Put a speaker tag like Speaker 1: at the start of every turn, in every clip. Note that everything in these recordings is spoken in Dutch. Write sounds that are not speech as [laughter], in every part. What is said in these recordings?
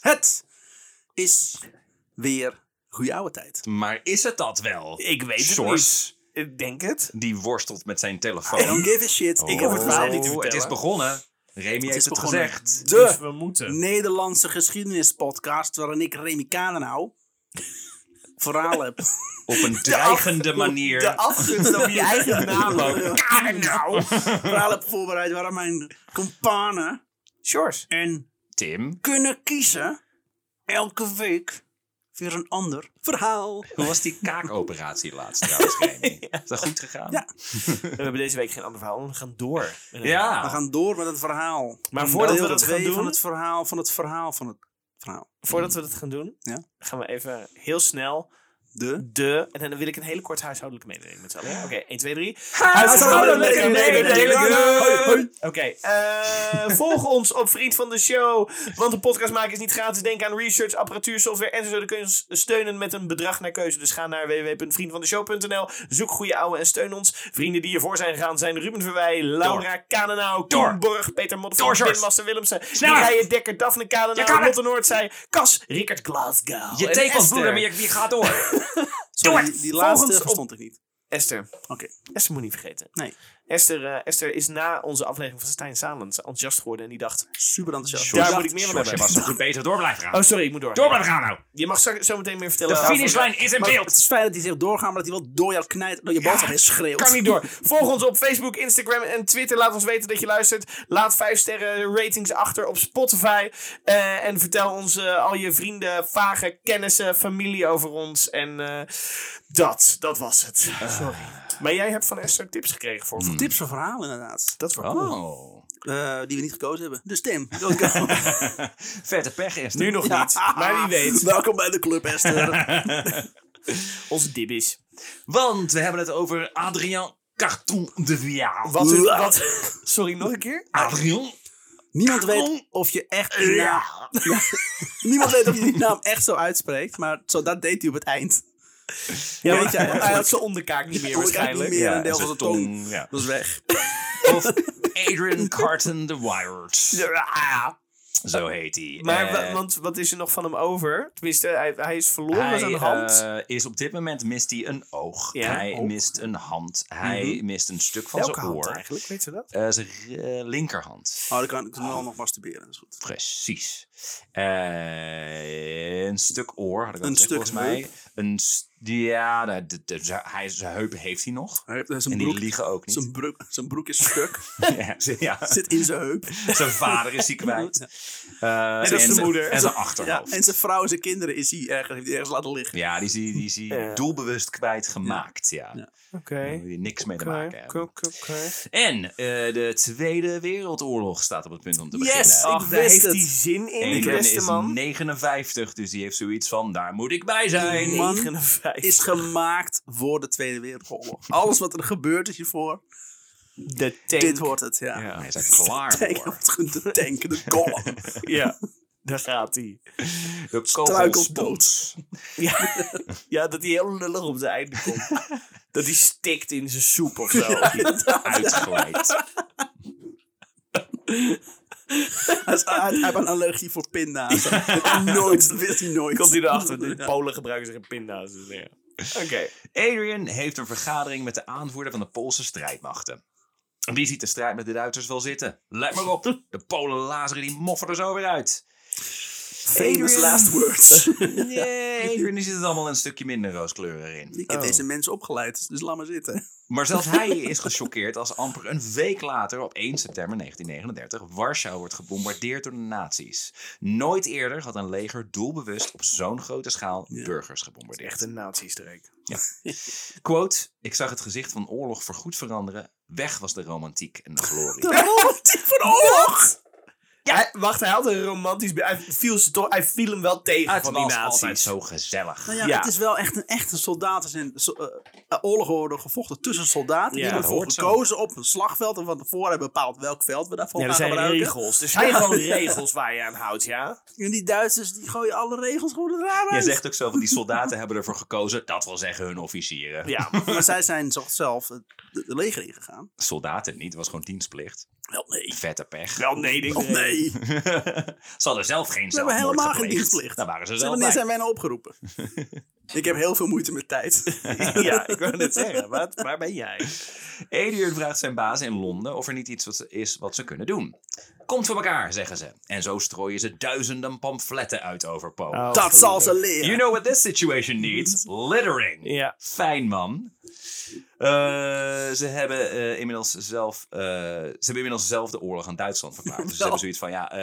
Speaker 1: Het is weer goede oude tijd.
Speaker 2: Maar is het dat wel?
Speaker 1: Ik weet het
Speaker 2: Sjors,
Speaker 1: niet. Ik denk het.
Speaker 2: die worstelt met zijn telefoon.
Speaker 1: I don't give a shit. Ah, ik heb het verhaal niet te
Speaker 2: Oh,
Speaker 1: vertellen.
Speaker 2: Het is begonnen. Remy heeft
Speaker 1: is
Speaker 2: het
Speaker 1: begonnen.
Speaker 2: gezegd.
Speaker 3: Dus
Speaker 1: De
Speaker 3: we moeten.
Speaker 1: Nederlandse geschiedenispodcast waarin ik Remy Kadenau verhaal
Speaker 3: [laughs]
Speaker 1: heb.
Speaker 2: Op een dreigende manier.
Speaker 1: De afgunst over je eigen naam.
Speaker 2: Ook.
Speaker 1: Kadenau. [laughs] Verhaal heb voorbereid waarin mijn companen
Speaker 2: Sjors.
Speaker 1: en
Speaker 2: Tim,
Speaker 1: kunnen kiezen elke week weer een ander verhaal.
Speaker 2: hoe was die kaakoperatie laatst trouwens, Remy? Is dat goed gegaan?
Speaker 1: Ja.
Speaker 3: We hebben deze week geen ander verhaal, we gaan door. met een
Speaker 2: Ja.
Speaker 1: We gaan door met het verhaal.
Speaker 3: Maar voordat we
Speaker 1: Deel
Speaker 3: dat gaan
Speaker 1: twee
Speaker 3: doen-
Speaker 1: van het verhaal van het verhaal van het verhaal.
Speaker 3: Voordat we dat gaan doen,
Speaker 1: Ja.
Speaker 3: gaan we even heel snel
Speaker 1: De
Speaker 3: de... En dan wil ik een hele korte huishoudelijke mededeling met z'n allen. Oké, 1, 2, 3.
Speaker 1: Huishoudelijke mededeling.
Speaker 3: Hoi. Oké,
Speaker 2: [laughs]
Speaker 3: eh, volg ons op Vriend van de Show. Want een podcast maken is niet gratis. Denk aan research, apparatuur, software enzovoort. Dan kun je ons steunen met een bedrag naar keuze. Dus ga naar www.vriendvandeshow.nl. Zoek goede ouwe en steun ons. Vrienden die ervoor zijn gegaan zijn Ruben Verwij, Laura Kanenau, Tom
Speaker 2: Door.
Speaker 3: Borg, Peter Mot
Speaker 2: Door,
Speaker 3: van
Speaker 2: Sjors.
Speaker 3: Tim Master Willemsen,
Speaker 2: Sneller.
Speaker 3: Mireille Dekker, Daphne
Speaker 2: Je kan
Speaker 3: Kanenau,
Speaker 2: het.
Speaker 3: Lotte Noordzij, Kas, Rickert Glasgow.
Speaker 2: Je
Speaker 3: en
Speaker 2: tekent
Speaker 3: Esther.
Speaker 2: broeder, maar je je gaat door.
Speaker 1: Sorry,
Speaker 3: het.
Speaker 1: die, die laatste
Speaker 3: Volgens op-
Speaker 1: verstond ik niet.
Speaker 3: Esther.
Speaker 1: Oké.
Speaker 3: Esther moet niet vergeten.
Speaker 1: Nee.
Speaker 3: Esther, eh, Esther is na onze aflevering van Stijn Salens enthousiast geworden en die dacht...
Speaker 1: Super enthousiast.
Speaker 3: Daar
Speaker 1: Ja,
Speaker 3: moet ik meer van
Speaker 2: Sjors, je
Speaker 3: hebben.
Speaker 2: was zo goed bezig. Door blijven gaan.
Speaker 3: Oh, sorry, ik moet door.
Speaker 2: Door blijven gaan nou.
Speaker 3: Je mag zo, zo meteen meer vertellen.
Speaker 2: De
Speaker 3: waarom-
Speaker 2: finishlijn is in
Speaker 1: maar
Speaker 2: beeld.
Speaker 1: Het is fijn dat hij zegt doorgaan, maar dat hij wel door jou knijt, door je boodschap heen schreeuwt.
Speaker 3: Kan niet door. [laughs] Volg ons op Facebook, Instagram en Twitter. Laat ons weten dat je luistert. Laat 5 sterren ratings achter op Spotify. Eh, en vertel ons eh, al je vrienden, vage kennissen, familie over ons. En eh, dat, dat was het. Eh, Sorry. Maar jij hebt van Esther tips gekregen voor ons.
Speaker 1: Tips voor verhalen inderdaad,
Speaker 3: Dat is wel cool.
Speaker 2: Oh.
Speaker 1: Eh, die we niet gekozen hebben. Dus
Speaker 3: [laughs]
Speaker 1: Tim, welkom.
Speaker 2: Vette pech is het.
Speaker 3: [laughs] Nu nog niet, maar wie weet. [laughs]
Speaker 1: Welkom bij de club, Esther.
Speaker 3: Onze dibbies.
Speaker 2: Want we hebben het over Adrien Carton de Vial.
Speaker 3: Wat, een-
Speaker 1: Wow.
Speaker 3: [laughs] wat, sorry, nog een keer?
Speaker 2: Adrien?
Speaker 1: Niemand weet of je echt die naam,
Speaker 2: Nou, Ja.
Speaker 1: niemand weet of je die naam echt zo uitspreekt, maar zo, dat deed hij op het eind.
Speaker 3: Ja,
Speaker 1: weet
Speaker 3: want
Speaker 1: je,
Speaker 3: hij had zijn [laughs] onderkaak niet meer
Speaker 1: Hoor ik eigenlijk
Speaker 3: waarschijnlijk.
Speaker 1: niet meer
Speaker 2: Ja,
Speaker 1: een deel
Speaker 2: zijn
Speaker 1: van de tong.
Speaker 2: tong, ja.
Speaker 1: Dat is weg.
Speaker 2: Of Adrian Carton de Wired.
Speaker 3: Ja.
Speaker 2: Zo heet hij.
Speaker 3: Maar
Speaker 2: Eh,
Speaker 3: wa- want wat is er nog van hem over? Tenminste, hij, hij is verloren
Speaker 2: hij
Speaker 3: aan de hand.
Speaker 2: eh, is op dit moment mist hij een oog.
Speaker 3: Ja.
Speaker 2: hij
Speaker 3: Oog. Mhm.
Speaker 2: mist een hand. Hij mist een stuk van
Speaker 3: Welke
Speaker 2: zijn
Speaker 3: hand
Speaker 2: oor.
Speaker 3: eigenlijk? Weet je dat?
Speaker 2: Eh, zijn eh, linkerhand.
Speaker 1: Oh, dan kan ik wel nog masturberen, dat is goed.
Speaker 2: Precies. Eh, een stuk oor had ik al
Speaker 1: Een
Speaker 2: gezegd,
Speaker 1: stuk
Speaker 2: volgens mij. Een st- ja, nou, de, de- zijn- hij, zijn heupen heeft hij
Speaker 3: [laughs]
Speaker 2: nog. [laughs]
Speaker 1: Hij heeft, eh, zijn,
Speaker 2: En die
Speaker 1: broek,
Speaker 2: liegen ook niet.
Speaker 1: zijn, broek, zijn broek is stuk,
Speaker 2: Ja, ze- ja.
Speaker 1: zit in zijn heup.
Speaker 2: Zijn vader is hij
Speaker 3: [laughs]
Speaker 2: kwijt. Eh,
Speaker 3: dat is de
Speaker 2: zijn-
Speaker 3: moeder.
Speaker 2: En zijn
Speaker 1: Ja,
Speaker 2: achterhoofd.
Speaker 1: en zijn vrouw en zijn kinderen is hij ergens, heeft hij ergens laten liggen.
Speaker 2: Ja, die is hij die is hij
Speaker 3: Ja.
Speaker 2: doelbewust kwijtgemaakt. Ja.
Speaker 1: Ja.
Speaker 2: Daar
Speaker 3: Oké.
Speaker 2: wil je niks mee te maken hebben.
Speaker 3: oké.
Speaker 2: En eh, de Tweede Wereldoorlog staat op het punt om te
Speaker 1: Yes,
Speaker 2: beginnen.
Speaker 1: ik
Speaker 3: Ach, daar
Speaker 1: wist
Speaker 3: heeft
Speaker 1: het.
Speaker 3: hij zin in,
Speaker 2: Adrian
Speaker 3: die beste
Speaker 2: is
Speaker 3: man.
Speaker 2: 59, dus die heeft zoiets van, daar moet ik bij zijn.
Speaker 1: Nee. man
Speaker 3: 59.
Speaker 1: Is gemaakt voor de Tweede Wereldoorlog. Alles wat er gebeurt is hiervoor.
Speaker 3: de tank.
Speaker 1: Dit wordt het, ja. [laughs]
Speaker 2: Ja, hij is er klaar
Speaker 1: Tank,
Speaker 2: voor.
Speaker 1: de tank, de
Speaker 2: [laughs]
Speaker 1: column.
Speaker 3: [laughs] Ja, daar gaat hij.
Speaker 2: De
Speaker 1: Struikelt
Speaker 2: kogelspots.
Speaker 3: Ja. [laughs] ja, dat hij heel lullig op zijn einde komt. [laughs] dat hij stikt in zijn soep of zo.
Speaker 2: Uitgeleid.
Speaker 1: Hij is- hij heeft een allergie voor pinda's. Dat heeft hij Nooit, dat wist hij nooit.
Speaker 3: Komt hij erachter. De Polen gebruiken zich in pinda's. Dus ja. Oké.
Speaker 2: Adrian heeft een vergadering met de aanvoerder van de Poolse strijdmachten. Die ziet de strijd met de Duitsers wel zitten. Let maar op, de Polen lazeren die moffen er zo weer uit.
Speaker 1: Famous
Speaker 2: Adrian.
Speaker 1: last
Speaker 2: [laughs]
Speaker 1: words.
Speaker 2: Nee, Adrian die zit het allemaal een stukje minder rooskleurig in. Eh,
Speaker 1: Ik heb deze mensen opgeleid, dus laat maar zitten.
Speaker 2: Maar zelfs hij is gechoqueerd als amper een week later, op 1 september 1939, Warschau wordt gebombardeerd door de nazi's. Nooit eerder had een leger doelbewust op zo'n grote schaal burgers gebombardeerd.
Speaker 3: Echt een nazi-streek.
Speaker 2: Quote, ik zag het gezicht van oorlog voorgoed veranderen. Weg was de romantiek en de
Speaker 3: [laughs]
Speaker 2: glorie.
Speaker 1: Romantiek voor de oorlog!
Speaker 3: Ja, hij- wacht, hij had een romantisch... be- Hij viel, ze toch, hij viel hem wel tegen
Speaker 2: Het
Speaker 3: van die
Speaker 2: was
Speaker 3: nazi's.
Speaker 2: altijd zo gezellig.
Speaker 1: Nou ja,
Speaker 3: Ja.
Speaker 1: het is wel echt een echte soldaten zijn. so- eh, eh, oorlogen worden gevochten tussen soldaten.
Speaker 3: Ja,
Speaker 1: die hebben
Speaker 2: dat
Speaker 1: ervoor
Speaker 2: hoort zo.
Speaker 1: gekozen op een slagveld. En van tevoren hebben bepaald welk veld we daarvoor
Speaker 3: Ja, er
Speaker 1: gaan
Speaker 3: zijn
Speaker 1: gebruiken.
Speaker 3: regels. Er zijn gewoon regels waar je aan houdt, ja?
Speaker 1: En die Duitsers die gooien alle regels gewoon het raam
Speaker 2: Jij
Speaker 1: uit.
Speaker 2: zegt ook zo van die soldaten hebben ervoor gekozen. Dat wil zeggen hun officieren.
Speaker 3: Ja.
Speaker 1: [laughs] Maar zij zijn zo- zelf het de, de leger ingegaan.
Speaker 2: Soldaten niet, het was gewoon dienstplicht.
Speaker 1: Wel nee.
Speaker 2: Vette pech.
Speaker 3: Wel nee, denk eh, ik.
Speaker 1: Of nee. Nee.
Speaker 2: [laughs] ze hadden zelf geen
Speaker 1: Ze hebben
Speaker 2: zelfmoord
Speaker 1: helemaal geen
Speaker 2: gepleegd.
Speaker 1: dienstplicht.
Speaker 2: Daar waren ze
Speaker 1: Zeg,
Speaker 2: zelf
Speaker 1: wanneer
Speaker 2: bij.
Speaker 1: zijn wij nou opgeroepen? ik heb heel veel moeite met tijd.
Speaker 3: [laughs] ja, ik wou net zeggen. Wat, waar ben jij?
Speaker 2: Adrian vraagt zijn baas in Londen of er niet iets wat ze- is wat ze kunnen doen. Komt voor elkaar, zeggen ze. En zo strooien ze duizenden pamfletten uit over
Speaker 1: [laughs]
Speaker 2: Poe.
Speaker 1: Dat zal ze leren.
Speaker 2: You know what this situation
Speaker 1: [laughs]
Speaker 2: needs? Littering.
Speaker 3: Ja.
Speaker 2: Fijn man. Eh, ze, hebben, eh, inmiddels zelf, eh, ze hebben inmiddels zelf de oorlog aan Duitsland verklaard. Dus ze hebben zoiets van, ja, eh,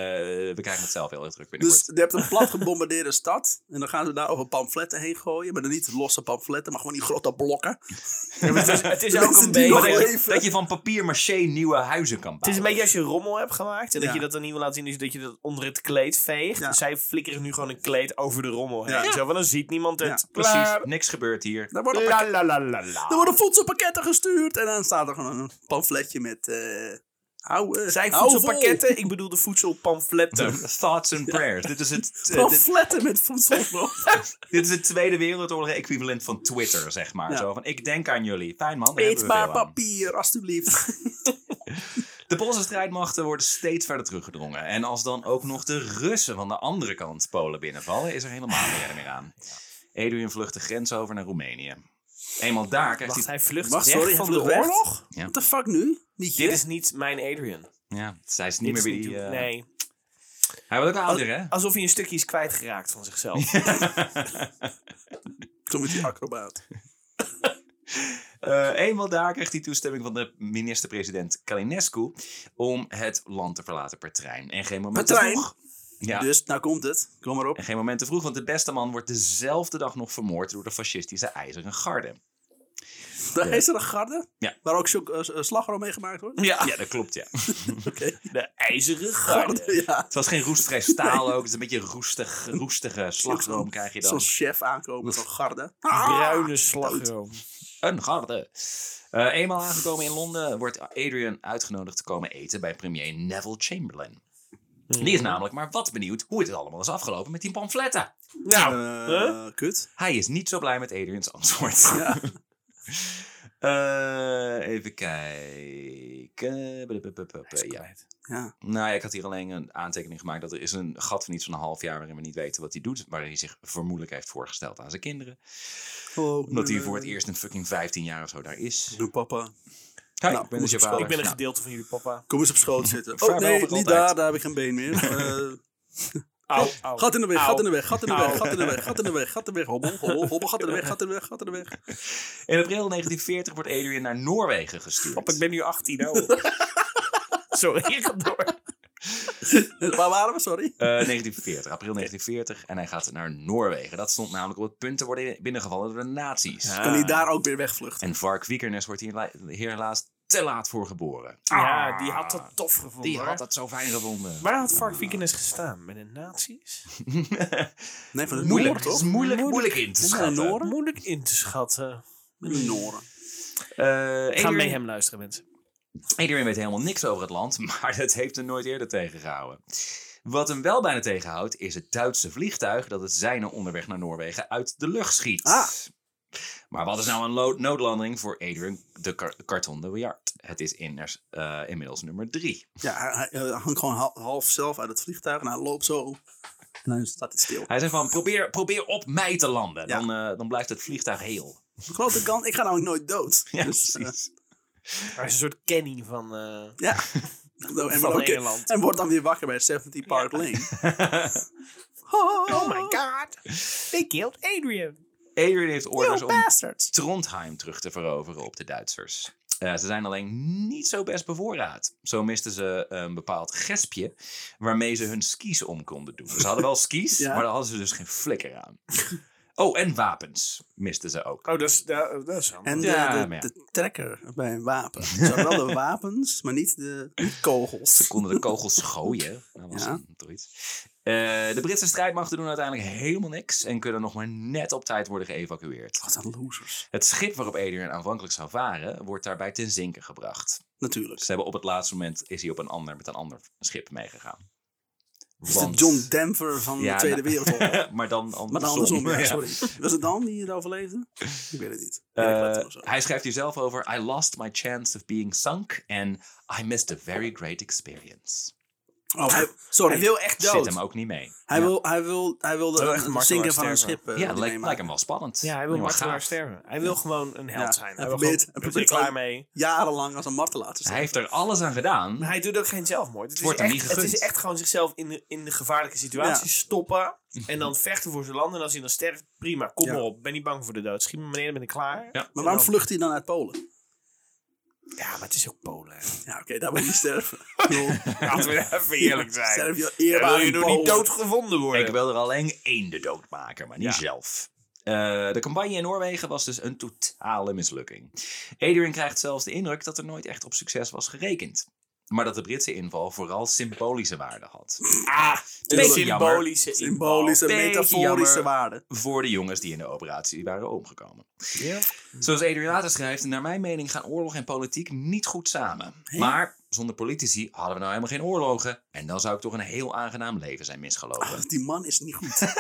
Speaker 2: we krijgen het zelf heel erg druk binnenkort.
Speaker 1: dus [laughs] je hebt een plat gebombardeerde stad. En dan gaan ze daar over pamfletten heen gooien. Maar dan niet losse pamfletten, maar gewoon die grote blokken.
Speaker 3: Het is, het is ook
Speaker 1: Mensen
Speaker 3: een
Speaker 1: die nog
Speaker 2: dat,
Speaker 1: leven.
Speaker 3: beetje...
Speaker 2: je, dat je van papier maché nieuwe huizen kan
Speaker 3: Het is
Speaker 2: bouwen.
Speaker 3: een beetje als je rommel hebt gemaakt. En dat
Speaker 1: Ja.
Speaker 3: je dat dan niet wil laten zien. Dus dat je dat onder het kleed veegt.
Speaker 1: Ja.
Speaker 3: Zij flikkeren nu gewoon een kleed over de rommel heen.
Speaker 1: Ja.
Speaker 3: Zo, want dan ziet niemand het.
Speaker 1: Ja,
Speaker 2: Precies, niks gebeurt hier.
Speaker 1: Daar worden,
Speaker 3: La
Speaker 1: pakket-
Speaker 3: la la la
Speaker 1: daar
Speaker 3: la.
Speaker 1: worden voedselpakketten gestuurd. En dan staat er gewoon een pamfletje met... eh hou, eh,
Speaker 3: Zijn
Speaker 1: hou vol.
Speaker 3: voedselpakketten? Ik bedoel de [laughs] voedselpamfletten.
Speaker 2: Thoughts and prayers. Dit is
Speaker 3: [laughs]
Speaker 2: het... eh, dit-
Speaker 1: Pamfletten met
Speaker 2: [laughs]
Speaker 1: voedsel.
Speaker 2: Dit is het Tweede Wereldoorlog-equivalent van Twitter, zeg maar.
Speaker 1: Ja.
Speaker 2: Zo van, ik denk aan jullie. Fijn man, daar hebben we
Speaker 1: Eetbaar
Speaker 2: veel aan.
Speaker 1: papier, alstublieft.
Speaker 3: [laughs]
Speaker 2: De Poolse strijdmachten worden steeds verder teruggedrongen. En als dan ook nog de Russen van de andere kant Polen binnenvallen, is er helemaal geen redder meer aan. Edwin vlucht de grens over naar Roemenië. Eenmaal daar krijgt
Speaker 3: Wacht,
Speaker 2: hij...
Speaker 3: hij vlucht
Speaker 1: Wacht,
Speaker 3: weg
Speaker 1: sorry, hij
Speaker 3: van de
Speaker 1: vlucht weg?
Speaker 3: oorlog?
Speaker 2: Ja.
Speaker 1: What the fuck nu? Niet
Speaker 3: Dit is niet mijn Adrian.
Speaker 2: Ja, zij is niet
Speaker 3: Dit
Speaker 2: meer
Speaker 3: is
Speaker 2: wie
Speaker 3: niet-
Speaker 2: die... eh,
Speaker 3: Nee.
Speaker 2: Hij wordt ook ouder, hè?
Speaker 3: Alsof hij een stukje is kwijtgeraakt van zichzelf.
Speaker 1: Zo met die acrobaat.
Speaker 2: Eh, eenmaal daar kreeg hij toestemming van de minister-president Kalinescu om het land te verlaten per trein. En geen moment
Speaker 1: Per
Speaker 2: te
Speaker 1: trein?
Speaker 2: vroeg. Ja,
Speaker 1: Dus, nou komt het. Kom maar op.
Speaker 2: En geen moment te vroeg, want de beste man wordt dezelfde dag nog vermoord door de fascistische IJzeren Garde.
Speaker 1: De [laughs] IJzeren Garde,
Speaker 2: eh, Ja.
Speaker 1: waar ook zo- eh, slagroom mee gemaakt [laughs] wordt.
Speaker 3: ja.
Speaker 2: Ja, dat klopt, ja.
Speaker 1: Oké.
Speaker 3: De ijzeren garde.
Speaker 1: Ja.
Speaker 2: Het was geen roestvrij
Speaker 1: [laughs]
Speaker 2: staal ook, het is een beetje roestig, roestige slagroom krijg je
Speaker 1: Zo'n
Speaker 2: dan.
Speaker 1: chef aankomen van Garde.
Speaker 3: Bruine slagroom.
Speaker 2: Een garde. Eh, eenmaal aangekomen in Londen wordt Adrian uitgenodigd te komen eten bij premier Neville Chamberlain.
Speaker 3: Hmm.
Speaker 2: Die is namelijk maar wat benieuwd hoe het allemaal is afgelopen met die pamfletten.
Speaker 3: Nou,
Speaker 1: Eh,
Speaker 3: huh?
Speaker 1: Kut.
Speaker 2: Hij is niet zo blij met Adrians antwoord.
Speaker 1: Ja.
Speaker 2: Eh, even kijken. Ja.
Speaker 1: Ja.
Speaker 2: Nou ja, ik had hier alleen een aantekening gemaakt dat er is een gat van iets van een half jaar waarin we niet weten wat hij doet. Waarin hij zich vermoedelijk heeft voorgesteld aan zijn kinderen. [laughs] Omdat hij voor het eerst een fucking 15 jaar of zo daar is.
Speaker 1: Eh, Doe papa.
Speaker 2: Kijk,
Speaker 1: Nou,
Speaker 2: ik ben
Speaker 1: moet
Speaker 2: dus je
Speaker 1: ik-
Speaker 2: vader.
Speaker 3: ik ben een
Speaker 2: Nou,
Speaker 3: gedeelte van jullie papa.
Speaker 1: Kom eens op
Speaker 2: [laughs]
Speaker 1: schoot zitten. Oh
Speaker 2: Vaarwel
Speaker 1: nee,
Speaker 2: voor
Speaker 1: niet
Speaker 2: altijd.
Speaker 1: daar, daar heb ik geen been
Speaker 2: [laughs]
Speaker 1: meer. Eh,
Speaker 3: Au, au.
Speaker 1: gat in de weg,
Speaker 3: Au.
Speaker 1: gat in de weg, gat in de
Speaker 3: Au.
Speaker 1: weg, gat in de weg, gat in de weg, gat in de weg. Hobbel, hobbel, hobbel, gat in de weg, gat in de weg, gat in de weg.
Speaker 2: In april 1940 wordt Adrian naar Noorwegen gestuurd.
Speaker 3: Pap, ik ben nu 18.
Speaker 1: [laughs]
Speaker 3: Oh. Sorry, ik ga
Speaker 1: Ah.
Speaker 3: door.
Speaker 1: [laughs] Waar waren we, sorry?
Speaker 2: Eh, 1940, april 1940. En hij gaat naar Noorwegen. Dat stond namelijk op het punt te worden binnengevallen door de nazi's.
Speaker 1: Kan hij daar ook weer wegvluchten?
Speaker 2: En Vark Vikernes wordt hier, la- hier helaas te laat voor geboren.
Speaker 3: Ja, die had dat tof gevonden.
Speaker 2: Die
Speaker 3: hoor.
Speaker 2: had dat zo fijn gevonden. [laughs]
Speaker 3: Waar had Vark Vikernes gestaan? Met de nazi's?
Speaker 1: Nee, van de
Speaker 2: moeilijk,
Speaker 1: Noorden,
Speaker 2: het is
Speaker 1: toch?
Speaker 2: moeilijk, moeilijk in te
Speaker 1: Van de
Speaker 2: schatten.
Speaker 1: Noorden?
Speaker 3: Moeilijk in te schatten.
Speaker 1: Met de Noorden.
Speaker 2: Eh,
Speaker 3: Ga mee
Speaker 2: Adrian-
Speaker 3: hem luisteren, mensen.
Speaker 2: Adrian weet helemaal niks over het land, [laughs] maar dat heeft hem nooit eerder tegengehouden. Wat hem wel bijna tegenhoudt, is het Duitse vliegtuig dat het zijne onderweg naar Noorwegen uit de lucht schiet.
Speaker 1: Ah.
Speaker 2: Maar wat is nou een lo- noodlanding voor Adrian de Car- Carton de Wiart? Het is inners, eh, inmiddels nummer drie.
Speaker 1: Ja, hij, hij, eh, hangt gewoon hal- half zelf uit het vliegtuig en hij loopt zo. En dan staat hij stil.
Speaker 2: Hij zei van, probeer, probeer op mij te landen,
Speaker 1: Ja.
Speaker 2: dan, eh, dan blijft het vliegtuig heel.
Speaker 1: Grote kans, ik ga namelijk nooit dood.
Speaker 2: [laughs] Ja,
Speaker 1: Dus, eh,
Speaker 2: precies.
Speaker 3: Hij is een soort Kenny van, eh
Speaker 1: ja. en, wordt
Speaker 3: van
Speaker 1: ook- eh,
Speaker 3: Nederland.
Speaker 1: en wordt dan weer wakker bij 70 Park
Speaker 2: [laughs]
Speaker 1: Lane.
Speaker 3: Oh my god. They killed Adrian.
Speaker 2: Adrian heeft orders
Speaker 3: You
Speaker 2: om
Speaker 3: bastards.
Speaker 2: Trondheim terug te veroveren op de Duitsers. Eh, ze zijn alleen niet zo best bevoorraad. Zo misten ze een bepaald gespje waarmee ze hun skis om konden doen. Ze hadden wel skis,
Speaker 1: Ja.
Speaker 2: maar daar hadden ze dus geen flikker aan. Oh, en wapens misten ze ook.
Speaker 3: Oh, dat is, dat, dat is handig.
Speaker 1: En de,
Speaker 2: Ja,
Speaker 1: de-
Speaker 2: maar ja.
Speaker 1: de trekker bij een wapen. Zowel de wapens, maar niet de niet
Speaker 2: Ze
Speaker 1: kogels.
Speaker 2: [laughs] konden de
Speaker 1: [laughs]
Speaker 2: kogels gooien. Dat was
Speaker 1: Ja.
Speaker 2: een- toch iets. Eh, de Britse strijdmachten doen uiteindelijk helemaal niks en kunnen nog maar net op tijd worden geëvacueerd.
Speaker 1: Wat een losers.
Speaker 2: Het schip waarop Adrian aanvankelijk zou varen, wordt daarbij ten zinken gebracht.
Speaker 1: Natuurlijk.
Speaker 2: Ze hebben op het laatste moment is hij op een ander, met een ander schip meegegaan.
Speaker 1: Het is de John Denver van
Speaker 2: Ja,
Speaker 1: de Tweede
Speaker 2: nou.
Speaker 1: Wereldoorlog.
Speaker 2: [laughs] maar dan andersom.
Speaker 1: Maar dan andersom, ja,
Speaker 2: Ja.
Speaker 1: sorry. Was het dan die het overleefde? Ik weet het niet.
Speaker 2: Eh,
Speaker 1: Ja, ik laat het maar zo.
Speaker 2: hij schrijft hier zelf over: I lost my chance of being sunk and I missed a very great experience.
Speaker 1: Oh, hij-
Speaker 3: Hij
Speaker 1: sorry.
Speaker 3: wil echt dood.
Speaker 2: Zit hem ook niet mee.
Speaker 1: Hij,
Speaker 2: Ja.
Speaker 1: wil, hij, wil, hij wilde
Speaker 4: Hij wil echt
Speaker 1: een
Speaker 4: martelaar
Speaker 1: zinken van een
Speaker 4: sterven.
Speaker 1: schip eh,
Speaker 2: Ja, het lijkt,
Speaker 1: nemen.
Speaker 2: lijkt hem wel spannend.
Speaker 3: Ja, hij wil
Speaker 2: Lijkt me wel
Speaker 3: martelaar
Speaker 2: gaaf.
Speaker 3: sterven. Hij wil gewoon een held
Speaker 1: Ja,
Speaker 3: zijn.
Speaker 1: hij
Speaker 3: Hij wil
Speaker 1: probeert-
Speaker 3: gewoon,
Speaker 1: hij
Speaker 3: we zijn
Speaker 1: probeert
Speaker 3: klaar
Speaker 1: ook-
Speaker 3: mee.
Speaker 1: Jarenlang als een martelaar te
Speaker 2: Hij
Speaker 1: zijn.
Speaker 2: heeft er alles aan gedaan.
Speaker 3: Maar hij doet ook geen zelfmoord. Het,
Speaker 2: wordt
Speaker 3: is,
Speaker 2: hem
Speaker 3: echt,
Speaker 2: niet
Speaker 3: het
Speaker 2: gegund.
Speaker 3: is echt gewoon zichzelf in de, in de gevaarlijke situatie [laughs] stoppen. En dan vechten voor zijn land. En als hij dan sterft, prima. Kom
Speaker 1: Ja.
Speaker 3: maar op. Ben niet bang voor de dood. Schiet me meneer, dan ben ik klaar.
Speaker 2: Ja.
Speaker 1: Maar waarom vlucht hij dan uit Polen?
Speaker 3: Ja, maar het is ook Polen.
Speaker 1: Ja, oké, daar wil je
Speaker 2: [laughs]
Speaker 1: sterven. Ik bedoel,
Speaker 3: [laughs] Laten we even eerlijk zijn.
Speaker 1: Sterf je
Speaker 3: Ja,
Speaker 1: eerbaar
Speaker 3: wil
Speaker 1: in
Speaker 3: je nog
Speaker 1: Polen.
Speaker 3: niet doodgevonden worden?
Speaker 2: Ik wil er alleen één de dood maken, maar niet
Speaker 3: Ja.
Speaker 2: zelf. Eh, de campagne in Noorwegen was dus een totale mislukking. Adrian krijgt zelfs de indruk dat er nooit echt op succes was gerekend. Maar dat de Britse inval vooral symbolische waarde had.
Speaker 3: Ah, de
Speaker 2: Beetje
Speaker 3: symbolische
Speaker 1: Symbolische,
Speaker 2: Beetje
Speaker 1: metaforische
Speaker 2: Oh, jammer.
Speaker 1: waarde.
Speaker 2: Voor de jongens die in de operatie waren omgekomen. Zoals Adrian later schrijft, naar mijn mening gaan oorlog en politiek niet goed samen. Maar zonder politici hadden we nou helemaal geen oorlogen. En dan zou ik toch een heel aangenaam leven zijn misgelopen.
Speaker 1: Ach, die man is niet
Speaker 2: [laughs]
Speaker 1: goed.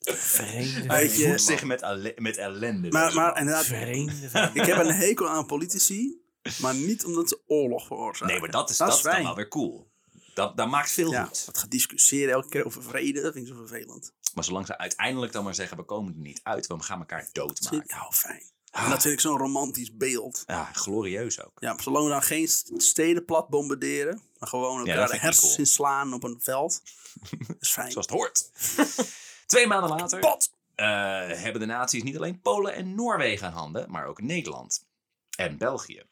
Speaker 3: Vreemde,
Speaker 1: Weet
Speaker 2: Hij
Speaker 1: je-
Speaker 2: voedt zich met, alle- met ellende.
Speaker 1: maar,
Speaker 2: deze
Speaker 1: maar
Speaker 2: man.
Speaker 1: inderdaad, ik heb een hekel aan politici, maar niet omdat ze oorlog veroorzaken.
Speaker 2: Nee, maar dat is, dat is dan
Speaker 1: fijn.
Speaker 2: wel weer cool. Dat, dat maakt veel
Speaker 1: Ja,
Speaker 2: goed.
Speaker 1: wat gediscussieerd elke keer over vrede, dat vind ik zo vervelend.
Speaker 2: Maar zolang ze uiteindelijk dan maar zeggen, we komen er niet uit, want we gaan elkaar
Speaker 1: Dat vind
Speaker 2: doodmaken.
Speaker 1: ik nou fijn.
Speaker 2: Ah.
Speaker 1: En dat vind ik zo'n romantisch beeld.
Speaker 2: Ja, glorieus ook.
Speaker 1: Ja, zolang we dan geen st- steden plat bombarderen, maar gewoon elkaar
Speaker 2: dat
Speaker 1: de
Speaker 2: vind ik niet
Speaker 1: hersens
Speaker 2: cool.
Speaker 1: inslaan op een
Speaker 2: [laughs]
Speaker 1: veld, dat is fijn.
Speaker 2: Zoals het hoort. [laughs] Twee maanden later eh, hebben de naties niet alleen Polen en Noorwegen aan handen, maar ook Nederland. En België.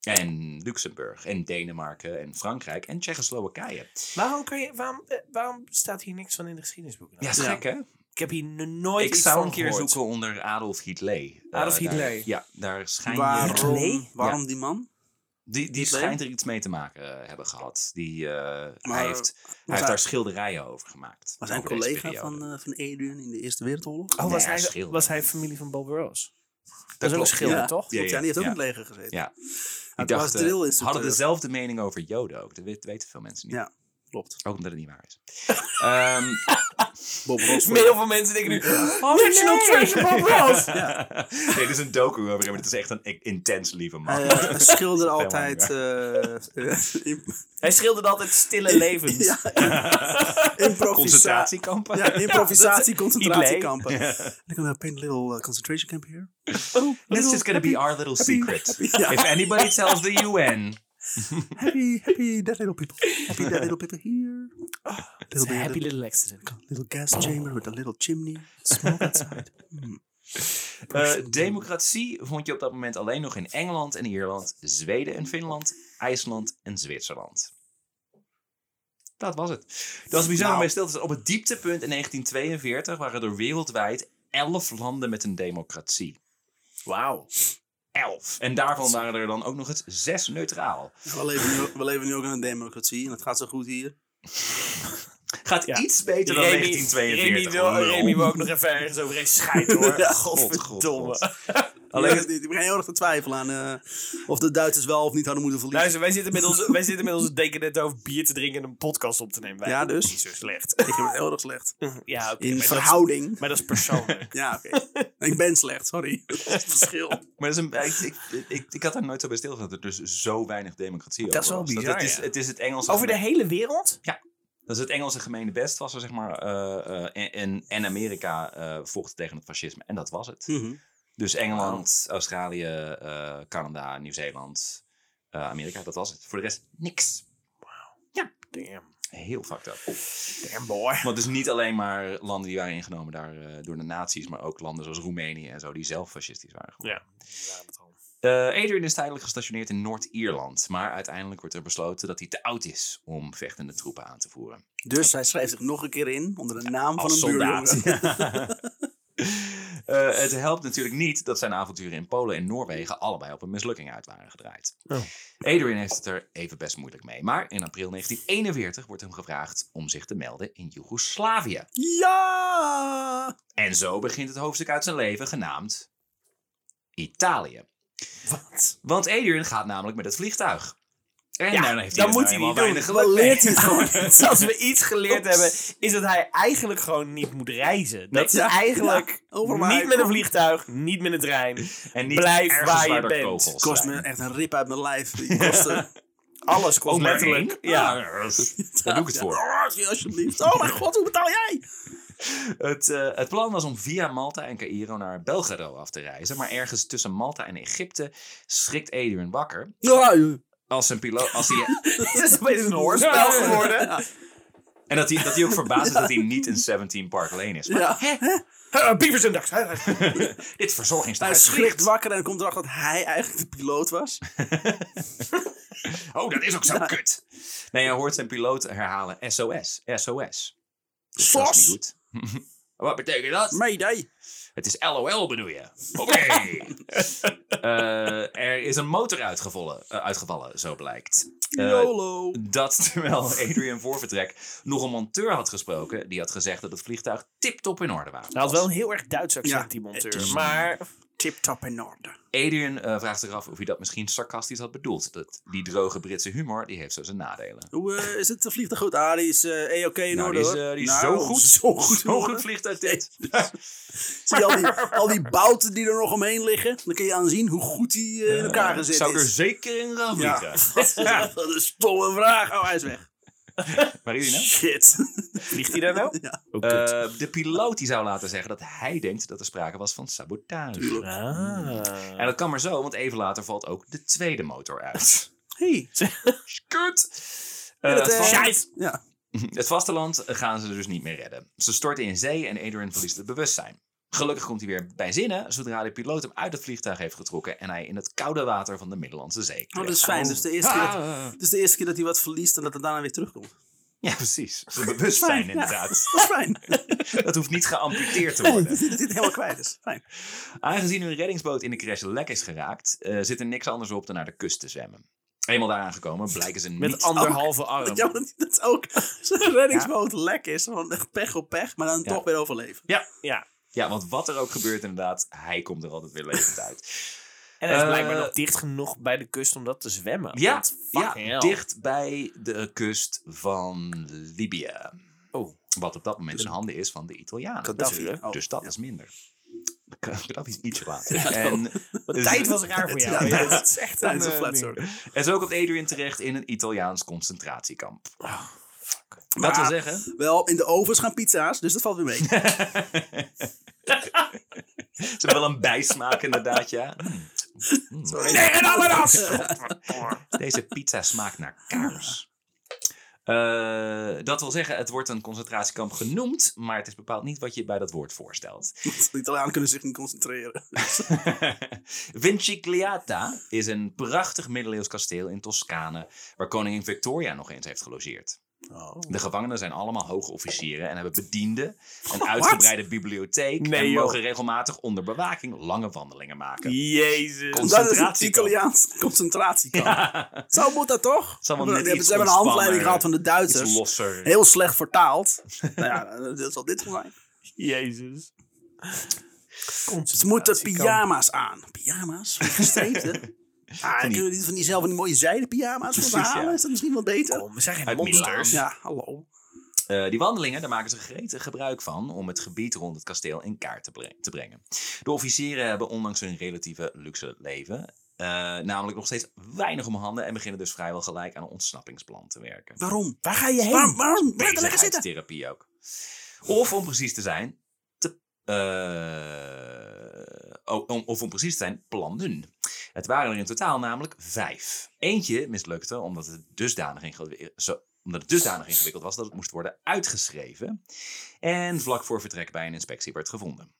Speaker 2: En Luxemburg. En Denemarken. En Frankrijk. En Tsjechoslowakije.
Speaker 3: Waarom, kan je, waarom, eh, waarom staat hier niks van in de geschiedenisboeken?
Speaker 2: Ja, is
Speaker 1: Ja.
Speaker 2: gek hè?
Speaker 3: Ik heb hier n- nooit
Speaker 2: Ik
Speaker 3: iets
Speaker 2: zou
Speaker 3: van
Speaker 2: een keer
Speaker 3: gehoord.
Speaker 2: zoeken onder Adolf Hitler. Eh,
Speaker 3: Adolf
Speaker 2: daar-
Speaker 3: Hitler.
Speaker 2: Ja, daar schijnt...
Speaker 1: Waarom, waarom die man?
Speaker 2: Die, die
Speaker 1: Hitler?
Speaker 2: schijnt er iets mee te maken eh, hebben gehad. Die, eh,
Speaker 1: Maar
Speaker 2: hij heeft, hij
Speaker 1: hij-
Speaker 2: heeft daar schilderijen over gemaakt.
Speaker 1: Was hij een
Speaker 2: Over deze
Speaker 1: collega
Speaker 2: periode.
Speaker 1: van, eh van Adrian in de Eerste Wereldoorlog?
Speaker 3: Oh, was,
Speaker 2: Nee,
Speaker 3: hij,
Speaker 2: schilder.
Speaker 3: was hij familie van Bob Ross?
Speaker 2: dat,
Speaker 3: ook een
Speaker 2: klopt,
Speaker 3: schilder,
Speaker 2: ja.
Speaker 3: toch?
Speaker 1: Klopt, ja,
Speaker 2: ja,
Speaker 1: die heeft ook
Speaker 2: ja.
Speaker 1: in het leger gezeten.
Speaker 2: Ja.
Speaker 1: Hij
Speaker 2: Ik dacht,
Speaker 1: was
Speaker 2: eh,
Speaker 1: drill-instructeur.
Speaker 2: hadden dezelfde mening over Joden ook. Dat weet- weten veel mensen niet.
Speaker 1: Ja, klopt.
Speaker 2: Ook omdat het niet waar is. Ehm, [laughs]
Speaker 1: Bob Ross.
Speaker 3: Dus heel veel mensen denken nu... National Treasure Bob [laughs] Ross!
Speaker 2: [laughs] nee, dit is een docu over hem. maar Het is echt een i- intens lieve man.
Speaker 1: Hij [laughs]
Speaker 2: Ja, [laughs]
Speaker 1: eh, schilderde altijd eh, eh, im-
Speaker 3: Hij schilderde altijd stille levens.
Speaker 1: [laughs] ja, im- improvisa-
Speaker 2: Concentratiekampen.
Speaker 1: [laughs] ja, improvisatie, concentratiekampen.
Speaker 2: Idee.
Speaker 1: Ik kan paint a little uh, concentration camp here. oh,
Speaker 2: This is gonna be our little secret. If anybody tells the UN.
Speaker 1: Happy, happy dead little people. Happy dead little people here. Little, bit-
Speaker 3: Happy
Speaker 1: little,
Speaker 3: little accident.
Speaker 1: little gas chamber with a little chimney. [laughs]
Speaker 2: Eh, democratie vond je op dat moment alleen nog in Engeland en Ierland, Zweden en Finland, IJsland en Zwitserland. Dat was het. Dat is bizar om
Speaker 1: Nou.
Speaker 2: bij stil te staan. Op het dieptepunt in 1942 waren er wereldwijd 11 landen met een democratie.
Speaker 3: Wauw.
Speaker 2: 11. En daarvan waren er dan ook nog eens 6 neutraal.
Speaker 1: We leven, nu, we leven nu ook in een democratie en het gaat zo goed hier.
Speaker 2: Gaat
Speaker 3: Ja.
Speaker 2: iets beter dan 1942.
Speaker 3: Remy wil,
Speaker 2: Lul.
Speaker 3: Remy wil ook nog even ergens overheen schijten hoor.
Speaker 1: Ja,
Speaker 2: God,
Speaker 3: Godverdomme.
Speaker 2: God.
Speaker 1: Alleen,
Speaker 2: Alleen,
Speaker 1: ik begin heel erg te twijfelen aan eh, of de Duitsers wel of niet hadden moeten verliezen.
Speaker 3: Luister, wij zitten met onze, wij zitten met onze dekkenet over bier te drinken en een podcast op te nemen. Wij
Speaker 1: Ja,
Speaker 3: doen
Speaker 1: dus?
Speaker 3: Niet zo slecht.
Speaker 1: Ik heb het heel erg slecht.
Speaker 3: ja, oké.
Speaker 1: In
Speaker 3: maar, dat is-
Speaker 1: verhouding.
Speaker 3: maar dat is
Speaker 1: [laughs]
Speaker 3: persoonlijk.
Speaker 1: Ja, oké. ik ben slecht, sorry. Dat is het verschil.
Speaker 2: Maar dat is een, ik, ik, ik, ik had daar nooit zo bij stilgestaan dat er dus zo weinig democratie
Speaker 3: Dat is
Speaker 2: over
Speaker 3: wel
Speaker 2: was. Dat
Speaker 3: bizar,
Speaker 2: het, is,
Speaker 3: ja.
Speaker 2: het is het Engelse
Speaker 3: Over de
Speaker 2: gemeen-
Speaker 3: hele wereld?
Speaker 2: dat is het Engelse gemene best was er zeg maar eh, eh, en, en- en Amerika eh vocht tegen het fascisme en dat was het.
Speaker 3: Hm.
Speaker 2: Dus Engeland, Australië, eh, Canada, Nieuw-Zeeland, eh, Amerika, dat was het. Voor de rest niks.
Speaker 3: Damn.
Speaker 2: Heel fucked up.
Speaker 3: Damn boy.
Speaker 2: Want dus niet alleen maar landen die waren ingenomen daar eh, door de nazi's, maar ook landen zoals Roemenië en zo die zelf fascistisch waren. geworden.
Speaker 3: [laughs] Ja.
Speaker 2: Eh, Adrian is tijdelijk gestationeerd in Noord-Ierland, maar uiteindelijk wordt er besloten dat hij te oud is om vechtende troepen aan te voeren.
Speaker 1: Dus hij schrijft zich nog een keer in onder de naam van
Speaker 2: Als
Speaker 1: een
Speaker 2: soldaat.
Speaker 1: buurjongen. [laughs]
Speaker 2: Eh, het helpt natuurlijk niet dat zijn avonturen in Polen en Noorwegen allebei op een mislukking uit waren gedraaid.
Speaker 3: Oh.
Speaker 2: Adrian heeft het er even best moeilijk mee, maar in april 1941 wordt hem gevraagd om zich te melden in Joegoslavië.
Speaker 1: Ja!
Speaker 2: En zo begint het hoofdstuk uit zijn leven genaamd Italië.
Speaker 3: Wat?
Speaker 2: Want Adrian gaat namelijk met het vliegtuig. En
Speaker 3: Ja,
Speaker 2: daarna heeft hij
Speaker 3: dat
Speaker 2: het
Speaker 3: moet
Speaker 2: nou
Speaker 3: hij
Speaker 2: helemaal weinig
Speaker 3: niet doen.
Speaker 2: geluk
Speaker 1: Dan
Speaker 2: mee.
Speaker 1: leert hij het gewoon.
Speaker 3: Dus als we iets geleerd hebben, is dat hij eigenlijk gewoon niet moet reizen. Dat
Speaker 1: Ja.
Speaker 3: is eigenlijk
Speaker 1: Ja. Overal waar
Speaker 3: niet
Speaker 1: hij
Speaker 3: met een
Speaker 1: komt.
Speaker 3: vliegtuig, niet met een trein.
Speaker 2: [laughs] En niet
Speaker 3: Blijf
Speaker 2: ergens
Speaker 3: waar je
Speaker 2: er
Speaker 3: bent.
Speaker 2: kogels
Speaker 1: kost me
Speaker 2: zijn.
Speaker 1: echt een rip uit mijn lijf. Die kosten.
Speaker 3: Alles kost
Speaker 2: Ook maar
Speaker 3: letterlijk.
Speaker 2: één?
Speaker 3: Ja.
Speaker 2: Ah, ja, Daar doe ik het
Speaker 1: Ja,
Speaker 2: voor.
Speaker 1: oh, alsjeblieft. Oh mijn god, hoe betaal jij?
Speaker 2: Het, eh, het plan was om via Malta en Cairo naar Belgrado af te reizen. Maar ergens tussen Malta en Egypte schrikt Adrian wakker. Als zijn piloot. Als hij,
Speaker 3: [laughs] Het is opeens
Speaker 1: [laughs]
Speaker 3: een hoorspel geworden.
Speaker 2: en dat hij, dat hij ook verbaasd is dat hij niet in 17 Park Lane is. Maar
Speaker 1: Ja.
Speaker 3: [laughs] Eh, Beavers en Ducks. [laughs] hè?
Speaker 2: dit
Speaker 1: Hij
Speaker 2: verzorgingshuis
Speaker 1: schrikt
Speaker 2: schrikt.
Speaker 1: wakker en komt erachter dat hij eigenlijk de piloot was.
Speaker 2: Oh, dat is ook zo kut. Nee, hij hoort zijn piloot herhalen SOS, SOS. Dus Dat
Speaker 1: Sos!
Speaker 2: is niet goed. [laughs] Wat betekent dat?
Speaker 1: Mayday!
Speaker 2: Het is LOL bedoel [laughs] je? Oké. Eh, er is een motor uitgevallen, eh, uitgevallen zo blijkt. Eh,
Speaker 1: YOLO!
Speaker 2: dat [laughs] terwijl Adrian voor vertrek nog een monteur had gesproken... die had gezegd dat het vliegtuig tip-top in orde was.
Speaker 3: Hij had wel een heel erg Duits accent,
Speaker 1: Ja,
Speaker 3: die
Speaker 1: het
Speaker 3: monteur.
Speaker 1: is-
Speaker 3: Maar
Speaker 1: Tip top in orde.
Speaker 2: Adrian eh, vraagt zich af of hij dat misschien sarcastisch had bedoeld. Dat, die droge Britse humor die heeft zo zijn nadelen.
Speaker 1: Hoe eh, is het vliegtuig goed? Ah, die is eh eh, oké in
Speaker 2: Nou,
Speaker 1: orde
Speaker 2: die is,
Speaker 1: hoor.
Speaker 2: eh, die is
Speaker 1: Nou,
Speaker 2: zo goed.
Speaker 1: [laughs] Zo goed.
Speaker 2: Zo'n goed vliegtuig [laughs] dit.
Speaker 1: Zie je al die, al die bouten die er nog omheen liggen? Dan kun je aanzien hoe goed die eh, in elkaar gezet
Speaker 2: Zou ik er
Speaker 1: is.
Speaker 2: zeker in gaan
Speaker 1: Ja.
Speaker 2: vliegen?
Speaker 1: [laughs] Dat is een stomme vraag. Oh, hij is weg.
Speaker 2: Waar is hij nou?
Speaker 1: Shit.
Speaker 3: vliegt hij daar nou?
Speaker 1: Ja.
Speaker 3: Oh, kut.
Speaker 2: Eh, de piloot die zou laten zeggen dat hij denkt dat er sprake was van sabotage.
Speaker 3: eh,
Speaker 2: En
Speaker 3: Ah.
Speaker 2: dat kan maar zo, want even later valt ook de tweede motor
Speaker 1: [laughs]
Speaker 2: uit.
Speaker 1: Hey.
Speaker 2: Skurt! Eh,
Speaker 1: Ja, dat,
Speaker 2: het,
Speaker 1: eh,
Speaker 2: vaste-
Speaker 3: Scheids.
Speaker 1: Ja.
Speaker 2: het vasteland gaan ze dus niet meer redden. Ze storten in zee en Adrian verliest het bewustzijn. Gelukkig komt hij weer bij zinnen zodra de piloot hem uit het vliegtuig heeft getrokken en hij in het koude water van de Middellandse Zee.
Speaker 1: Oh, dat
Speaker 2: terecht
Speaker 1: is fijn. Dus de eerste keer dat,
Speaker 2: Ah.
Speaker 1: dus de eerste keer dat hij wat verliest en dat het daarna weer terugkomt.
Speaker 2: Ja, precies. Zijn bewustzijn
Speaker 1: Fijn, ja. [laughs]
Speaker 2: inderdaad.
Speaker 1: Dat is fijn.
Speaker 2: [laughs] Dat hoeft niet geamputeerd te worden.
Speaker 1: Dat hij het helemaal kwijt is. Fijn.
Speaker 2: Aangezien hun reddingsboot in de crash lek is geraakt, eh, zit er niks anders op dan naar de kust te zwemmen. Eenmaal daar aangekomen blijken ze
Speaker 3: Met
Speaker 2: niet...
Speaker 3: anderhalve arm.
Speaker 1: Ja, dat, dat is ook zijn reddingsboot lek is. Gewoon echt pech op pech, maar dan
Speaker 2: Ja.
Speaker 1: toch weer overleven.
Speaker 3: Ja.
Speaker 2: Ja, want wat er ook gebeurt inderdaad, hij komt er altijd weer levend uit.
Speaker 3: En hij is
Speaker 2: Eh,
Speaker 3: blijkbaar nog dicht genoeg bij de kust om dat te zwemmen.
Speaker 2: Ja,
Speaker 3: Want
Speaker 2: ja
Speaker 3: fucking hell.
Speaker 2: dicht bij de kust van Libië.
Speaker 3: Oh.
Speaker 2: Wat op dat moment in handen is van de Italianen.
Speaker 1: Gaddafi,
Speaker 2: Natuurlijk.
Speaker 1: oh,
Speaker 2: dus dat
Speaker 1: ja.
Speaker 2: is minder. Gaddafi is iets later. En,
Speaker 3: De tijd was raar voor
Speaker 1: [laughs]
Speaker 3: jou.
Speaker 1: Ja,
Speaker 3: Ja,
Speaker 1: ja.
Speaker 3: dat is echt
Speaker 1: Tijdens
Speaker 3: een
Speaker 1: een
Speaker 3: eh,
Speaker 1: flat
Speaker 3: ding.
Speaker 1: circle.
Speaker 2: en zo komt Adrian terecht in een Italiaans concentratiekamp. Dat
Speaker 1: Maar-
Speaker 2: wil zeggen,
Speaker 1: Wel, in de ovens gaan pizza's, dus dat valt weer mee.
Speaker 2: ze hebben wel een bijsmaak inderdaad, ja.
Speaker 1: Sorry.
Speaker 3: [laughs] Nee, en
Speaker 1: [laughs]
Speaker 3: ananas!
Speaker 2: Deze pizza smaakt naar kaars. Eh, dat wil zeggen, het wordt een concentratiekamp genoemd, maar het is bepaald niet wat je bij dat woord
Speaker 3: [laughs]
Speaker 2: voorstelt.
Speaker 1: De Italianen kunnen zich niet concentreren.
Speaker 2: Vincigliata is een prachtig middeleeuws kasteel in Toscane, waar koningin Victoria nog eens heeft gelogeerd. De gevangenen zijn allemaal hoge officieren en hebben bedienden, een uitgebreide bibliotheek
Speaker 3: Nee,
Speaker 2: en
Speaker 3: joh.
Speaker 2: mogen regelmatig onder bewaking lange wandelingen maken.
Speaker 3: Jezus.
Speaker 2: Kon-
Speaker 1: Dat is het
Speaker 2: Concentratiekamp.
Speaker 1: Italiaans concentratiekamp. Zo moet dat toch?
Speaker 2: zal wel
Speaker 1: Ze
Speaker 2: net
Speaker 1: hebben
Speaker 2: iets
Speaker 1: ze hebben een handleiding
Speaker 2: ontspannen,
Speaker 1: gehad van de
Speaker 2: Iets
Speaker 1: Duitsers.
Speaker 2: losser.
Speaker 1: Heel slecht vertaald. nou ja, dat zal dit wel zijn.
Speaker 3: Jezus.
Speaker 1: Ze moeten pyjama's aan. Pyjama's?
Speaker 2: [laughs]
Speaker 1: Gestreepte? Ah,
Speaker 2: die-
Speaker 1: kunnen we niet van die, zelf van die mooie zijde pyjama's voor
Speaker 2: Precies,
Speaker 1: ze halen?
Speaker 2: ja.
Speaker 1: Is dat misschien wel beter?
Speaker 3: Kom, Oh, we zijn geen
Speaker 2: Uit
Speaker 3: monsters.
Speaker 2: Milaan.
Speaker 1: Ja, hallo.
Speaker 2: Eh, die wandelingen, daar maken ze gretig gebruik van om het gebied rond het kasteel in kaart te, bre- te brengen. De officieren hebben ondanks hun relatieve luxe leven eh, namelijk nog steeds weinig om handen en beginnen dus vrijwel gelijk aan een ontsnappingsplan te werken.
Speaker 1: Waarom?
Speaker 3: Waar ga je heen?
Speaker 1: Waarom? Waarom? Blijf er lekker zitten.
Speaker 2: Bezigheidstherapie ook. Of om precies te zijn, te, eh, oh, om, of om precies te zijn, plannen. Het waren er in totaal namelijk vijf. Eentje mislukte omdat het dusdanig ingewikkeld, zo, omdat het dusdanig ingewikkeld was dat het moest worden uitgeschreven. En vlak voor vertrek bij een inspectie werd gevonden.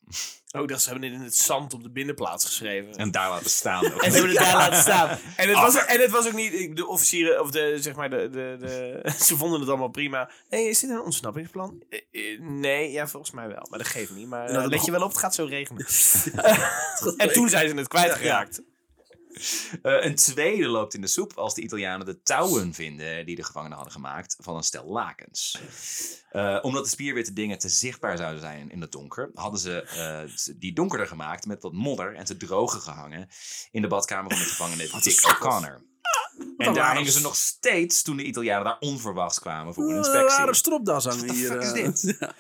Speaker 3: Oh, dat ze hebben dit in het zand op de binnenplaats geschreven.
Speaker 2: En Ah. daar laten staan. ook.
Speaker 3: En ze hebben het daar laten
Speaker 2: [laughs]
Speaker 3: staan. En het, was, ook- en het was ook niet, ik- de officieren, of de, zeg maar, de, de, de, [laughs] ze vonden het allemaal prima. Hé, is dit een ontsnappingsplan? Eh, eh, nee, ja, volgens mij wel. Maar dat geeft niet. Maar eh,
Speaker 1: Nou, dat
Speaker 3: let je wel op, het gaat zo
Speaker 2: [laughs]
Speaker 3: regenen. en toen zijn ze het kwijtgeraakt.
Speaker 2: Eh, een tweede loopt in de soep als de Italianen de touwen vinden die de gevangenen hadden gemaakt van een stel lakens. Eh, omdat de spierwitte dingen te zichtbaar zouden zijn in het donker, hadden ze eh, ze- die donkerder gemaakt met wat modder en ze drogen gehangen in de badkamer van de gevangene Dick O'Connor. En
Speaker 1: een
Speaker 2: daar
Speaker 1: rare
Speaker 2: hingen ze
Speaker 1: s-
Speaker 2: nog steeds toen de Italianen daar onverwachts kwamen voor een
Speaker 1: Een rare
Speaker 2: inspectie.
Speaker 1: stropdas aan
Speaker 2: the
Speaker 1: hier.
Speaker 2: fuck
Speaker 1: eh.
Speaker 2: is dit?
Speaker 1: Ja.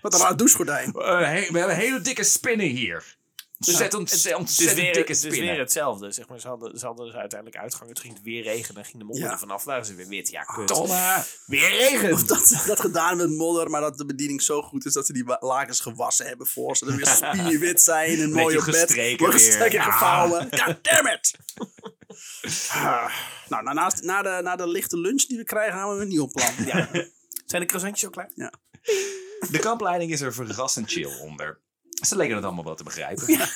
Speaker 1: Wat een raar douchegordijn.
Speaker 2: Eh, he- we hebben hele dikke spinnen hier. Dus het ontzettend,
Speaker 3: Het is
Speaker 2: ontzettend
Speaker 3: weer,
Speaker 2: dikke
Speaker 3: het is
Speaker 2: spinnen.
Speaker 3: weer hetzelfde. Zeg maar, ze, hadden, ze hadden dus uiteindelijk uitgangen. Toen ging het weer regenen. Ging de modder
Speaker 1: Ja.
Speaker 3: er vanaf. Waren ze weer wit. Ja,
Speaker 2: Ah,
Speaker 3: kut.
Speaker 2: Domme.
Speaker 3: Weer regen.
Speaker 1: Of dat ze dat gedaan met modder, maar dat de bediening zo goed is dat ze die wa- lakens gewassen hebben voor ze. Dan weer spierwit zijn en mooi
Speaker 2: Beetje
Speaker 1: op bed.
Speaker 2: gestreken
Speaker 1: Wordt
Speaker 2: weer.
Speaker 1: gestreken
Speaker 2: Ja.
Speaker 1: gevouwen. God damn it! Ah. nou, na- naast, na, de, na de lichte lunch die we krijgen, gaan we een nieuw plan. Ja.
Speaker 3: Zijn de croissantjes al klaar?
Speaker 2: De kampleiding is er verrassend chill onder. Ze leken het allemaal wel te begrijpen. [laughs]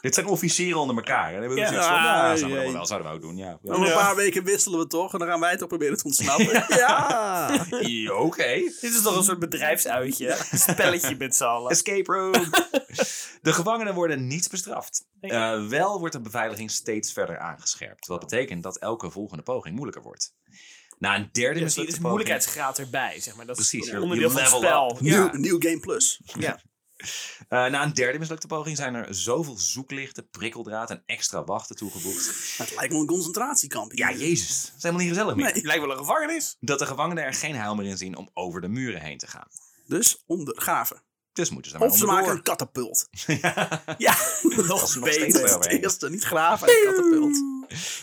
Speaker 2: Dit zijn officieren onder elkaar. En dan hebben we
Speaker 3: Ja.
Speaker 2: zoiets van, nou,
Speaker 1: Ah,
Speaker 2: zouden we
Speaker 1: jee.
Speaker 2: allemaal wel, zouden we ook doen, ja.
Speaker 1: Over
Speaker 2: ja.
Speaker 1: een
Speaker 3: Ja.
Speaker 1: paar weken wisselen we toch en dan gaan wij toch proberen te ontsnappen. ja.
Speaker 2: Ja, Oké.
Speaker 3: Dit is toch een soort bedrijfsuitje. Spelletje met z'n [laughs] allen.
Speaker 2: Escape room. De gevangenen worden niet bestraft.
Speaker 3: Nee.
Speaker 2: Eh, wel wordt de beveiliging steeds verder aangescherpt. Wat betekent dat elke volgende poging moeilijker wordt. Na een derde
Speaker 3: Dus hier
Speaker 2: mislukte
Speaker 3: is
Speaker 2: poging-
Speaker 3: moeilijkheidsgraad erbij, zeg maar. Dat is
Speaker 2: Precies,
Speaker 3: een
Speaker 2: je- je
Speaker 3: onderdeel van het
Speaker 2: level
Speaker 3: spel.
Speaker 2: up. Ja.
Speaker 1: Nieuw, nieuw Game Plus.
Speaker 2: Eh, na een derde mislukte poging zijn er zoveel zoeklichten, prikkeldraad en extra wachten toegevoegd.
Speaker 1: Het lijkt me een concentratiekamp. hier.
Speaker 2: Ja, jezus. Dat is helemaal niet gezellig meer.
Speaker 1: Nee.
Speaker 2: [laughs]
Speaker 3: Het lijkt wel een gevangenis.
Speaker 2: Dat de gevangenen er geen heil meer in zien om over de muren heen te gaan.
Speaker 1: Dus ondergraven.
Speaker 2: Dus moeten ze maar
Speaker 1: Of ze maken een
Speaker 2: onderdoor.
Speaker 1: katapult.
Speaker 2: [laughs]
Speaker 3: Ja,
Speaker 2: Dat is
Speaker 3: nog
Speaker 2: [laughs] nog steeds
Speaker 3: beter.
Speaker 2: wel.
Speaker 1: Het
Speaker 2: overheen.
Speaker 1: eerste, niet graven, maar een katapult.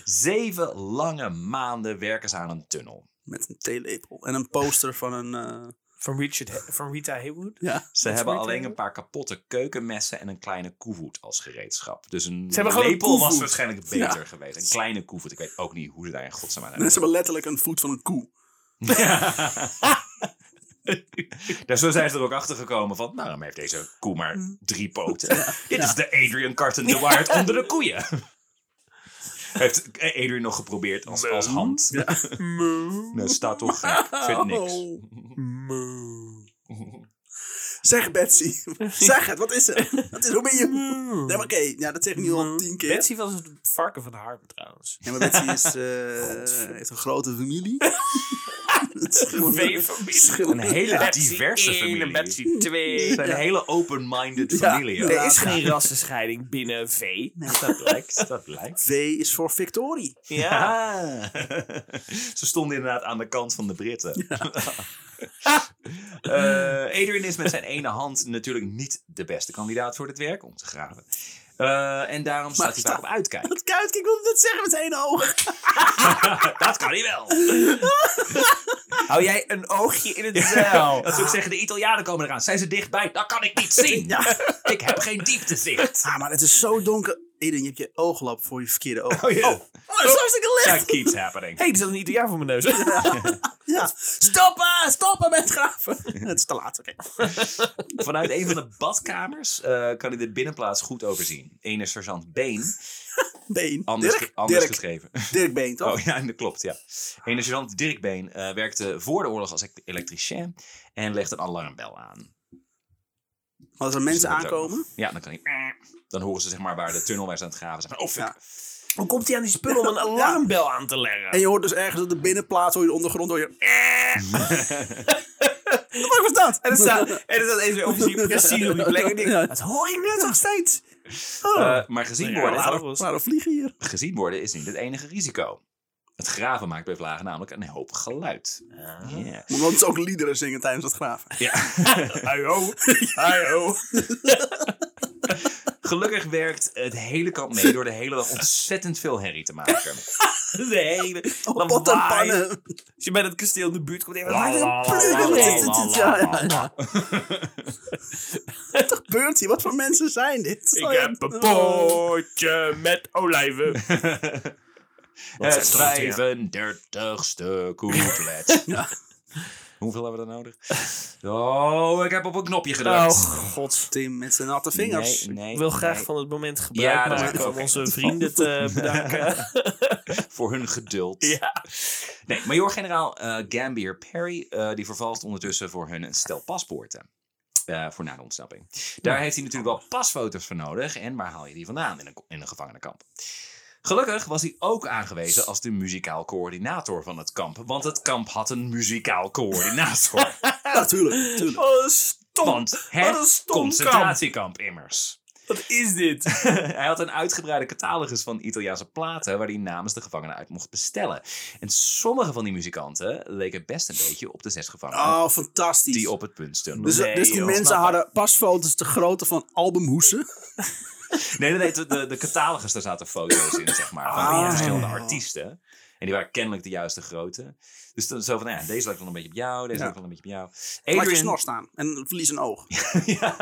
Speaker 2: Zeven lange maanden werken ze aan een tunnel.
Speaker 1: Met een theelepel en een poster van een... eh,
Speaker 3: Van, Richard, He- van Rita Haywood.
Speaker 1: ja.
Speaker 2: Ze
Speaker 3: Wat
Speaker 2: hebben
Speaker 3: voor
Speaker 2: alleen
Speaker 3: tunnel?
Speaker 2: een paar kapotte keukenmessen en een kleine koevoet als gereedschap. Dus een
Speaker 3: hebben gewoon een
Speaker 2: lepel was
Speaker 3: koevoet.
Speaker 2: waarschijnlijk
Speaker 1: Ja.
Speaker 2: beter geweest. Een kleine koevoet. Ik weet ook niet hoe ze daar in godsnaam aan
Speaker 1: Mensen
Speaker 2: hebben.
Speaker 1: hebben letterlijk een voet van een koe.
Speaker 2: [laughs] Daar zo zijn ze er ook achter gekomen van, nou, dan heeft deze koe maar
Speaker 1: Mm.
Speaker 2: drie poten. Dit is de Adrian Carton de Waard onder de koeien. [laughs] Heeft Adrian nog geprobeerd als, als hand?
Speaker 3: Moo.
Speaker 2: Nee, staat toch gek. Vindt niks.
Speaker 1: Oh.
Speaker 3: Moo.
Speaker 1: Zeg Betsy. zeg het, wat is het? Wat is, hoe ben je...
Speaker 3: Moo.
Speaker 1: Nee, maar oké, ja, dat zeg ik nu al tien keer.
Speaker 3: Hmm. Betsy was het varken van de harp trouwens.
Speaker 1: Ja, maar Betsy is, eh heeft een grote familie. [laughs]
Speaker 3: Twee families.
Speaker 2: Een hele diverse
Speaker 3: één
Speaker 2: familie.
Speaker 3: en
Speaker 2: [laughs]
Speaker 3: Betsy 2.
Speaker 2: Het zijn een hele open-minded
Speaker 1: Ja.
Speaker 2: familie. ook.
Speaker 1: Ja.
Speaker 3: Er is geen rassenscheiding binnen V.
Speaker 2: Dat blijkt, dat blijkt.
Speaker 1: V is voor Victorie.
Speaker 3: Ja.
Speaker 2: Ja. Ze stonden inderdaad aan de kant van de Britten. [laughs] Eh, Adrian is met zijn ene hand natuurlijk niet de beste kandidaat voor dit werk om te graven. Eh, en daarom staat hij vaak op uitkijk.
Speaker 1: Dat kuit, ik wilde dat zeggen met één oog.
Speaker 2: [laughs] Dat kan hij wel.
Speaker 3: Hou jij een oogje in het
Speaker 2: [laughs]
Speaker 3: zeil?
Speaker 2: Dat zou ik zeggen, de Italianen komen eraan. Zijn ze dichtbij? Dat kan ik niet zien. Ik heb geen dieptezicht.
Speaker 1: Ah, maar het is zo donker. Eden, je hebt je oogklap voor je verkeerde oog.
Speaker 2: Oh, ja.
Speaker 1: Oh, dat is hartstikke licht.
Speaker 2: That keeps happening.
Speaker 3: hey, er zat een Italiaan voor mijn neus. [laughs]
Speaker 1: Ja. Stoppen, stoppen met graven. het is te laat, oké.
Speaker 2: Vanuit een van de badkamers eh, kan hij de binnenplaats goed overzien. Ene sergeant Been,
Speaker 1: Been.
Speaker 2: anders,
Speaker 1: Dirk,
Speaker 2: anders
Speaker 1: Dirk,
Speaker 2: geschreven.
Speaker 1: Dirk Been, toch?
Speaker 2: Oh ja, dat klopt, ja. Ene sergeant Dirk Been eh, werkte voor de oorlog als elect- elektricien en legde een alarmbel aan.
Speaker 1: Als er mensen
Speaker 2: Dus dan wordt
Speaker 1: aankomen.
Speaker 2: ook- Ja, dan kan hij... Dan horen ze zeg maar waar de tunnel waar ze aan het graven zijn. Oh, fuck.
Speaker 1: Ja.
Speaker 3: Hoe komt hij aan die spullen om een alarmbel aan te
Speaker 1: En
Speaker 3: leggen?
Speaker 1: je hoort dus ergens op de binnenplaats, hoor je de ondergrond, hoor je... Wat was dat?
Speaker 3: En er staat, en er staat eens weer [laughs] officier precies op die plek. En ik denk,
Speaker 1: Ja.
Speaker 3: dat hoor ik net nog [laughs] steeds.
Speaker 2: Eh, maar gezien
Speaker 1: Nou
Speaker 3: Ja,
Speaker 2: worden,
Speaker 3: laat
Speaker 1: Oh, Waarom,
Speaker 3: ons.
Speaker 1: waarom vliegen hier?
Speaker 2: gezien worden is niet het enige risico. Het graven maakt bij vlagen namelijk een hoop geluid.
Speaker 1: Ah.
Speaker 2: Ja.
Speaker 1: Want ze ook liederen zingen tijdens het
Speaker 2: [laughs]
Speaker 1: graven.
Speaker 2: Ja.
Speaker 1: [laughs]
Speaker 3: Ayo, ayo.
Speaker 2: Gelukkig werkt het hele kamp mee door de hele dag ontzettend veel herrie te
Speaker 1: [laughs]
Speaker 2: maken.
Speaker 3: De hele
Speaker 1: Pot en
Speaker 3: lawaai.
Speaker 1: pannen.
Speaker 3: Als je bij dat kasteel in de buurt komt, denk je, wat
Speaker 2: La,
Speaker 3: maakt het
Speaker 2: la, la,
Speaker 3: een
Speaker 1: Pleuren,
Speaker 3: pleur
Speaker 1: wat is
Speaker 2: la,
Speaker 3: uit?
Speaker 1: dit? Ja, ja,
Speaker 2: [laughs]
Speaker 1: ja. Wat gebeurt hier? Wat voor mensen zijn dit? Oh,
Speaker 3: Ik heb een Oh. potje met olijven.
Speaker 2: Het
Speaker 3: stond hier?
Speaker 2: 35ste couplet.
Speaker 1: Ja.
Speaker 2: Hoeveel hebben we er
Speaker 3: [laughs]
Speaker 2: nodig? Oh, ik heb op een knopje gedrukt.
Speaker 3: god.
Speaker 1: Tim met zijn natte vingers.
Speaker 2: Nee, nee,
Speaker 3: Nou, Ik wil graag
Speaker 2: nee.
Speaker 3: van het moment gebruik
Speaker 2: Ja, dat
Speaker 3: maken
Speaker 2: ook.
Speaker 3: om onze vrienden [laughs] te bedanken.
Speaker 2: [laughs] voor hun geduld.
Speaker 3: ja.
Speaker 2: Nee, majoor-generaal eh, Gambier Perry eh, die vervalst ondertussen voor hun een stel paspoorten. Eh, voor na de ontsnapping. Daar heeft hij natuurlijk wel pasfoto's voor nodig. En waar haal je die vandaan in een, in een gevangenenkamp? Gelukkig was hij ook aangewezen als de muzikaal coördinator van het kamp. Want het kamp had een muzikaal coördinator.
Speaker 1: Natuurlijk, natuurlijk.
Speaker 3: Oh, dat is [laughs] stom.
Speaker 2: want
Speaker 3: Wat een
Speaker 2: het
Speaker 3: stom
Speaker 2: concentratiekamp immers.
Speaker 3: Wat is dit?
Speaker 2: hij had een uitgebreide catalogus van Italiaanse platen waar hij namens de gevangenen uit mocht bestellen. En sommige van die muzikanten leken best een beetje op de zes gevangenen
Speaker 1: Oh, fantastisch.
Speaker 2: die op het punt stonden.
Speaker 1: dus,
Speaker 3: Nee,
Speaker 1: dus die
Speaker 3: joh,
Speaker 1: mensen
Speaker 3: snap ik.
Speaker 1: hadden pasfoto's te grootte van albumhoesen.
Speaker 2: Nee, nee, nee de, de, de catalogus, daar zaten foto's in, zeg maar. Van
Speaker 1: Ah.
Speaker 2: die verschillende artiesten. En die waren kennelijk de juiste grootte. Dus dan zo van, nou ja, deze lijkt wel een beetje op jou, deze
Speaker 1: Ja.
Speaker 2: lijkt wel een beetje op jou.
Speaker 1: Laat je
Speaker 2: Adrian,
Speaker 1: snor staan en verlies een oog.
Speaker 2: ja.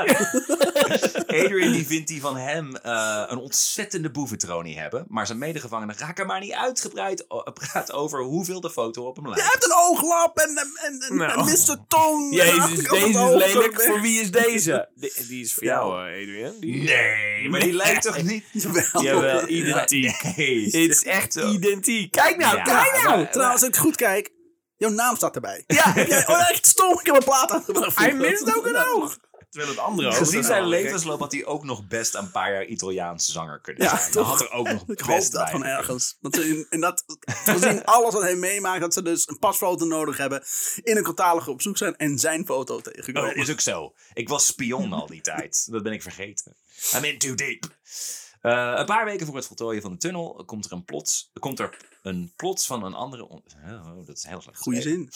Speaker 2: Adrian die vindt die van hem eh, een ontzettende boeventronie hebben. Maar zijn medegevangenen raken maar niet uitgebreid o- praat over hoeveel de foto op hem lijkt.
Speaker 1: Je hebt een ooglap en, en, en, en
Speaker 3: Nou.
Speaker 1: Mr.
Speaker 3: [laughs]
Speaker 1: Toon.
Speaker 2: [laughs]
Speaker 3: Jezus,
Speaker 1: Had ik
Speaker 3: deze
Speaker 1: al het oog
Speaker 3: is lelijk.
Speaker 1: zo
Speaker 3: Voor wie [laughs] is deze? Die, die is voor jou, eh, Adrian. Die-
Speaker 2: Nee, maar die lijkt toch niet...
Speaker 1: weg.
Speaker 3: Jawel,
Speaker 1: Jawel.
Speaker 3: identiek.
Speaker 2: Nee.
Speaker 3: Het is echt
Speaker 2: Zo.
Speaker 3: identiek. Kijk nou,
Speaker 2: Ja,
Speaker 3: kijk nou!
Speaker 2: maar-
Speaker 1: Trouwens, als ik goed kijk, jouw naam staat erbij.
Speaker 2: [laughs]
Speaker 3: Ja,
Speaker 1: Heb jij- oh, echt stom, ik heb een plaat aangebracht.
Speaker 3: hij mist ook een oog. Terwijl het andere
Speaker 2: Gezien zijn
Speaker 3: eh,
Speaker 2: levensloop had hij ook nog best een paar jaar Italiaanse zanger kunnen
Speaker 1: Ja,
Speaker 2: zijn. Dat
Speaker 1: toch?
Speaker 2: had er ook nog
Speaker 1: Ik hoop
Speaker 2: best bij
Speaker 1: dat van
Speaker 2: gekund.
Speaker 1: ergens. Dat ze in, in dat, gezien alles wat hij meemaakt, dat ze dus een pasfoto nodig hebben. In een catalogus op zoek zijn en zijn foto
Speaker 2: Oh,
Speaker 1: tegenkomen.
Speaker 2: is ook zo. Ik was spion al die
Speaker 1: [laughs]
Speaker 2: tijd. Dat ben ik vergeten. I'm in too deep. Eh, een paar weken voor het voltooien van de tunnel komt er een plots, komt er een plots van een andere... on- Oh, dat is heel slecht.
Speaker 1: Goeie
Speaker 2: geschreven.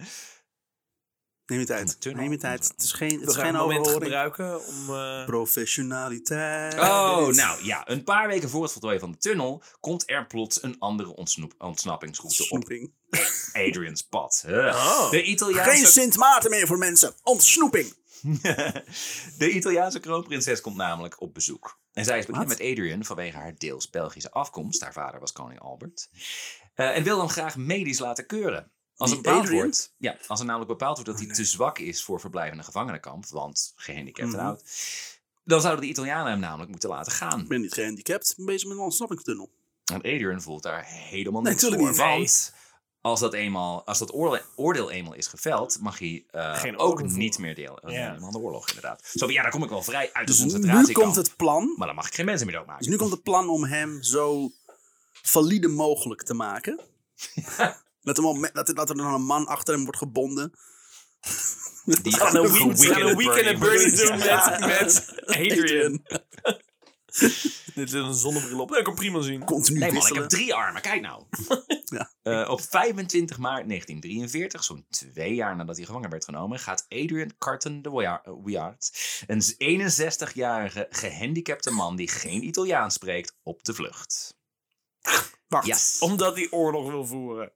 Speaker 1: zin.
Speaker 2: [laughs]
Speaker 1: Neem je tijd.
Speaker 2: Tunnel.
Speaker 1: Neem je tijd. Het is geen, het
Speaker 3: We
Speaker 1: is
Speaker 3: gaan een
Speaker 1: geen
Speaker 3: moment
Speaker 1: overhoring.
Speaker 3: gebruiken om... eh,
Speaker 1: Professionaliteit.
Speaker 2: Oh, nou ja. Een paar weken voor het voltooien van de tunnel komt er plots een andere ontsnoep, ontsnappingsroute op
Speaker 1: Ontsnoeping.
Speaker 2: Adrian's pad. Eh.
Speaker 3: Oh.
Speaker 2: De Italiaanse
Speaker 1: Geen Sint Maarten meer voor mensen. Ontsnoeping.
Speaker 2: [laughs] de Italiaanse kroonprinses komt namelijk op bezoek. En zij is bekend
Speaker 1: Wat?
Speaker 2: met Adrian vanwege haar deels Belgische afkomst. Haar vader was koning Albert. Eh, en wil hem graag medisch laten keuren. Als er,
Speaker 1: Die
Speaker 2: bepaald
Speaker 1: Adrian? Oh,
Speaker 2: wordt, ja, als er namelijk bepaald wordt dat hij te zwak is voor verblijf in een gevangenenkamp, want gehandicapt en
Speaker 1: Mhm.
Speaker 2: oud, dan zouden de Italianen hem namelijk moeten laten gaan.
Speaker 1: Ik ben niet gehandicapt. Ik ben bezig met een ontsnappingstunnel.
Speaker 2: En Adrian voelt daar helemaal
Speaker 1: Nee,
Speaker 2: niks
Speaker 1: tuurlijk
Speaker 2: voor.
Speaker 1: niet.
Speaker 2: Want als dat, eenmaal, als dat oorle- oordeel eenmaal is geveld, mag hij eh,
Speaker 3: Geen
Speaker 2: ook
Speaker 3: oorlog
Speaker 2: niet
Speaker 3: voeren.
Speaker 2: meer deel
Speaker 3: Ja.
Speaker 2: nemen aan de oorlog, inderdaad. Zo van, ja, daar kom ik wel vrij uit
Speaker 1: Dus
Speaker 2: de
Speaker 1: nu
Speaker 2: concentratiekamp.
Speaker 1: komt het plan.
Speaker 2: Maar dan mag ik geen mensen meer
Speaker 1: Dus
Speaker 2: doodmaken.
Speaker 1: nu komt het plan om hem zo valide mogelijk te maken. Dat, hem al me- dat, dat er dan een man achter hem wordt gebonden. [laughs]
Speaker 2: Die
Speaker 3: gaan een
Speaker 2: Een
Speaker 3: weekend, we gaan een
Speaker 2: weekend
Speaker 3: weekend
Speaker 2: at
Speaker 3: at Bernie's
Speaker 2: Bernie's
Speaker 3: doen
Speaker 1: Ja. eh,
Speaker 3: met, [laughs] met Adrian.
Speaker 1: Adrian.
Speaker 3: Dit is een zonnebril op. Dat kan ik prima zien.
Speaker 1: Continu
Speaker 2: Nee man, ik heb
Speaker 1: wisselen.
Speaker 2: drie armen, kijk nou.
Speaker 1: [laughs] Ja.
Speaker 2: Eh, op 25 maart 1943, zo'n twee jaar nadat hij gevangen werd genomen, gaat Adrian Carton de Wear- eh, Weard, een 61-jarige gehandicapte man die geen Italiaans spreekt, op de vlucht.
Speaker 1: Wacht.
Speaker 2: Yes.
Speaker 3: Omdat hij oorlog wil voeren.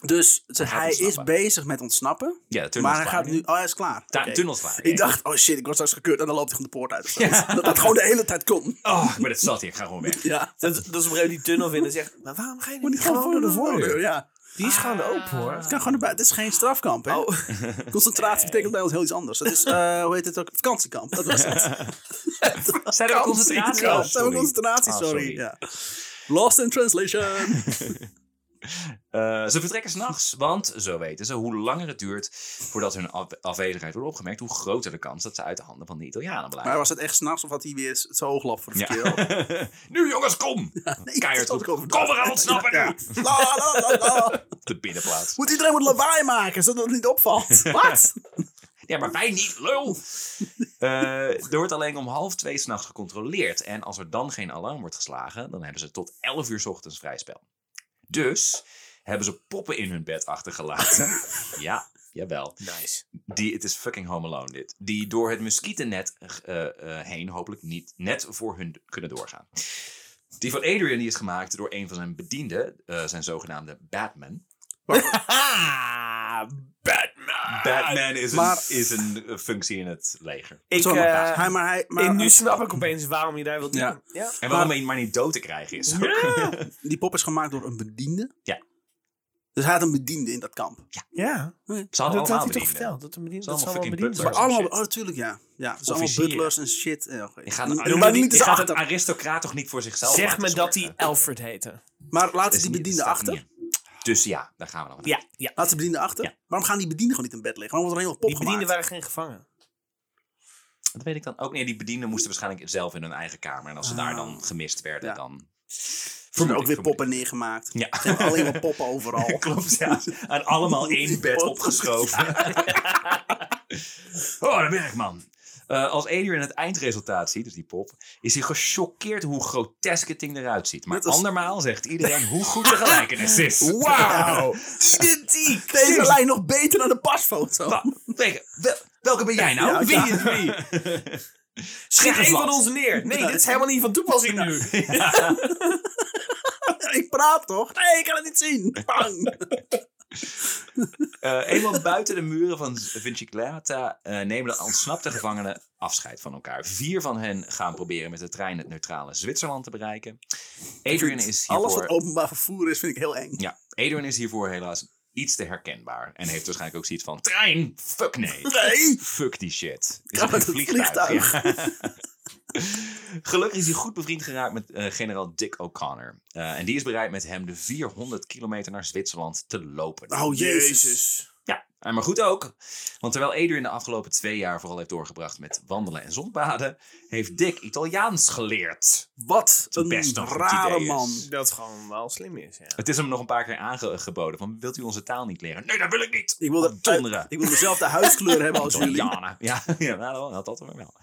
Speaker 1: Dus ze-
Speaker 2: gaat
Speaker 1: hij is
Speaker 2: ontsnappen.
Speaker 1: bezig met ontsnappen.
Speaker 2: Ja, de tunnel
Speaker 1: Maar
Speaker 2: is
Speaker 1: hij
Speaker 2: klaar
Speaker 1: gaat nu... Oh, hij is klaar.
Speaker 2: Da-
Speaker 1: Oké.
Speaker 2: tunnels waren.
Speaker 1: Ik dacht, oh shit, ik word straks gekeurd en dan loopt hij gewoon de poort uit. Dat dat gewoon de hele tijd kon.
Speaker 2: oh, maar dat zat hier. Ik ga gewoon weg.
Speaker 1: Ja.
Speaker 3: Dat, dat is op een gegeven moment die tunnel vinden en zegt... Maar waarom ga je
Speaker 1: Moet
Speaker 3: niet
Speaker 1: hij gewoon door de voordeur, ja.
Speaker 3: Die is gewoon open hoor.
Speaker 1: Het kan gewoon erbij. Het is geen strafkamp, hè? [laughs] Concentratie betekent bij ons heel iets anders. Dat is, eh, hoe heet het ook? Vakantiekamp. Dat was het.
Speaker 2: Zijn er ook concentratie?
Speaker 1: Ja,
Speaker 2: Oh,
Speaker 1: dat zijn we
Speaker 2: sorry.
Speaker 1: concentratie,
Speaker 2: Ah,
Speaker 1: sorry. Ja. Lost in translation.
Speaker 2: Eh, ze vertrekken s'nachts, want zo weten ze hoe langer het duurt voordat hun af- afwezigheid wordt opgemerkt, hoe groter de kans dat ze uit de handen van de Italianen
Speaker 1: maar
Speaker 2: blijven.
Speaker 1: was het echt s'nachts of had hij weer zijn ooglap voor de
Speaker 2: Ja. [laughs]
Speaker 1: verkeer?
Speaker 2: nu jongens, kom!
Speaker 1: Nee,
Speaker 2: Keihard
Speaker 1: dat
Speaker 2: goed.
Speaker 1: is
Speaker 2: Kom,
Speaker 1: ook
Speaker 2: we gaan ontsnappen
Speaker 1: Ja.
Speaker 2: nu!
Speaker 1: La, la, la, la.
Speaker 2: Op de binnenplaats.
Speaker 1: Moet iedereen wat lawaai maken, zodat het niet opvalt? Wat?
Speaker 2: Ja, maar wij niet, lul! Eh, er wordt alleen om half twee s'nachts gecontroleerd. En als er dan geen alarm wordt geslagen, dan hebben ze tot elf uur 's ochtends vrij spel. Dus hebben ze poppen in hun bed achtergelaten. ja, jawel.
Speaker 3: Nice.
Speaker 2: Die, het is fucking Home Alone dit. Die door het muskietennet eh, eh, heen hopelijk niet net voor hun kunnen doorgaan. Die van Adrian die is gemaakt door een van zijn bedienden, eh, zijn zogenaamde Batman. [laughs]
Speaker 3: Ah, Batman.
Speaker 2: Batman is,
Speaker 1: maar-
Speaker 2: een, is een eh, functie in het leger.
Speaker 3: Ik,
Speaker 1: Zo,
Speaker 3: eh,
Speaker 1: hij, maar hij, maar
Speaker 3: en nu snap ik opeens waarom je daar wilt doen.
Speaker 1: Ja.
Speaker 3: Ja.
Speaker 2: En waarom hij maar niet dood te krijgen [laughs] is.
Speaker 3: Ja.
Speaker 1: die pop is gemaakt door een bediende.
Speaker 2: Ja.
Speaker 1: Dus hij had een bediende in dat kamp.
Speaker 3: Ja.
Speaker 2: Ze hadden
Speaker 3: Dat had
Speaker 2: allemaal
Speaker 3: hij toch
Speaker 2: bedienden.
Speaker 3: verteld? Dat, hem bediend,
Speaker 2: Ze
Speaker 3: dat ze
Speaker 2: allemaal fucking
Speaker 3: allemaal bediend
Speaker 2: butlers.
Speaker 3: waren.
Speaker 1: Allemaal,
Speaker 2: shit.
Speaker 1: oh, natuurlijk, ja. ja dus allemaal
Speaker 2: Officieren.
Speaker 1: butlers en shit. Ja, oké.
Speaker 2: Je gaat,
Speaker 1: En-
Speaker 2: een,
Speaker 1: en
Speaker 2: je
Speaker 1: maar
Speaker 2: gaat
Speaker 1: niet
Speaker 2: een
Speaker 1: eens achter-
Speaker 2: aristocraat toch niet voor zichzelf
Speaker 3: Zeg
Speaker 2: laten
Speaker 3: me dat hij
Speaker 2: zorgen?
Speaker 3: Alfred heette.
Speaker 1: Maar
Speaker 2: Dat
Speaker 1: laten
Speaker 2: is
Speaker 1: die
Speaker 2: niet-
Speaker 1: bediende
Speaker 2: dat staat
Speaker 1: achter.
Speaker 2: niet in. Dus ja, daar gaan we dan.
Speaker 3: Ja, ja.
Speaker 1: Laat de bediende achter.
Speaker 2: Ja.
Speaker 1: Waarom gaan die bedienden gewoon niet in bed liggen? Waarom wordt er helemaal
Speaker 3: Die
Speaker 1: pop gemaakt?
Speaker 3: bedienden waren geen gevangen.
Speaker 2: Dat weet ik dan ook. Nee, die bedienden moesten waarschijnlijk zelf in hun eigen kamer. En als ze daar dan gemist werden,
Speaker 1: Ja.
Speaker 2: dan...
Speaker 1: Er zijn
Speaker 2: Vermoed
Speaker 1: ook
Speaker 2: ik,
Speaker 1: weer
Speaker 2: vermoed ik.
Speaker 1: poppen
Speaker 2: [laughs]
Speaker 1: neergemaakt.
Speaker 2: Ja.
Speaker 1: Er zijn alleen maar poppen overal.
Speaker 2: [laughs] Klopt, ja. En allemaal één bed opgeschoven. oh, dat ben ik, man. Eh, als Adrian het eindresultaat ziet, dus die pop, is hij gechoqueerd hoe grotesk het ding eruit ziet. Maar
Speaker 1: Net als-
Speaker 2: andermaal zegt iedereen hoe goed de gelijkenis is. [laughs]
Speaker 1: Wauw!
Speaker 2: Identiek!
Speaker 1: Deze lijn nog beter dan de pasfoto.
Speaker 2: Wa- Tegen, wel- welke ben jij nou?
Speaker 1: Ja,
Speaker 2: wie
Speaker 1: ja.
Speaker 2: is wie?
Speaker 3: Schiet één
Speaker 2: Zeg het
Speaker 3: van
Speaker 2: wat.
Speaker 3: ons neer. Nee, [laughs] dit is helemaal niet van toepassing nu.
Speaker 1: [laughs] ik praat toch? Nee, ik kan het niet zien.
Speaker 2: [laughs]
Speaker 1: Bang.
Speaker 2: Eh, eenmaal buiten de muren van Vinciclata eh nemen de ontsnapte gevangenen afscheid van elkaar. Vier van hen gaan proberen met de trein het neutrale Zwitserland te bereiken. Adrian is hiervoor...
Speaker 1: Alles wat openbaar vervoer is, vind ik heel
Speaker 2: [laughs]
Speaker 1: eng.
Speaker 2: Ja, Adrian is hiervoor helaas iets te herkenbaar. En heeft waarschijnlijk ook zoiets van... Trein? Fuck nee.
Speaker 1: Nee.
Speaker 2: Fuck die shit. Is
Speaker 1: Kan met het
Speaker 2: Ja. Gelukkig is hij goed bevriend geraakt met eh, generaal Dick O'Connor. Eh, en die is bereid met hem de 400 kilometer naar Zwitserland te lopen.
Speaker 1: Oh, jezus.
Speaker 2: Ja, en Ah, maar goed ook. Want terwijl Adrian de afgelopen twee jaar vooral heeft doorgebracht met wandelen en zonbaden, heeft Dick Italiaans geleerd.
Speaker 1: Wat
Speaker 2: Het
Speaker 1: een
Speaker 2: best nog een goed
Speaker 1: rare
Speaker 2: idee is.
Speaker 1: man.
Speaker 3: Dat gewoon wel slim is, ja.
Speaker 2: Het is hem nog een paar keer aangeboden van, wilt u onze taal niet leren? Nee, dat wil ik niet!
Speaker 1: Ik wil, dat- Oh,
Speaker 2: Donderen.
Speaker 1: ik wil dezelfde huidskleur hebben
Speaker 2: [laughs]
Speaker 1: als jullie.
Speaker 2: Italianen. Ja, ja nou, dat had hem wel.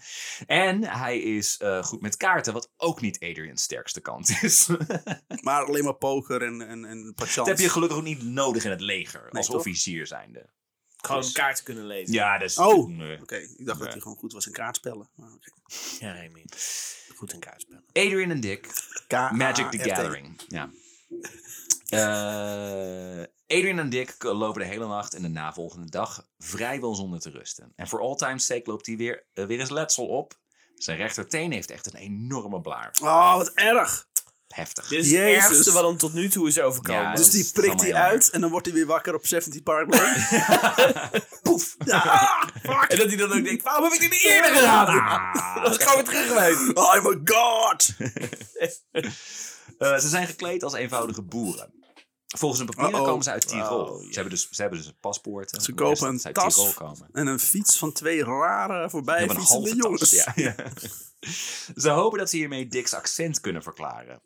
Speaker 2: En hij is eh, goed met kaarten, wat ook niet Adrian's sterkste kant is. [laughs]
Speaker 1: Maar alleen maar poker en, en, en patiënt.
Speaker 2: dat heb je gelukkig ook niet nodig in het leger, als
Speaker 1: toch?
Speaker 2: officier zijnde.
Speaker 3: Gewoon kaarten kunnen lezen.
Speaker 2: Ja, dat is...
Speaker 1: Oh.
Speaker 2: Nee.
Speaker 1: Oké, ik dacht dat
Speaker 2: Nee.
Speaker 1: hij gewoon goed was in kaartspellen. Maar oké.
Speaker 3: ja Remy. Goed in kaartspellen.
Speaker 2: Adrian en Dick
Speaker 1: K-
Speaker 2: Magic
Speaker 1: A-
Speaker 2: the
Speaker 1: Ah, F- T.
Speaker 2: Gathering. Ja. Eh, Adrian en Dick lopen de hele nacht en de navolgende dag vrijwel zonder te rusten. En voor all time's sake loopt hij weer, eh, weer eens letsel op. Zijn rechterteen heeft echt een enorme blaar.
Speaker 1: Oh, wat erg.
Speaker 2: Heftig. [laughs]
Speaker 3: Dit is
Speaker 1: Jezus.
Speaker 3: het ergste wat hem tot nu toe is overkomen.
Speaker 2: Ja,
Speaker 1: Dus
Speaker 2: dat
Speaker 1: die
Speaker 2: is
Speaker 1: prikt
Speaker 2: allemaal
Speaker 1: hij
Speaker 2: heel erg.
Speaker 1: uit en dan wordt hij weer wakker op 17 Park Lane.
Speaker 2: [laughs] Poef!
Speaker 1: ja.
Speaker 3: En dat hij dan ook denkt, waarom heb ik dit niet eerder gedaan?
Speaker 2: Ah.
Speaker 3: Dat is gewoon weer terug geweest.
Speaker 1: Oh my god.
Speaker 2: Eh, ze zijn gekleed als eenvoudige boeren. Volgens hun papieren
Speaker 1: Uh-oh.
Speaker 2: komen ze uit Tirol.
Speaker 3: Oh, ja.
Speaker 2: ze, hebben dus, ze hebben dus een paspoort.
Speaker 1: Ze kopen een
Speaker 2: ze uit
Speaker 1: tas.
Speaker 2: Tirol komen.
Speaker 1: En een fiets van twee rare
Speaker 2: Ze
Speaker 1: voorbij
Speaker 2: hebben een halve
Speaker 1: fietsende jongens. [laughs]
Speaker 2: tas. Ja. [laughs] ze hopen dat ze hiermee Dick's accent kunnen verklaren.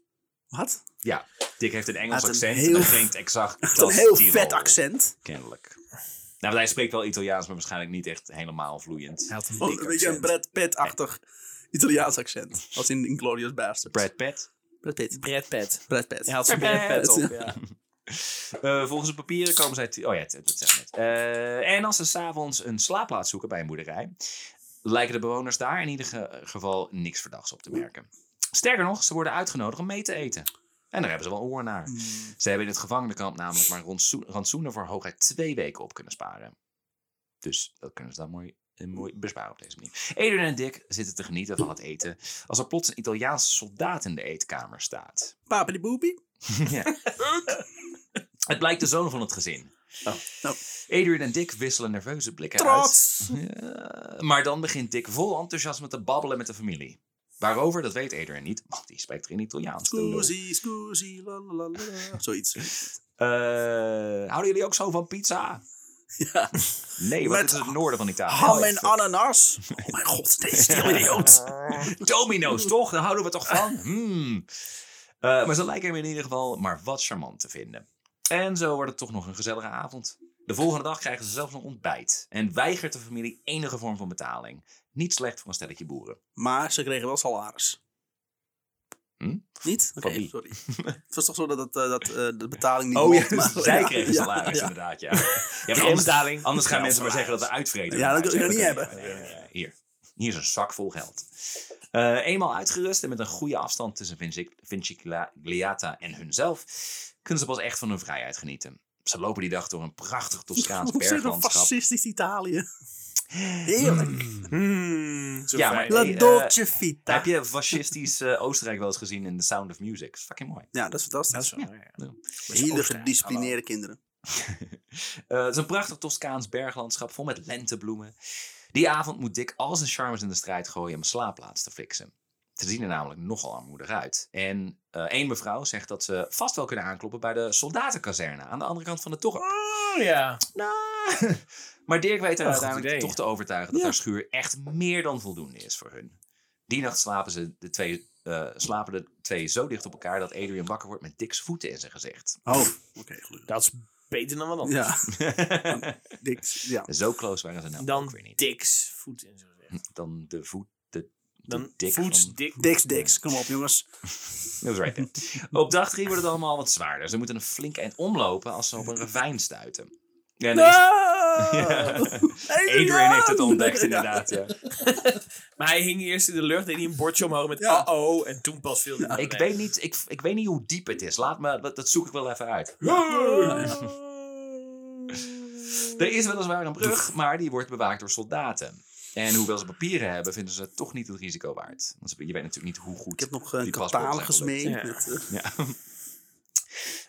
Speaker 1: Wat?
Speaker 2: Ja, Dick heeft een Engels
Speaker 1: Hij heeft een
Speaker 2: accent.
Speaker 1: heel-
Speaker 2: en dat klinkt exact
Speaker 1: Met
Speaker 2: als
Speaker 1: een heel
Speaker 2: Tirol,
Speaker 1: vet accent.
Speaker 2: Kennelijk. Nou, want hij spreekt wel Italiaans, maar waarschijnlijk niet echt helemaal vloeiend.
Speaker 3: had een
Speaker 1: Oh, een beetje een Brad Pitt-achtig Italiaans accent. Als in Inglorious Bastards.
Speaker 2: Brad Pitt.
Speaker 1: Brad Pitt.
Speaker 3: Bradpet.
Speaker 1: Brad Pitt.
Speaker 3: Hij had zijn
Speaker 1: Brad
Speaker 3: bradpet
Speaker 1: Pitt.
Speaker 3: op, ja.
Speaker 2: Eh, volgens de papieren komen zij... Oh ja, dat dat zeg ik net. Eh, en als ze s'avonds een slaapplaats zoeken bij een boerderij... lijken de bewoners daar in ieder ge- geval niks verdachts op te merken. Sterker nog, ze worden uitgenodigd om mee te eten. En daar hebben ze wel oor naar.
Speaker 1: Mm.
Speaker 2: Ze hebben in het gevangenenkamp namelijk maar rantsoen- rantsoenen voor hooguit twee weken op kunnen sparen. Dus dat kunnen ze dan mooi, eh, mooi besparen op deze manier. Adrian en Dick zitten te genieten van het eten als er plots een Italiaanse soldaat in de eetkamer staat. [laughs]
Speaker 1: Papa die boepie.
Speaker 2: ja. Het blijkt de zoon van het gezin.
Speaker 1: Oh.
Speaker 2: Adrian en Dick wisselen nerveuze blikken
Speaker 1: Trots.
Speaker 2: uit. Ja, maar dan begint Dick vol enthousiasme te babbelen met de familie. Waarover, dat weet Adrian niet, want die spreekt geen Italiaans. de lul.
Speaker 1: Scusi, scusi, la la la la. Zoiets.
Speaker 2: Eh, houden jullie ook zo van [laughs] pizza?
Speaker 1: Ja.
Speaker 2: Nee, want
Speaker 1: Met
Speaker 2: het is het noorden van Italië.
Speaker 1: Ham en
Speaker 2: [laughs]
Speaker 1: ananas. Oh mijn god, deze [laughs] stil idioot.
Speaker 2: Domino's, toch? Daar houden we toch [laughs] van? Hmm. Eh, maar ze lijken hem in ieder geval maar wat charmant te vinden. En zo wordt het toch nog een gezellige avond. De volgende dag krijgen ze zelfs nog ontbijt. En weigert de familie enige vorm van betaling. Niet slecht voor een stelletje boeren.
Speaker 1: Maar ze kregen wel salaris.
Speaker 2: Hm?
Speaker 1: Niet? Oké,
Speaker 2: Van wie? [laughs]
Speaker 1: sorry. Het was toch zo dat, dat, eh, dat eh, de betaling niet mocht,
Speaker 2: ja,
Speaker 1: maar-
Speaker 2: Oh, [laughs] zij
Speaker 1: ja,
Speaker 2: kregen
Speaker 1: ja,
Speaker 2: salaris
Speaker 1: ja.
Speaker 2: inderdaad, [laughs] ja. ja maar anders, anders gaan mensen maar zeggen dat we uitvreden.
Speaker 1: Ja, dat wil ik
Speaker 2: kunnen
Speaker 1: niet
Speaker 2: Nee, nee, nee, nee. Hier. Hier is een zak vol geld. Eh, eenmaal uitgerust en met een goede afstand tussen Vinci- Vincigliata en hunzelf, kunnen ze pas echt van hun vrijheid genieten. Ze lopen die dag door een
Speaker 1: [laughs]
Speaker 2: prachtig [laughs] Toscaans
Speaker 1: Op zich een
Speaker 2: berglandschap.
Speaker 1: fascistisch
Speaker 2: [laughs]
Speaker 1: Italië. Heerlijk.
Speaker 3: [laughs] Hmm, zo
Speaker 2: Ja,
Speaker 3: fijn.
Speaker 2: maar-
Speaker 1: La
Speaker 2: Nee, eh,
Speaker 1: dolce vita.
Speaker 2: Heb je fascistisch eh, Oostenrijk wel eens gezien in The Sound of Music? Dat is fucking mooi.
Speaker 1: Ja, dat is fantastisch.
Speaker 3: Dat is wel,
Speaker 2: Ja.
Speaker 3: ja.
Speaker 2: Ja.
Speaker 1: Hele
Speaker 3: Oostenrijk,
Speaker 1: gedisciplineerde kinderen.
Speaker 2: [laughs] Eh, het is een prachtig Toscaans berglandschap vol met lentebloemen. Die avond moet Dick al zijn charmes in de strijd gooien om een slaapplaats te fixen. Ze zien er namelijk nogal armoedig uit. En eh, één mevrouw zegt dat ze vast wel kunnen aankloppen bij de soldatenkazerne aan de andere kant van het dorp.
Speaker 3: Oh ja.
Speaker 2: Nou, [laughs] Maar Dirk weet haar
Speaker 3: Wel een goed
Speaker 2: uiteindelijk
Speaker 3: idee.
Speaker 2: toch te overtuigen dat
Speaker 1: Ja.
Speaker 2: haar schuur echt meer dan voldoende is voor hun. Die nacht slapen, ze de twee, eh, slapen de twee zo dicht op elkaar dat Adrian wakker wordt met Dick's voeten in zijn
Speaker 3: [laughs]
Speaker 2: gezicht.
Speaker 1: Oh, oké, gelukkig.
Speaker 3: Dat is beter dan wat anders.
Speaker 1: Ja, dik, ja.
Speaker 2: zo close waren ze nou
Speaker 3: Dan
Speaker 2: ook weer niet.
Speaker 3: Dix voet in zo'n zin.
Speaker 2: dan de voet. De, de
Speaker 3: Dan
Speaker 2: dik
Speaker 3: voets
Speaker 2: van-
Speaker 3: dik.
Speaker 1: Diks, diks. Kom op, jongens.
Speaker 2: Dat was right there. [laughs] Op dag drie
Speaker 1: [laughs]
Speaker 2: wordt het allemaal wat zwaarder. Ze moeten een flink eind omlopen als ze op een ravijn stuiten. En er is,
Speaker 3: Ah!
Speaker 2: [laughs] Adrian heeft het ontdekt inderdaad. Ja.
Speaker 3: Maar hij hing eerst in de lucht, deed hij een bordje omhoog met
Speaker 1: Ja.
Speaker 3: oh en toen pas viel hij naar
Speaker 2: Ik,
Speaker 3: beneden.
Speaker 2: weet niet, ik, ik weet niet hoe diep het is. Laat me, dat, dat zoek ik wel even uit. Er is weliswaar een brug, maar die wordt bewaakt door soldaten. En hoewel ze papieren hebben, vinden ze het toch niet het risico waard. Want ze- je weet natuurlijk niet hoe goed
Speaker 1: Ik heb nog eh, een
Speaker 2: die paspoorten zijn
Speaker 1: catalogus mee.
Speaker 2: gelukt.
Speaker 3: Ja.
Speaker 1: met, [laughs] eh,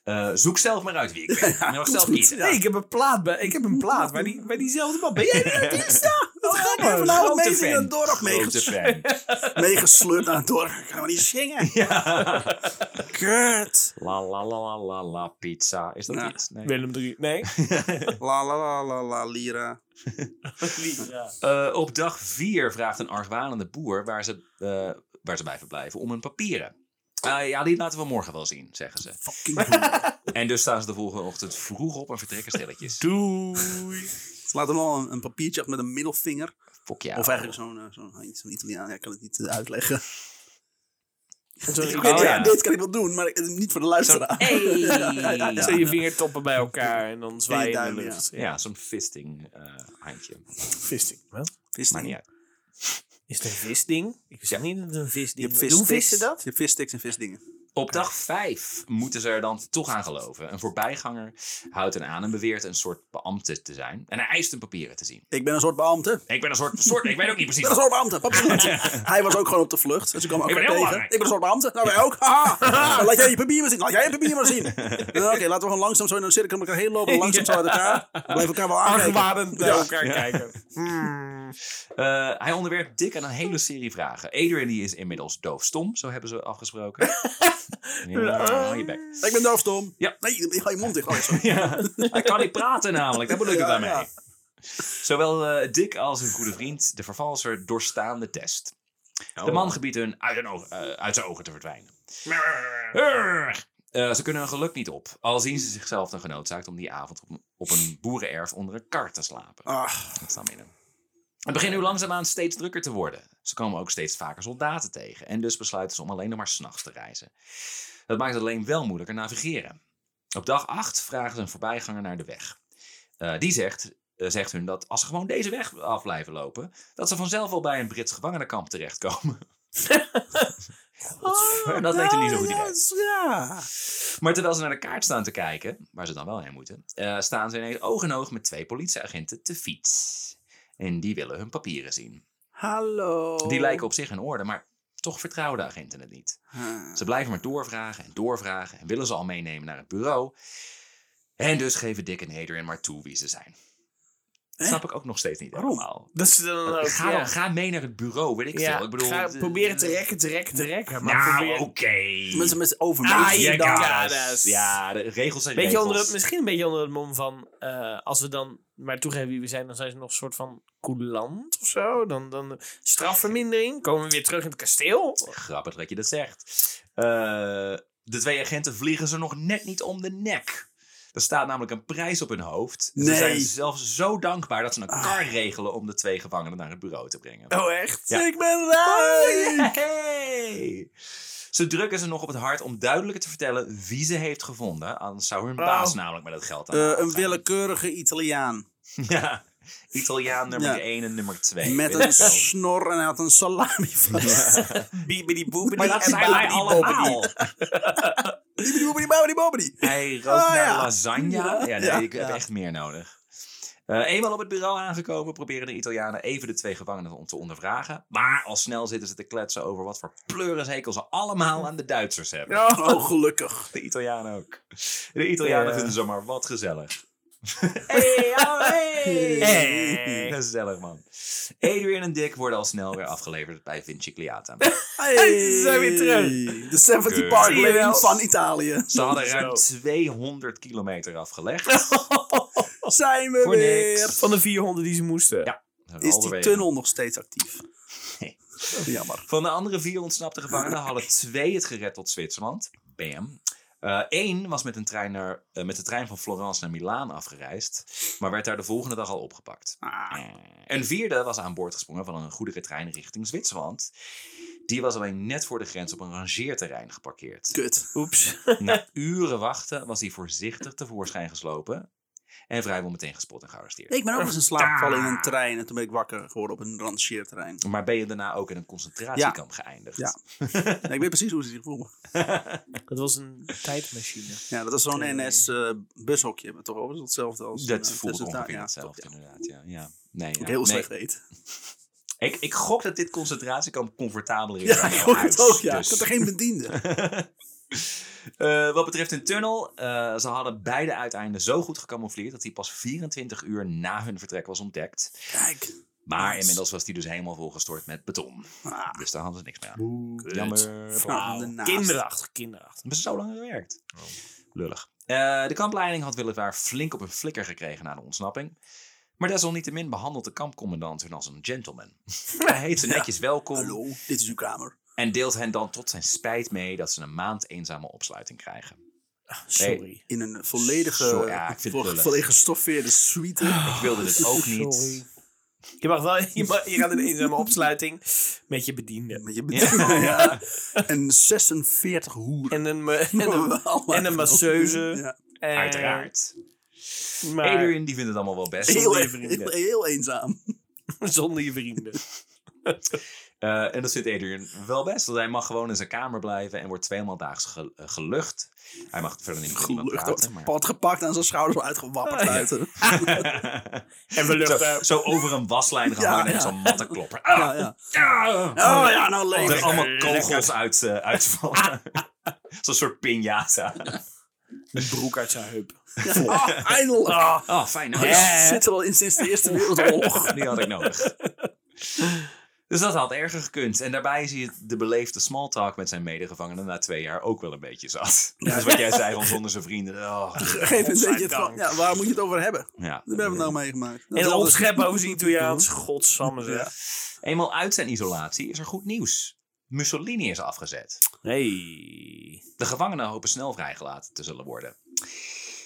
Speaker 2: Eh, zoek zelf maar uit wie
Speaker 1: [laughs]
Speaker 2: ik ben. Je mag zelf
Speaker 1: goed, [laughs]
Speaker 2: kiezen.
Speaker 1: ja.
Speaker 3: Nee, ik heb een plaat, bij- ik heb een plaat waar,
Speaker 1: [laughs]
Speaker 3: die, waar diezelfde man... Ben jij die artiest?
Speaker 1: Wat grappig.
Speaker 2: Oh, Grote
Speaker 1: Vanavond mee
Speaker 2: fan.
Speaker 1: in het dorp
Speaker 2: Grote
Speaker 1: meeges-
Speaker 2: fan. [laughs]
Speaker 1: [laughs] meegesleurd naar het dorp. Ik kan maar niet zingen. Kut.
Speaker 2: La la la la la la pizza. Is dat
Speaker 1: Ja.
Speaker 2: iets? [laughs] Nee.
Speaker 3: Willem 3.
Speaker 2: [laughs]
Speaker 3: Nee.
Speaker 1: La la la la la lira.
Speaker 3: Ja.
Speaker 2: Eh, op dag 4 vraagt een argwanende boer waar ze, eh, waar ze bij verblijven om hun papieren. Ah, ja, die laten we morgen wel zien, zeggen ze.
Speaker 1: [laughs] Fucking goed.
Speaker 2: En dus staan ze de volgende ochtend vroeg op en vertrekken stilletjes. [laughs]
Speaker 3: Doei.
Speaker 1: Ze laten wel een, een papiertje achter met een middelvinger.
Speaker 2: Fok ja. Oh,
Speaker 1: Of eigenlijk zo'n eh, zo'n iets van Italiaan. Ja, ik kan het niet eh, uitleggen.
Speaker 3: Sorry,
Speaker 1: [laughs] Ik
Speaker 3: oh,
Speaker 1: weet, ja,
Speaker 2: ja.
Speaker 1: Dit kan ik wel doen, maar ik- niet voor de luisteraar.
Speaker 2: [laughs] Hey!
Speaker 3: Zet je vingertoppen bij elkaar en dan zwaai je in de
Speaker 1: duimen,
Speaker 3: lucht.
Speaker 2: Ja, zo'n fisting eh, handje.
Speaker 3: Visding. Wat?
Speaker 2: Maar niet uit.
Speaker 3: Is het een visding? Ik zeg niet dat het een
Speaker 1: Je
Speaker 3: visding
Speaker 1: hebt
Speaker 3: is. Hoe
Speaker 1: vissticks.
Speaker 3: vissen dat?
Speaker 1: Je hebt vissticks en visdingen.
Speaker 2: Op dag 5 moeten ze er dan toch aan geloven. Een voorbijganger houdt hen aan en beweert een soort beambte te zijn. En hij eist hun papieren te zien.
Speaker 1: Ik ben een soort beambte.
Speaker 2: Ik ben een soort, soort ik weet ook niet
Speaker 1: Ik
Speaker 2: precies.
Speaker 1: ben een soort beambte. Papier.
Speaker 2: [laughs]
Speaker 1: Hij was ook gewoon op de vlucht. Dus ik kwam ook
Speaker 2: Ik ben
Speaker 1: weer
Speaker 2: heel
Speaker 1: tegen.
Speaker 2: belangrijk.
Speaker 1: Ik ben een soort beambte. Nou, wij ook. Haha.
Speaker 2: [laughs]
Speaker 1: Haha. Laat jij je papier maar zien. Laat jij je papier maar zien. Nou, Oké, laten we gewoon langzaam zo in een cirkel met elkaar heen lopen. Langzaam zo uit elkaar. We blijven elkaar wel aankijken.
Speaker 3: Argwanend naar elkaar kijken. Hmm.
Speaker 2: Eh, hij onderwerpt Dick aan een hele serie vragen. Adrian die is inmiddels doofstom, zo hebben ze
Speaker 1: [laughs]
Speaker 2: afgesproken. ja, hou je bek. [laughs]
Speaker 1: Ik ben doofstom.
Speaker 2: Ja.
Speaker 1: Nee, je ga je mond dicht. Oh, sorry.
Speaker 2: Ja, hij kan niet praten namelijk, dat bedoel ik het
Speaker 1: Ja,
Speaker 2: daarmee.
Speaker 1: ja.
Speaker 2: Zowel eh, Dick als hun goede vriend, de vervalser, doorstaan de test.
Speaker 1: Oh.
Speaker 2: De man gebiedt hun uit, hun oog- eh, uit zijn ogen te verdwijnen. Urgh. Eh, ze kunnen hun geluk niet op, al zien ze zichzelf dan genoodzaakt om die avond op, op een boerenerf onder een kar te slapen.
Speaker 1: Ah,
Speaker 2: Dat staat midden. Het begint nu langzaamaan steeds drukker te worden. Ze komen ook steeds vaker soldaten tegen en dus besluiten ze om alleen nog maar s'nachts te reizen. Dat maakt het alleen wel moeilijker navigeren. Op dag 8 vragen ze een voorbijganger naar de weg. Eh, die zegt, eh, zegt hun dat als ze gewoon deze weg af blijven lopen, dat ze vanzelf al bij een Brits gevangenenkamp terechtkomen. [laughs] dat weet hij niet zo goed
Speaker 1: ja,
Speaker 2: idee.
Speaker 1: dat is- Oh, Ja.
Speaker 2: Maar terwijl ze naar de kaart staan te kijken, waar ze dan wel heen moeten, eh, staan ze ineens oog in oog met twee politieagenten te fiets. En die willen hun papieren zien.
Speaker 1: Hallo.
Speaker 3: Oh.
Speaker 2: Die lijken op zich in orde, maar toch vertrouwen de agenten het niet.
Speaker 1: Ah.
Speaker 2: Ze blijven maar doorvragen en doorvragen en willen ze al meenemen naar het bureau. En dus geven Dick en Adrian maar toe wie ze zijn.
Speaker 1: Hè?
Speaker 2: Dat snap ik ook nog steeds niet
Speaker 1: Waarom?
Speaker 2: helemaal.
Speaker 3: Dat ze dan ook...
Speaker 2: Ga,
Speaker 3: ja.
Speaker 2: dan, ga mee naar het bureau, weet ik
Speaker 3: Ja,
Speaker 2: veel. Ik bedoel, eh,
Speaker 3: ga
Speaker 2: de-
Speaker 3: proberen te rekken, te rekken, te rekken. Maar
Speaker 2: Nou,
Speaker 3: probeer-
Speaker 2: oké.
Speaker 1: Mensen met
Speaker 3: Ah,
Speaker 1: overwegen.
Speaker 3: je
Speaker 1: Ja,
Speaker 2: You
Speaker 3: dan-
Speaker 2: got
Speaker 3: ja,
Speaker 2: us.
Speaker 3: dat is-
Speaker 2: Ja, de regels zijn
Speaker 3: Beetje
Speaker 2: regels.
Speaker 3: onder het, misschien een beetje onder het mom van... eh, als we dan maar toegeven wie we zijn... dan zijn ze nog een soort van coulant of zo. Dan, dan strafvermindering. Komen we weer terug in het kasteel.
Speaker 2: Grappig dat je dat zegt. Eh, de twee agenten vliegen ze nog net niet om de nek. Er staat namelijk een prijs op hun hoofd. Ze
Speaker 1: Nee. Ah.
Speaker 2: zijn zelfs zo dankbaar dat ze een kar regelen om de twee gevangenen naar het bureau te brengen.
Speaker 3: Oh, echt?
Speaker 2: Ja.
Speaker 1: Ik ben rijk.
Speaker 2: Hey! Ze drukken ze nog op het hart om duidelijker te vertellen wie ze heeft gevonden. Anders zou hun
Speaker 3: Oh.
Speaker 2: baas namelijk met dat geld aan de
Speaker 1: Eh,
Speaker 2: hand
Speaker 1: een
Speaker 2: gaan.
Speaker 1: willekeurige Italiaan.
Speaker 2: [laughs] Ja. Italiaan nummer
Speaker 1: Ja.
Speaker 2: 1 en nummer 2.
Speaker 1: Met een snor en hij had een salami vast. Bibidi boebidi.
Speaker 2: Maar dat zijn wij allemaal.
Speaker 1: Bibidi boebidi boebidi boebidi.
Speaker 2: Hij rookt
Speaker 1: [laughs] Oh,
Speaker 2: naar
Speaker 1: ja.
Speaker 2: lasagne. Ja, nee,
Speaker 1: Ja,
Speaker 2: ik heb
Speaker 1: ja.
Speaker 2: echt meer nodig. Eh, eenmaal op het bureau aangekomen proberen de Italianen even de twee gevangenen om te ondervragen. Maar al snel zitten ze te kletsen over wat voor pleurishekel ze allemaal aan de Duitsers hebben.
Speaker 3: Oh.
Speaker 1: Oh,
Speaker 2: [laughs]
Speaker 1: gelukkig.
Speaker 2: De Italianen ook. De Italianen
Speaker 3: Ja.
Speaker 2: vinden ze maar wat
Speaker 1: [laughs]
Speaker 2: gezellig.
Speaker 3: Hey, oh, hey.
Speaker 2: Hey. Gezellig man. Adrian en Dick worden al snel weer afgeleverd bij Vincigliata.
Speaker 1: Hey.
Speaker 3: Ze zijn weer terug.
Speaker 1: De 70
Speaker 2: Kut.
Speaker 1: Park
Speaker 3: Zie je wel.
Speaker 1: Lane van Italië.
Speaker 2: Ze hadden
Speaker 1: [laughs]
Speaker 2: ruim
Speaker 3: Zo.
Speaker 2: 200 kilometer afgelegd.
Speaker 1: Zijn we
Speaker 2: Voor
Speaker 1: weer.
Speaker 2: niks.
Speaker 3: Van de 400 die ze moesten.
Speaker 2: Ja. Zijn we
Speaker 1: Is die
Speaker 2: halverwege.
Speaker 1: tunnel nog steeds actief?
Speaker 2: Nee.
Speaker 1: Jammer.
Speaker 2: Van de andere vier ontsnapte gevangenen hadden twee het gered tot Zwitserland. Bam. Eén was met, een trein naar, eh, met de trein van Florence naar Milaan afgereisd, maar werd daar de volgende dag al opgepakt. Eh,
Speaker 1: Ah,
Speaker 2: Een vierde was aan boord gesprongen van een goederentrein richting Zwitserland. Die was alleen net voor de grens op een rangeerterrein geparkeerd.
Speaker 1: kut.
Speaker 3: Oeps. [laughs]
Speaker 2: Na uren wachten was hij voorzichtig tevoorschijn geslopen. En vrijwel meteen gespot en gearresteerd.
Speaker 1: Ik ben ook eens in slaap gevallen in een trein. En toen ben ik wakker geworden op een rancheerterrein.
Speaker 2: Maar ben je daarna ook in een concentratiekamp geëindigd?
Speaker 1: Ja. Nee, ik weet precies hoe ze zich voelen.
Speaker 3: Dat was een tijdmachine.
Speaker 1: Ja, dat is zo'n NS-bushokje. maar toch overigens hetzelfde als...
Speaker 2: Dat
Speaker 1: eh,
Speaker 2: voelde
Speaker 1: tussen-
Speaker 2: ongeveer
Speaker 1: ja,
Speaker 2: hetzelfde,
Speaker 1: toch, ja.
Speaker 2: inderdaad. Ja. Ja. Nee, ja.
Speaker 1: Ik heel
Speaker 2: nee.
Speaker 1: slecht weet.
Speaker 2: Ik, ik gok dat dit concentratiekamp comfortabeler is.
Speaker 1: Ja,
Speaker 2: dan
Speaker 1: ik
Speaker 2: jouw
Speaker 1: hoor het
Speaker 2: huis,
Speaker 1: ook, ja.
Speaker 2: dus.
Speaker 1: Ik had er geen bediende.
Speaker 2: Eh, wat betreft een tunnel, eh, ze hadden beide uiteinden zo goed gecamoufleerd dat hij pas 24 uur na hun vertrek was ontdekt.
Speaker 1: Kijk.
Speaker 2: Maar
Speaker 1: Nice.
Speaker 2: inmiddels was die dus helemaal volgestort met beton.
Speaker 1: Ah,
Speaker 2: Dus daar hadden ze niks meer aan.
Speaker 1: boe.
Speaker 2: Jammer.
Speaker 1: Vrouw ernaast.
Speaker 3: Kinderachtig, kinderachtig.
Speaker 2: Hebben ze zo lang gewerkt?
Speaker 1: Oh.
Speaker 2: Lullig. Eh, de kampleiding had weliswaar flink op een flikker gekregen na de ontsnapping. Maar desalniettemin behandelt de kampcommandant hun als een
Speaker 1: [laughs]
Speaker 2: gentleman. Hij heet ze netjes welkom
Speaker 1: Hallo, dit is uw kamer.
Speaker 2: en deelt hen dan tot zijn spijt mee dat ze een maand eenzame opsluiting krijgen.
Speaker 3: Ah, Sorry.
Speaker 1: In een volledige,
Speaker 2: Zo, ja, ik vind het
Speaker 1: vo-
Speaker 2: lullig.
Speaker 1: volledig gestoffeerde suite.
Speaker 2: Ik wilde dit ook niet.
Speaker 3: Ah, Sorry. Je mag wel, [laughs] je, mag, je gaat in een eenzame opsluiting met je bediende.
Speaker 1: Met je
Speaker 2: [laughs]
Speaker 1: bediende, [laughs] ja. En 46 hoeren.
Speaker 3: En
Speaker 1: [laughs]
Speaker 3: een, ma- en [laughs] een, en een masseuse.
Speaker 1: Ja.
Speaker 3: eh,
Speaker 2: Uiteraard.
Speaker 3: [laughs] Maar
Speaker 2: Adrian die vindt het allemaal wel best.
Speaker 1: Heel,
Speaker 3: Zonder je
Speaker 1: heel,
Speaker 3: vrienden.
Speaker 1: heel eenzaam.
Speaker 3: [laughs] zonder je vrienden.
Speaker 2: Eh, en dat vindt Adrian wel best. Want hij mag gewoon in zijn kamer blijven en wordt tweemaal daags ge- eh, gelucht. Hij mag verder niet met iemand
Speaker 1: Gelukkig
Speaker 2: praten.
Speaker 1: wordt
Speaker 2: maar-
Speaker 1: pad gepakt aan zijn schouders, wel uitgewapperd buiten.
Speaker 2: [laughs]
Speaker 3: En [laughs] we
Speaker 2: zo,
Speaker 3: luchten.
Speaker 2: zo over een waslijn
Speaker 1: Ja,
Speaker 2: gehangen en
Speaker 1: ja.
Speaker 2: zo'n matte klopper.
Speaker 1: Ja, ja. Oh ja, nou
Speaker 2: Er
Speaker 1: leeg.
Speaker 2: allemaal kogels uit, eh, uitvallen. [laughs] Zo'n soort pinjata.
Speaker 3: Een broek uit zijn heup.
Speaker 1: Ah, eindelijk.
Speaker 2: Oh, fijn. hè?
Speaker 1: Ik zit er al in sinds de Eerste
Speaker 2: [laughs]
Speaker 1: Wereldoorlog.
Speaker 2: Die had ik nodig. Dus dat had erger gekund. En daarbij zie je de beleefde smalltalk met zijn medegevangenen na twee jaar ook wel een beetje zat. Dat is wat jij zei van zonder zijn
Speaker 1: [laughs]
Speaker 2: vrienden. Oh.
Speaker 1: Geef een beetje het
Speaker 3: Godzijdank.
Speaker 1: van, ja, waar moet je het over hebben?
Speaker 2: Ja.
Speaker 1: Dat hebben we nou meegemaakt. Dat
Speaker 3: En
Speaker 1: is
Speaker 3: een
Speaker 1: altijd-
Speaker 3: opschep [laughs] Oost-Italiaans. Godsamme zeg.
Speaker 2: Eenmaal uit zijn isolatie is er goed nieuws. Mussolini is afgezet.
Speaker 3: Hey.
Speaker 2: De gevangenen hopen snel vrijgelaten te zullen worden.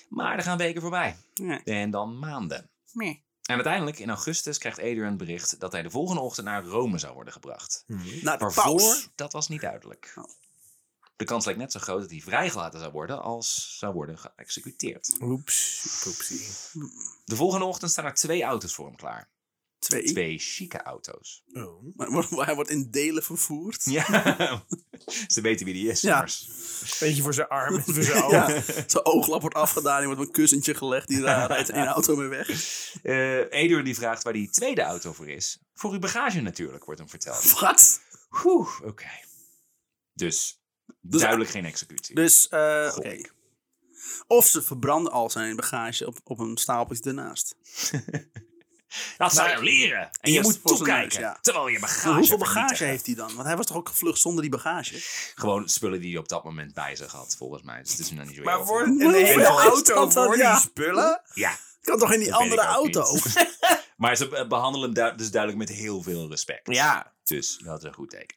Speaker 2: Maar er gaan weken voorbij.
Speaker 1: Ja.
Speaker 2: En dan maanden. En uiteindelijk, in augustus, krijgt Adrian het bericht dat hij de volgende ochtend naar Rome zou worden gebracht.
Speaker 3: Hmm.
Speaker 1: Naar de
Speaker 2: Waarvoor?
Speaker 1: paus.
Speaker 2: Dat was niet duidelijk.
Speaker 1: Oh.
Speaker 2: De kans lijkt net zo groot dat hij vrijgelaten zou worden als zou worden geëxecuteerd.
Speaker 3: Oeps. Oepsie.
Speaker 2: De volgende ochtend staan er twee auto's voor hem klaar.
Speaker 1: Twee.
Speaker 2: Twee
Speaker 1: [laughs]
Speaker 2: chique auto's.
Speaker 3: Oh.
Speaker 1: Maar wordt- hij wordt in delen vervoerd.
Speaker 2: Ja, ze weten wie die is.
Speaker 1: Ja.
Speaker 2: immers.
Speaker 3: Beetje voor zijn arm en voor
Speaker 1: [laughs]
Speaker 3: zijn oog.
Speaker 1: Ja, zijn ooglap wordt afgedaan, hij wordt op een kussentje gelegd, die daar rijdt [laughs] één auto mee weg.
Speaker 2: [laughs] Eh Eduard die vraagt waar die tweede auto voor is. Voor uw bagage natuurlijk, wordt hem verteld.
Speaker 1: Wat?
Speaker 2: Oeh, oké. Dus, duidelijk geen executie.
Speaker 1: Dus, eh, oké.
Speaker 2: Goh.
Speaker 1: Of ze verbranden al zijn bagage op, op een stapeltje ernaast.
Speaker 2: Dat zou je
Speaker 1: maar-
Speaker 2: leren. En je
Speaker 1: Eerst
Speaker 2: moet
Speaker 1: voor zijn
Speaker 2: toekijken,
Speaker 1: neus, ja.
Speaker 2: terwijl je bagage
Speaker 1: hoeveel
Speaker 2: vernietigt.
Speaker 1: bagage heeft hij dan? Want hij was toch ook gevlucht zonder die bagage?
Speaker 2: Gewoon spullen die hij op dat moment bij zich had, volgens mij. Dus het is nog niet zo heel
Speaker 3: Maar
Speaker 2: veel.
Speaker 3: voor een hele
Speaker 1: hoeveel is
Speaker 3: auto
Speaker 1: dat dan?
Speaker 3: voor
Speaker 1: Ja.
Speaker 3: die spullen?
Speaker 2: Ja,
Speaker 1: Kan toch in die
Speaker 2: Dat weet
Speaker 1: andere
Speaker 2: ik ook
Speaker 1: auto?
Speaker 2: maar ze eh, behandelen hem du- dus duidelijk met heel veel respect.
Speaker 3: Ja.
Speaker 2: Dus dat is een goed teken.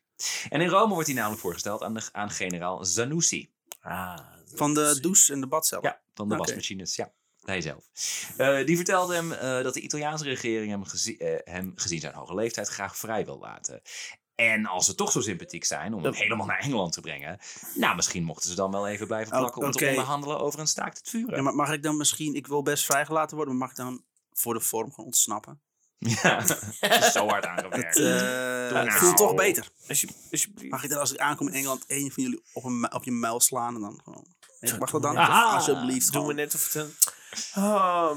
Speaker 2: En in Rome wordt hij namelijk voorgesteld aan, de, aan generaal Zanussi.
Speaker 3: Ah.
Speaker 1: [laughs] Van de douche en de badcel.
Speaker 2: Ja, van de
Speaker 1: Oké.
Speaker 2: wasmachines. Ja, hij zelf. Eh, die vertelde hem eh, dat de Italiaanse regering hem, gezi- eh, hem gezien zijn hoge leeftijd graag vrij wil laten. En als ze toch zo sympathiek zijn om hem
Speaker 3: Dat-
Speaker 2: helemaal naar Engeland te brengen, nou misschien mochten ze dan wel even blijven
Speaker 1: Oh,
Speaker 2: plakken om te
Speaker 1: oké.
Speaker 2: onderhandelen over een staakt het vuren.
Speaker 1: Ja, maar mag ik dan misschien, ik wil best vrijgelaten worden, maar mag ik dan voor de vorm gaan ontsnappen?
Speaker 2: [laughs] Ja, het is zo hard
Speaker 1: [laughs]
Speaker 2: aangewerkt.
Speaker 1: Eh,
Speaker 2: nou.
Speaker 1: het voelt toch beter.
Speaker 3: Alsje- Alsjeblieft.
Speaker 1: Mag ik dan als ik aankom in Engeland één van jullie op, een, mu- op je muil slaan en dan gewoon... Ik mag dat dan?
Speaker 2: Aha.
Speaker 1: Ah, Alsjeblieft.
Speaker 3: Ah, Doen
Speaker 1: gewoon.
Speaker 3: we net of het een... Ah,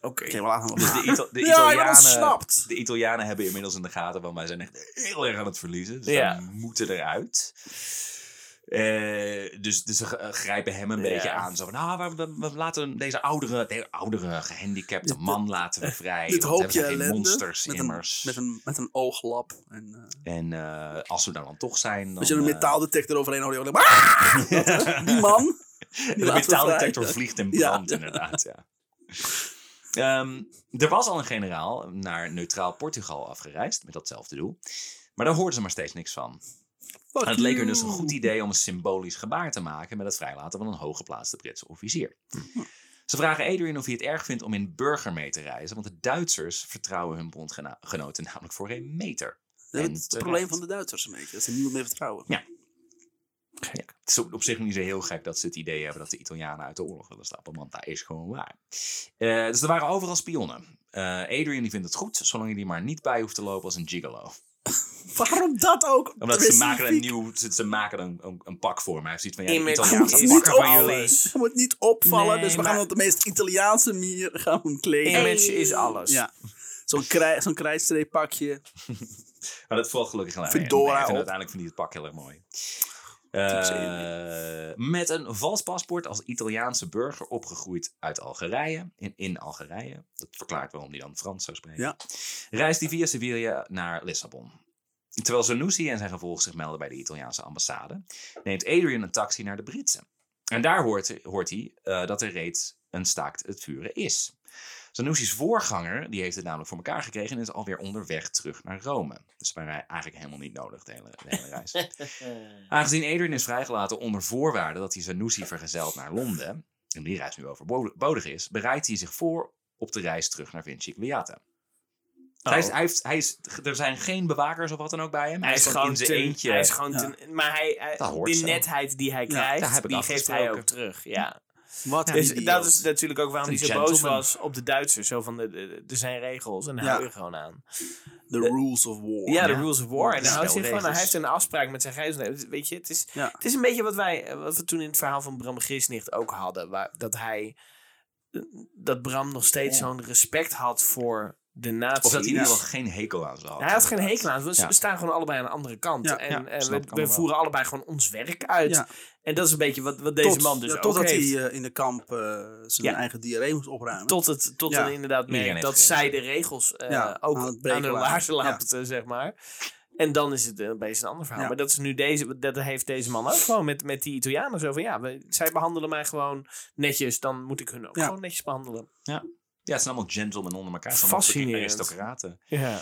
Speaker 3: Oké.
Speaker 1: Oké, we laten hem wel
Speaker 2: Dus de,
Speaker 1: gaan.
Speaker 2: Ita-
Speaker 1: [laughs]
Speaker 2: de,
Speaker 1: Ja, ik ben
Speaker 2: Italianen,
Speaker 1: ontsnapt.
Speaker 2: de Italianen hebben inmiddels in de gaten, want wij zijn echt heel erg aan het verliezen. Dus
Speaker 3: Ja.
Speaker 2: wij moeten eruit. Eh, dus, dus ze g- eh, grijpen hem een
Speaker 3: Ja.
Speaker 2: beetje aan. Zo van, nou, we, we- we laten deze oudere, de oudere gehandicapte man laten we vrij.
Speaker 1: Dit
Speaker 2: want we
Speaker 1: hoopje
Speaker 2: hebben geen
Speaker 1: ellende.
Speaker 2: monsters
Speaker 1: met, een,
Speaker 2: immers.
Speaker 1: met, een, met een ooglap. En, eh,
Speaker 2: En eh, als we daar dan toch zijn... Dan,
Speaker 1: als je een
Speaker 2: eh,
Speaker 1: metaaldetector overheen houdt, dan hoor je ook, "Ah!" Die man.
Speaker 2: De
Speaker 1: laten we
Speaker 2: metaaldetector
Speaker 1: vrij.
Speaker 2: vliegt
Speaker 1: [laughs]
Speaker 2: en
Speaker 1: Ja.
Speaker 2: brandt, inderdaad. Ja. Ehm, er was al een generaal naar neutraal Portugal afgereisd met datzelfde doel. Maar daar hoorden ze maar steeds niks van. En het leek er dus een goed idee om een symbolisch gebaar te maken met het vrijlaten van een hooggeplaatste Britse officier.
Speaker 1: Hm.
Speaker 2: Hm. Ze vragen Adrian of hij het erg vindt om in burger mee te reizen, want de Duitsers vertrouwen hun bondgenoten namelijk voor een meter.
Speaker 1: Dat
Speaker 2: En
Speaker 1: is het
Speaker 2: terecht.
Speaker 1: probleem van de Duitsers een beetje. Dat ze niemand meer vertrouwen.
Speaker 2: Ja. Het is op, op zich niet zo heel gek dat ze het idee hebben dat de Italianen uit de oorlog willen stappen, want dat is gewoon waar. Eh, dus er waren overal spionnen. Eh, Adrian die vindt het goed, zolang je die maar niet bij hoeft te lopen als een gigolo.
Speaker 1: Waarom dat ook?
Speaker 2: Omdat ze maken een
Speaker 1: Specifiek.
Speaker 2: nieuw, ze, ze maken een, een, een pak voor me. Hij ziet van ja,
Speaker 3: Image.
Speaker 1: Je moet
Speaker 2: Italiaanse
Speaker 3: Ze
Speaker 1: niet
Speaker 2: pakken van
Speaker 1: opvallen.
Speaker 2: jullie.
Speaker 1: Je moet niet opvallen,
Speaker 3: Nee,
Speaker 1: dus we
Speaker 3: maar-
Speaker 1: gaan op de meest Italiaanse manier gaan we hem kleden.
Speaker 3: Image is alles.
Speaker 1: Ja. Zo'n krij, zo'n krijtstreeppakje.
Speaker 2: Maar dat valt gelukkig aan.
Speaker 1: Fedora
Speaker 2: En ik vind
Speaker 1: op.
Speaker 2: Uiteindelijk vind hij het pak heel erg mooi.
Speaker 1: zie
Speaker 2: Eh, met een vals paspoort als Italiaanse burger opgegroeid uit Algerije. In, in Algerije. Dat verklaart waarom hij dan Frans zou spreken.
Speaker 1: Ja.
Speaker 2: Reist hij via Sevilla naar Lissabon. Terwijl Zanussi en zijn gevolg zich melden bij de Italiaanse ambassade, neemt Adrian een taxi naar de Britse. En daar hoort, hoort hij eh, dat er reeds een staakt het vuren is. Sanussi's voorganger die heeft het namelijk voor elkaar gekregen en is alweer onderweg terug naar Rome. Dus wij waren eigenlijk helemaal niet nodig de hele, de hele reis.
Speaker 3: Eh.
Speaker 2: Aangezien Adrian is vrijgelaten onder voorwaarde dat hij Sanussi vergezelt naar Londen, en die reis nu overbodig is, bereidt hij zich voor op de reis terug naar Vincigliata.
Speaker 3: Oh.
Speaker 2: Hij is, hij heeft, hij is, er zijn geen bewakers of wat dan ook bij hem.
Speaker 3: Hij is
Speaker 2: dan
Speaker 3: gewoon
Speaker 2: in zijn
Speaker 3: ten-
Speaker 2: eentje.
Speaker 3: Hij is gewoon
Speaker 1: Ja.
Speaker 3: ten- maar hij, hij-
Speaker 2: Dat hoort
Speaker 3: die
Speaker 2: zo.
Speaker 3: netheid die hij
Speaker 1: daar
Speaker 3: krijgt,
Speaker 2: heb ik
Speaker 3: die geeft hij
Speaker 2: afgesproken.
Speaker 3: ook terug. Ja.
Speaker 1: Wat
Speaker 3: dus
Speaker 1: een
Speaker 3: dat is
Speaker 1: idioot.
Speaker 3: natuurlijk ook waarom
Speaker 2: Een
Speaker 3: hij zo boos
Speaker 2: gentleman.
Speaker 3: was op de Duitsers. Zo van, de- de- er zijn regels en daar
Speaker 1: Ja.
Speaker 3: hou je gewoon aan.
Speaker 1: The rules of war.
Speaker 3: Ja, de
Speaker 2: eh, Ja.
Speaker 3: rules of war. En dan houdt hij
Speaker 2: Spelregels.
Speaker 3: gewoon, hij heeft een afspraak met zijn gijzelaar. Weet je, het is,
Speaker 1: Ja.
Speaker 3: het is een beetje wat wij, eh, wat we toen in het verhaal van Bram Grisnicht ook hadden. Waar, dat hij, eh, dat Bram nog steeds
Speaker 2: Ja.
Speaker 3: zo'n respect had voor de nazi's.
Speaker 2: Of dat hij in ieder geval geen hekel aan ze had.
Speaker 3: Hij had geen hekel aan. We
Speaker 2: Ja.
Speaker 3: staan gewoon allebei aan de andere kant.
Speaker 1: Ja,
Speaker 3: en
Speaker 2: ja,
Speaker 3: en
Speaker 2: snap
Speaker 3: we,
Speaker 2: ik
Speaker 3: we
Speaker 2: allemaal.
Speaker 3: voeren allebei gewoon ons werk uit.
Speaker 1: Ja.
Speaker 3: En dat is een beetje wat, wat deze
Speaker 1: Tot-
Speaker 3: man dus
Speaker 1: ja,
Speaker 3: ook
Speaker 1: Totdat hij
Speaker 3: heeft.
Speaker 1: eh, in de kamp eh, zijn
Speaker 3: Ja.
Speaker 1: eigen diarree moest opruimen.
Speaker 3: tot het, tot
Speaker 1: Ja.
Speaker 3: het inderdaad
Speaker 2: Iedereen
Speaker 3: merkt
Speaker 2: heeft
Speaker 3: dat
Speaker 2: grenzen.
Speaker 3: zij de regels eh,
Speaker 1: Ja,
Speaker 3: ook
Speaker 1: aan
Speaker 3: aan,
Speaker 1: het breken
Speaker 3: hun
Speaker 1: waren.
Speaker 3: laarzen
Speaker 1: Ja.
Speaker 3: lapten, zeg maar. En dan is het eh, opeens een ander verhaal.
Speaker 1: Ja.
Speaker 3: Maar dat is nu deze, dat heeft deze man ook gewoon met, met die Italianen zo van ja, we- zij behandelen mij gewoon netjes, dan moet ik hun ook
Speaker 1: Ja.
Speaker 3: gewoon netjes behandelen.
Speaker 2: Ja, het zijn allemaal gentlemen onder elkaar. Het zijn allemaal fucking
Speaker 3: Fascinerend.
Speaker 2: aristocraten.
Speaker 3: Ja.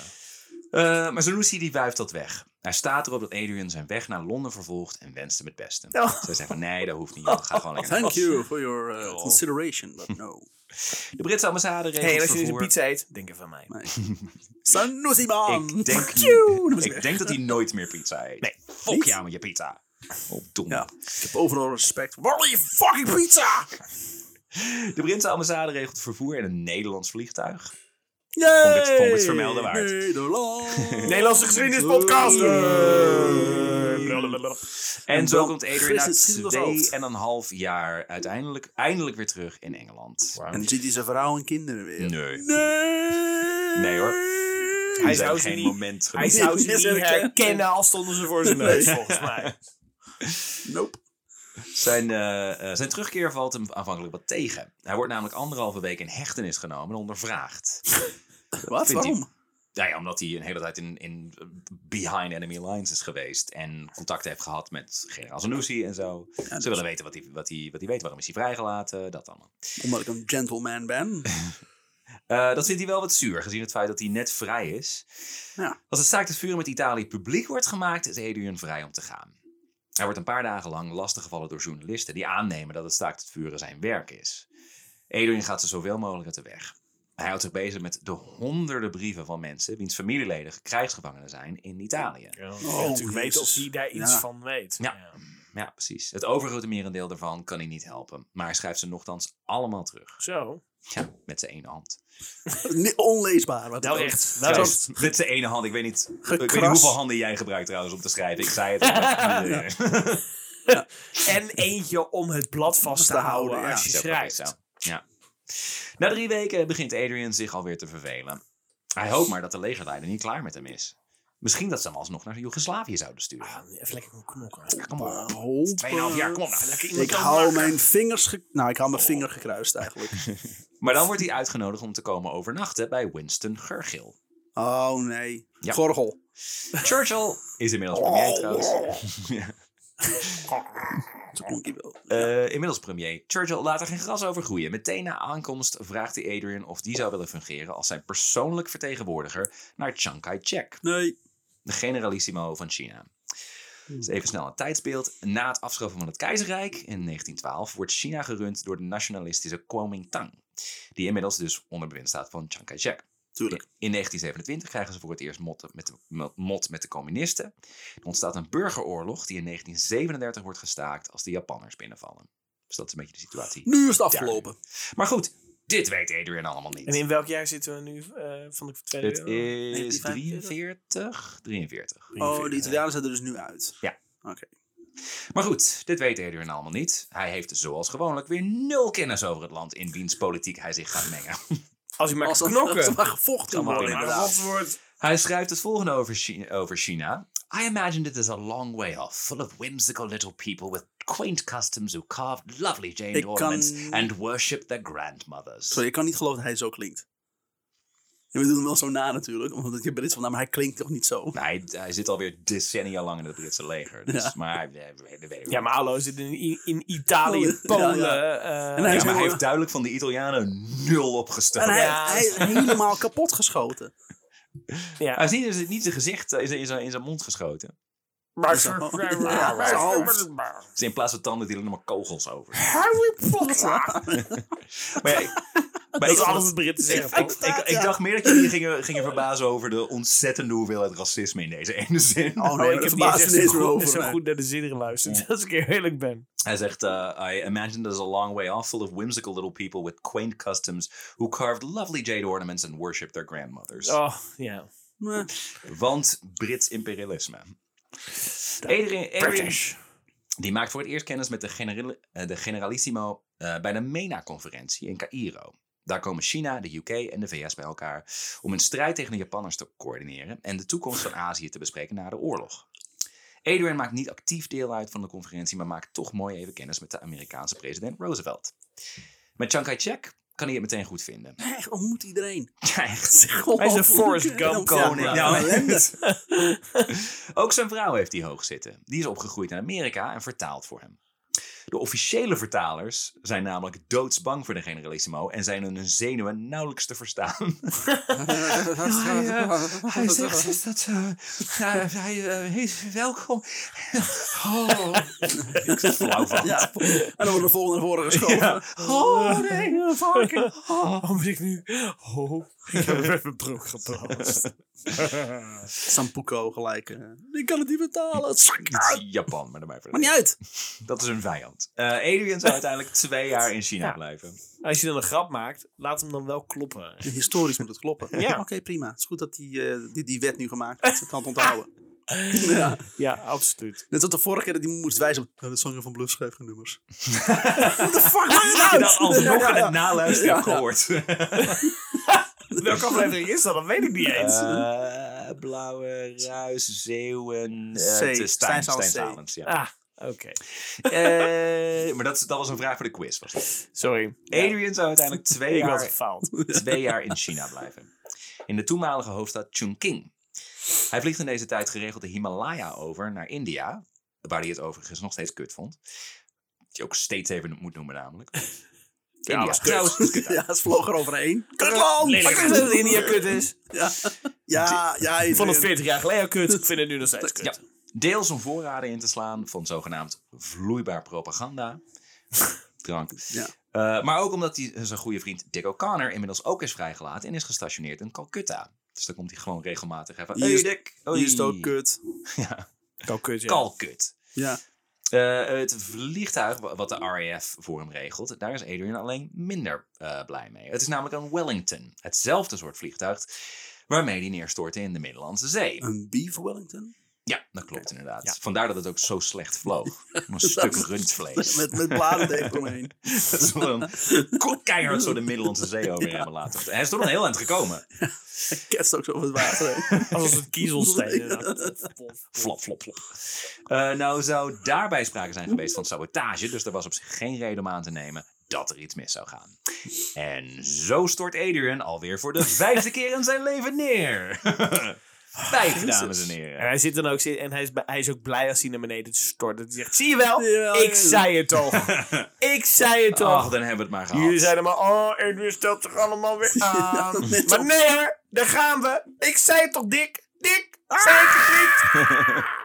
Speaker 2: Eh, maar Zanussi die wuift dat weg. Hij staat erop dat Adrian zijn weg naar Londen vervolgt en wenst hem het beste.
Speaker 3: Oh.
Speaker 2: Zij zeggen van nee, dat hoeft niet. joh. Ga
Speaker 3: [laughs]
Speaker 2: gewoon lekker.
Speaker 1: Thank
Speaker 2: naar [laughs]
Speaker 1: you for your eh,
Speaker 2: Joh.
Speaker 1: consideration, but
Speaker 2: [laughs]
Speaker 1: no.
Speaker 2: De Britse ambassade regelt
Speaker 3: Hey, en als je dus een
Speaker 2: vervoer.
Speaker 3: pizza eet, denk even aan mij.
Speaker 1: Sanusi man!
Speaker 2: Ik denk,
Speaker 1: Tjoe, dan was ik
Speaker 2: ik
Speaker 1: weg.
Speaker 2: denk dat
Speaker 1: [laughs]
Speaker 2: hij nooit meer pizza eet. Nee, fok
Speaker 1: Niet?
Speaker 2: jou met je pizza. Oh, dom.
Speaker 1: Ja, ik heb overal respect. Waar je fucking pizza?
Speaker 2: De Britse ambassade regelt vervoer en een Nederlands vliegtuig.
Speaker 1: Yay!
Speaker 2: het- vond het vermelden waard. [laughs]
Speaker 1: Nederland!
Speaker 3: Nederlandse geschiedenispodcast!
Speaker 1: Blablabla.
Speaker 2: En
Speaker 1: En
Speaker 2: zo
Speaker 1: dan
Speaker 2: komt Adrian
Speaker 1: gisteren
Speaker 2: na
Speaker 1: schieten we af.
Speaker 2: twee en een half jaar uiteindelijk eindelijk weer terug in Engeland.
Speaker 1: En dan ziet hij zijn vrouw en kinderen weer.
Speaker 2: Nee.
Speaker 1: Nee!
Speaker 2: Nee, hoor.
Speaker 3: Hij
Speaker 2: Er zijn
Speaker 3: zou ze
Speaker 2: geen
Speaker 3: niet-
Speaker 2: moment
Speaker 3: Hij
Speaker 2: genoeg.
Speaker 1: [laughs]
Speaker 3: zou ze
Speaker 1: Is
Speaker 3: niet
Speaker 1: er een-
Speaker 3: herkennen al stonden
Speaker 1: [laughs]
Speaker 3: ze voor zijn neus, volgens mij.
Speaker 1: Nope.
Speaker 2: Zijn, eh, eh, zijn terugkeer valt hem aanvankelijk wat tegen. Hij wordt namelijk anderhalve week in hechtenis genomen en ondervraagd.
Speaker 1: Wat?
Speaker 2: Vindt hij-
Speaker 1: Waarom?
Speaker 2: Nou ja, omdat hij een hele tijd in, in behind enemy lines is geweest. En contact heeft gehad met generaal Zanussi en zo.
Speaker 1: Dus-
Speaker 2: Ze willen weten wat hij, wat, hij, wat hij weet. Waarom is hij vrijgelaten? Dat allemaal.
Speaker 1: Omdat ik een gentleman ben. [laughs]
Speaker 2: Eh, dat vindt hij wel wat zuur, gezien het feit dat hij net vrij is.
Speaker 1: Ja.
Speaker 2: Als het staakt het vuren met Italië publiek wordt gemaakt, is Adrian vrij om te gaan. Hij wordt een paar dagen lang lastiggevallen door journalisten die aannemen dat het staakt het vuren zijn werk is. Adrian gaat ze zoveel mogelijk uit de weg. Hij houdt zich bezig met de honderden brieven van mensen wiens familieleden krijgsgevangenen zijn in Italië.
Speaker 1: Oh,
Speaker 3: natuurlijk weet of
Speaker 1: Jezus.
Speaker 3: hij daar iets
Speaker 1: Ja.
Speaker 3: van weet.
Speaker 2: Ja. Ja, precies. Het overgrote merendeel daarvan kan hij niet helpen, maar hij schrijft ze nogthans allemaal terug.
Speaker 3: Zo.
Speaker 2: Ja, met zijn ene hand.
Speaker 1: Nee, Onleesbaar. Wat
Speaker 3: Wel
Speaker 2: Nou,
Speaker 1: dan ook.
Speaker 3: echt. Wel echt.
Speaker 2: Trouwens, dit is de ene hand. Ik weet niet, ik weet niet
Speaker 1: Gekras.
Speaker 2: hoeveel handen jij gebruikt trouwens om te schrijven. Ik zei het al. Ja. [laughs]
Speaker 3: En eentje om het blad vast te houden
Speaker 1: Ja,
Speaker 3: als je
Speaker 2: Zo, zo.
Speaker 3: schrijft.
Speaker 2: Ja. Na drie weken begint Adrian zich alweer te vervelen. Hij hoopt maar dat de legerleider niet klaar met hem is. Misschien dat ze hem alsnog naar Joegoslavië zouden sturen.
Speaker 3: Ah, Even lekker een knokken.
Speaker 2: Kom
Speaker 1: ah.
Speaker 2: op.
Speaker 1: Hopen.
Speaker 2: Tweeënhalf jaar, kom op nou. Lekker iemand
Speaker 1: Ik hou mijn vingers... ge- Nou, ik hou mijn vinger gekruist eigenlijk.
Speaker 2: Maar dan wordt hij uitgenodigd om te komen overnachten bij Winston Churchill.
Speaker 1: Oh nee.
Speaker 2: Ja.
Speaker 1: Gorgel.
Speaker 2: Churchill is inmiddels premier trouwens.
Speaker 1: Zo klonk hij wel.
Speaker 2: Eh, inmiddels premier. Churchill laat er geen gras over groeien. Meteen na aankomst vraagt hij Adrian of die zou willen fungeren als zijn persoonlijk vertegenwoordiger naar Chiang Kai-shek,
Speaker 1: Nee.
Speaker 2: de generalissimo van China. Dus even snel een tijdsbeeld. Na het afschaffen van het keizerrijk in 1912 wordt China gerund door de nationalistische Kuomintang, die inmiddels dus onder bewind staat van Chiang Kai-shek.
Speaker 1: tuurlijk.
Speaker 2: In 1927 krijgen ze voor het eerst motten met de, mo- mot met de communisten. Er ontstaat een burgeroorlog die in 1937 wordt gestaakt als de Japanners binnenvallen. Dus dat is een beetje de situatie.
Speaker 1: Nu is het afgelopen.
Speaker 2: Maar goed, dit weet Adrian allemaal
Speaker 3: En
Speaker 2: niet.
Speaker 3: in welk jaar zitten we nu eh, van de tweede
Speaker 2: Het
Speaker 3: eeuw?
Speaker 2: is 43,
Speaker 1: 43?
Speaker 2: 43.
Speaker 1: Oh, de Italianen zijn er dus nu uit.
Speaker 2: Maar goed, dit weet Adrian allemaal niet. Hij heeft dus zoals gewoonlijk weer nul kennis over het land in wiens politiek hij zich gaat mengen.
Speaker 3: Als hij maar
Speaker 1: Als
Speaker 3: kan
Speaker 1: er
Speaker 3: knokken.
Speaker 1: als er maar gevochten kan worden,
Speaker 2: worden,
Speaker 1: inderdaad.
Speaker 3: wordt.
Speaker 2: Hij schrijft het volgende over Chi- over China. I imagined it as a long way off, full of whimsical little people with quaint customs who carved lovely jade
Speaker 1: Ik
Speaker 2: ornaments
Speaker 1: kan-
Speaker 2: and worshipped their grandmothers.
Speaker 1: Sorry, ik kan niet geloven dat hij zo klinkt. En we doen hem wel zo na natuurlijk, omdat je Brits van maar hij klinkt toch niet zo?
Speaker 2: Nou, hij, hij zit alweer decennia lang in het Britse leger. Dus,
Speaker 1: Ja.
Speaker 2: Maar hij- eh, dat weet ik
Speaker 3: Ja,
Speaker 2: niet.
Speaker 3: maar hallo, zit in, I- in Italië, Polen.
Speaker 1: Ja,
Speaker 3: eh,
Speaker 1: En hij-
Speaker 2: Ja, maar hij heeft duidelijk van de Italianen nul opgestoken.
Speaker 1: En hij,
Speaker 3: Ja.
Speaker 1: hij is helemaal kapot geschoten.
Speaker 3: ja.
Speaker 2: [laughs] Hij is niet, is niet zijn gezicht eh, is in zijn, in zijn mond geschoten.
Speaker 1: Zo. Ja, zijn hoofd.
Speaker 2: Dus in plaats van tanden die er nog maar kogels over.
Speaker 3: Harry
Speaker 1: [laughs]
Speaker 3: Potter.
Speaker 2: Maar ja, ik, maar
Speaker 3: Dat
Speaker 2: ik-
Speaker 3: is alles het Britten
Speaker 2: Ik,
Speaker 3: zeggen.
Speaker 2: ik, ik, ik dacht meer dat jullie gingen, gingen verbazen over de ontzettende hoeveelheid racisme in deze ene zin.
Speaker 1: Oh
Speaker 3: Oh,
Speaker 1: nee,
Speaker 3: ik
Speaker 1: dat
Speaker 3: heb niet
Speaker 1: verbaast
Speaker 3: echt
Speaker 1: me
Speaker 3: zo
Speaker 1: niet meer
Speaker 3: goed,
Speaker 1: over.
Speaker 3: zo
Speaker 1: nee.
Speaker 3: goed naar de zin geluisterd, [laughs] als ik heel eerlijk ben.
Speaker 2: Hij zegt, uh, I imagine there's a long way off, full of whimsical little people with quaint customs who carved lovely jade ornaments and worshipped their grandmothers.
Speaker 3: Oh, ja.
Speaker 1: Maar-
Speaker 2: Want Brits imperialisme. Adrian, Adrian- die maakt voor het eerst kennis met de, general, eh, de generalissimo eh, bij de MENA-conferentie in Cairo. Daar komen China, de UK en de VS bij elkaar om hun strijd tegen de Japanners te coördineren en de toekomst van Azië te bespreken na de oorlog. Adrian maakt niet actief deel uit van de conferentie, maar maakt toch mooi even kennis met de Amerikaanse president Roosevelt. Met Chiang Kai-shek kan hij het meteen goed vinden. [laughs]
Speaker 1: Echt, ontmoet iedereen.
Speaker 2: Ja, echt.
Speaker 3: Hij is een Forrest Gump koning.
Speaker 1: Ja,
Speaker 2: Ja,
Speaker 1: maar- ellende.
Speaker 3: [laughs]
Speaker 2: Ook zijn vrouw heeft hij hoog zitten. Die is opgegroeid in Amerika en vertaalt voor hem. De officiële vertalers zijn namelijk doodsbang voor de generalissimo en zijn hun zenuwen nauwelijks te verstaan. [laughs]
Speaker 3: eh,
Speaker 1: [laughs]
Speaker 2: is dat eh,
Speaker 3: [laughs]
Speaker 2: hij is welkom. Oh, ik zit flauw van.
Speaker 1: Ja, en dan wordt de volgende naar voren geschoven.
Speaker 2: Oh nee, fucking.
Speaker 3: Oh, moet ik nu... Oh, ik heb even mijn broek geplast.
Speaker 1: Sampuko gelijk. eh, ik kan het niet
Speaker 3: [laughs]
Speaker 1: betalen. Zak.
Speaker 2: Japan, maar daarbij
Speaker 1: Maakt niet uit.
Speaker 2: Dat is een vijand. Eh Adrian zou uiteindelijk twee jaar in China
Speaker 3: Ja.
Speaker 2: blijven.
Speaker 3: Als je dan een grap maakt, laat hem dan wel kloppen.
Speaker 1: Historisch moet het kloppen.
Speaker 3: Ja.
Speaker 1: Oké, prima. Het is goed dat die, eh, die, die wet nu gemaakt is. Ik kan het
Speaker 3: [laughs]
Speaker 1: onthouden. ja.
Speaker 3: Ja, absoluut.
Speaker 1: Net als de vorige keer dat die moest wijzen op ja, de zanger van Bluff schrijft geen nummers. What the fuck maakt het
Speaker 2: En
Speaker 1: uit?
Speaker 2: dat alsnog
Speaker 1: Ja,
Speaker 2: in
Speaker 1: ja.
Speaker 2: het naluisteren heb
Speaker 1: Ja, ja.
Speaker 2: gehoord.
Speaker 3: Welke aflevering is dat? Dat weet ik niet eens.
Speaker 2: Eh, blauwe ruis, zeeuwen, eh,
Speaker 1: C.
Speaker 2: het is
Speaker 1: Stijn
Speaker 2: Stijn,
Speaker 1: zal
Speaker 2: Stijn
Speaker 1: C.
Speaker 2: Salens, ja.
Speaker 3: Ah, oké.
Speaker 2: Eh, maar dat, is- dat was een vraag voor de quiz. Was het.
Speaker 3: Sorry.
Speaker 2: Adrian zou uiteindelijk twee
Speaker 3: Ik had
Speaker 2: jaar,
Speaker 3: gefaald.
Speaker 2: twee jaar in China blijven. In de toenmalige hoofdstad Chongqing. Hij vliegt in deze tijd geregeld de Himalaya over naar India. Waar hij het overigens nog steeds kut vond. Dat je ook steeds even moet noemen namelijk. India.
Speaker 3: alles kut.
Speaker 2: Trouwens, het is kut.
Speaker 1: Ja, het vloog er overheen. Kutland!
Speaker 3: Lelijk dat het India kut is.
Speaker 1: Ja, ja, ja.
Speaker 3: Ik vond het 40 jaar geleden kut. Ik vind het nu nog steeds kut.
Speaker 2: Ja. Deels om voorraden in te slaan van zogenaamd vloeibaar propaganda. Drank.
Speaker 1: Ja.
Speaker 2: Eh, maar ook omdat hij zijn goede vriend Dick O'Connor inmiddels ook is vrijgelaten en is gestationeerd in Calcutta. Dus dan komt hij gewoon regelmatig even.
Speaker 1: Hier
Speaker 2: "Hey,
Speaker 1: is-
Speaker 2: Dick.
Speaker 1: Hier
Speaker 2: Hoi."
Speaker 1: is het ook kut.
Speaker 2: Ja.
Speaker 3: Kan kut, ja.
Speaker 2: Calcut.
Speaker 1: Ja.
Speaker 2: Eh, het vliegtuig wa- wat de RAF voor hem regelt, daar is Adrian alleen minder eh, blij mee. Het is namelijk een Wellington, hetzelfde soort vliegtuig waarmee hij neerstortte in de Middellandse Zee.
Speaker 1: Een beef Wellington?
Speaker 2: Ja, dat klopt inderdaad.
Speaker 3: Ja.
Speaker 2: Vandaar dat het ook zo slecht vloog. Een stuk rundvlees.
Speaker 1: Met, met bladerdeeg omheen.
Speaker 2: [laughs] Dat is gewoon keihard zo de Middellandse Zee over hebben laten. Hij is toch een heel eind gekomen.
Speaker 1: Ketst ook zo over het water heen.
Speaker 3: Als een kiezelsteen. [laughs] inderdaad.
Speaker 2: Flop, flop, flop. Eh, nou zou daarbij sprake zijn geweest van sabotage. Dus er was op zich geen reden om aan te nemen dat er iets mis zou gaan. En zo stort Adrian alweer voor de vijfde
Speaker 1: [laughs]
Speaker 2: keer in zijn leven neer. [laughs] Vijf, dames en
Speaker 3: En
Speaker 2: heren.
Speaker 1: [laughs]
Speaker 3: hij zit dan ook zit- en hij is, bij- hij is ook blij als hij naar beneden stort. Dat hij zegt: Zie je wel?
Speaker 1: Ja,
Speaker 3: ik
Speaker 1: ja.
Speaker 3: zei het toch. [laughs] ik zei het
Speaker 2: Ach,
Speaker 3: toch.
Speaker 2: dan hebben we het maar gehad.
Speaker 3: Jullie zeiden maar: Oh, Edwin stelt zich allemaal [laughs] weer aan.
Speaker 1: net
Speaker 3: maar
Speaker 1: op.
Speaker 3: nee Ah! hoor, daar gaan we. Ik zei het toch, Dick? Dick, zei ik het niet?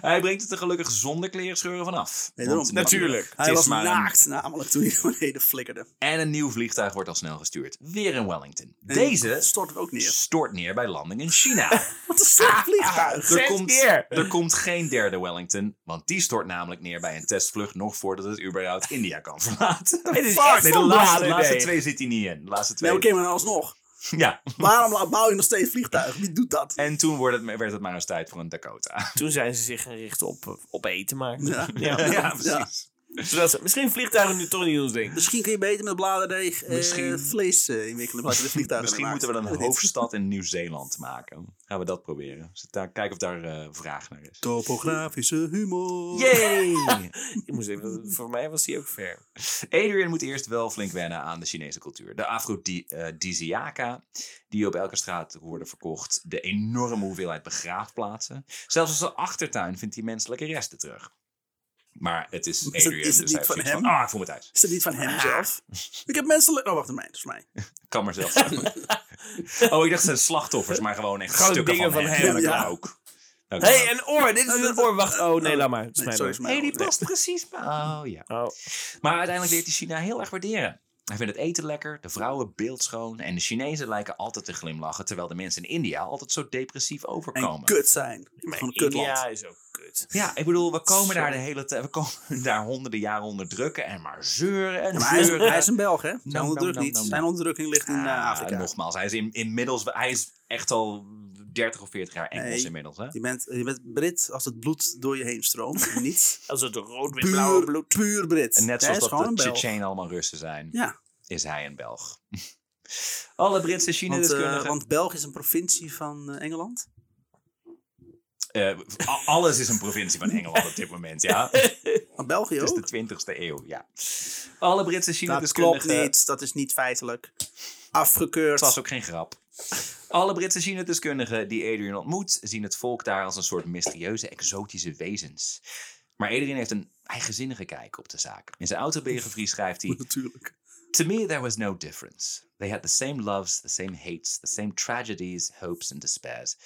Speaker 2: Hij brengt het er gelukkig zonder klerenscheuren vanaf.
Speaker 1: Nee,
Speaker 2: Want-
Speaker 1: daarom.
Speaker 3: Natuurlijk.
Speaker 1: Hij
Speaker 2: Het is
Speaker 1: was
Speaker 2: maar een-
Speaker 1: naakt, namelijk toen hij naar beneden flikkerde.
Speaker 2: En een nieuw vliegtuig wordt al snel gestuurd. Weer in Wellington.
Speaker 1: En
Speaker 2: Deze
Speaker 1: stort ook neer.
Speaker 2: stort neer bij landing in China.
Speaker 1: Wat een
Speaker 2: Ah,
Speaker 1: soort vliegtuig.
Speaker 2: Er
Speaker 3: Zes
Speaker 2: komt,
Speaker 3: keer.
Speaker 2: er komt geen derde Wellington, want die stort namelijk neer bij een testvlucht nog voordat het überhaupt India kan verlaten.
Speaker 3: [laughs] Het is
Speaker 2: Fuck,
Speaker 3: echt
Speaker 2: nee, de
Speaker 3: van
Speaker 2: laatste,
Speaker 3: bladen,
Speaker 2: de laatste
Speaker 3: nee.
Speaker 2: twee zit hij niet in. De laatste twee.
Speaker 1: Nee, oké, maar dan alsnog.
Speaker 2: Ja.
Speaker 1: Waarom la- bouw je nog steeds vliegtuigen? Wie doet dat?
Speaker 2: En toen werd het, werd het maar eens tijd voor een Dakota.
Speaker 3: Toen zijn ze zich gaan richten op, op eten maken.
Speaker 1: Ja.
Speaker 2: [laughs] Ja,
Speaker 3: Ja.
Speaker 2: precies.
Speaker 3: Zodat ze- misschien vliegtuigen nu toch niet ons ding.
Speaker 1: Misschien kun je beter met bladerdeeg eh,
Speaker 2: Misschien-
Speaker 1: vlees eh, inwikkelen. in plaats van de vliegtuigen
Speaker 2: Misschien
Speaker 1: ernaast.
Speaker 2: moeten we dan
Speaker 1: Ik
Speaker 2: een
Speaker 1: weet niet.
Speaker 2: hoofdstad in Nieuw-Zeeland maken. Gaan we dat proberen. Zit daar, kijken of daar eh, vraag naar is.
Speaker 1: Topografische humor.
Speaker 2: Yay!
Speaker 3: Ik moest even, voor mij was die ook ver.
Speaker 2: Adrian moet eerst wel flink wennen aan de Chinese cultuur. De afrodisiaka, die op elke straat worden verkocht. De enorme hoeveelheid begraafplaatsen. Zelfs als een achtertuin vindt hij menselijke resten terug. Maar het is Adrian,
Speaker 1: het- is het
Speaker 2: dus hij
Speaker 1: niet van
Speaker 2: heeft zoiets
Speaker 1: hem?
Speaker 2: ah, ik voel me thuis.
Speaker 1: Is dat niet van hem
Speaker 2: Ah.
Speaker 1: zelf? Ik heb menselijk... Oh, wacht een moment, volgens mij.
Speaker 2: Ik kan maar zelf
Speaker 1: [laughs]
Speaker 2: zijn. Oh, ik dacht ze zijn slachtoffers, maar gewoon echt
Speaker 3: Gewoon
Speaker 2: stukken
Speaker 3: dingen
Speaker 2: van,
Speaker 3: van
Speaker 2: hem.
Speaker 3: hem,
Speaker 2: Ja, dat
Speaker 1: ja.
Speaker 2: kan ook. Nou, Dat kan
Speaker 3: Hé,
Speaker 2: ook.
Speaker 3: hey, een oor! Dit is een oor! Wacht, oh nee, laat maar. Het is
Speaker 1: Nee,
Speaker 3: mijn
Speaker 1: sorry,
Speaker 3: oor.
Speaker 1: is mij
Speaker 2: Hé, die
Speaker 1: wel-
Speaker 2: past precies bij. Oh ja.
Speaker 3: Oh.
Speaker 2: Maar uiteindelijk leert hij China heel erg waarderen. Hij vindt het eten lekker, de vrouwen beeldschoon en de Chinezen lijken altijd te glimlachen, terwijl de mensen in India altijd zo depressief
Speaker 1: nee. En
Speaker 2: overkomen.
Speaker 1: kut zijn. Gewoon een kutland.
Speaker 3: India is ook kut.
Speaker 2: Ja, ik bedoel, we komen
Speaker 3: Zo.
Speaker 2: daar de hele tijd, we komen [laughs] daar honderden jaren onderdrukken en maar zeuren en
Speaker 1: Ja, maar hij, is,
Speaker 2: zeuren.
Speaker 1: hij is een Belg, hè?
Speaker 2: Nou,
Speaker 1: Zijn onderdruk
Speaker 2: nou, nou,
Speaker 1: niet.
Speaker 2: nou.
Speaker 1: Zijn onderdrukking ligt in eh,
Speaker 2: Ah,
Speaker 1: Afrika.
Speaker 2: Nogmaals, hij is in, inmiddels, hij is echt al 30 of 40 jaar Engels
Speaker 1: Nee.
Speaker 2: inmiddels. Hè?
Speaker 1: Je bent, je bent Brit als het bloed door je heen
Speaker 2: [laughs]
Speaker 1: stroomt. Niet
Speaker 3: Als het rood met blauw
Speaker 1: puur,
Speaker 3: bloed.
Speaker 1: puur Brit.
Speaker 2: En
Speaker 1: Hij
Speaker 2: net zoals
Speaker 1: is
Speaker 2: dat
Speaker 1: gewoon
Speaker 2: de
Speaker 1: een Belg.
Speaker 2: Tsjetsjenen allemaal Russen zijn,
Speaker 1: Ja,
Speaker 2: is hij een Belg. [laughs] Alle Britse
Speaker 1: want, eh,
Speaker 2: China-deskundigen
Speaker 1: want België is een provincie van eh, Engeland.
Speaker 2: Eh, a- alles is een provincie van Engeland op dit moment, ja.
Speaker 1: [laughs] Maar België
Speaker 2: Het is
Speaker 1: ook.
Speaker 2: de 20ste eeuw, ja. Alle
Speaker 1: Dat
Speaker 2: Britse
Speaker 1: klopt
Speaker 2: China-deskundigen...
Speaker 1: niet. Dat is niet feitelijk. Afgekeurd.
Speaker 2: Het was ook geen grap. Alle Britse China-deskundigen die Adrian ontmoet... zien het volk daar als een soort mysterieuze, exotische wezens. Maar Adrian heeft een eigenzinnige kijk op de zaak. In zijn autobiografie
Speaker 1: [laughs]
Speaker 2: schrijft hij...
Speaker 1: Natuurlijk.
Speaker 2: To me, there was no difference. They had the same loves, the same hates, the same tragedies, hopes, and despairs.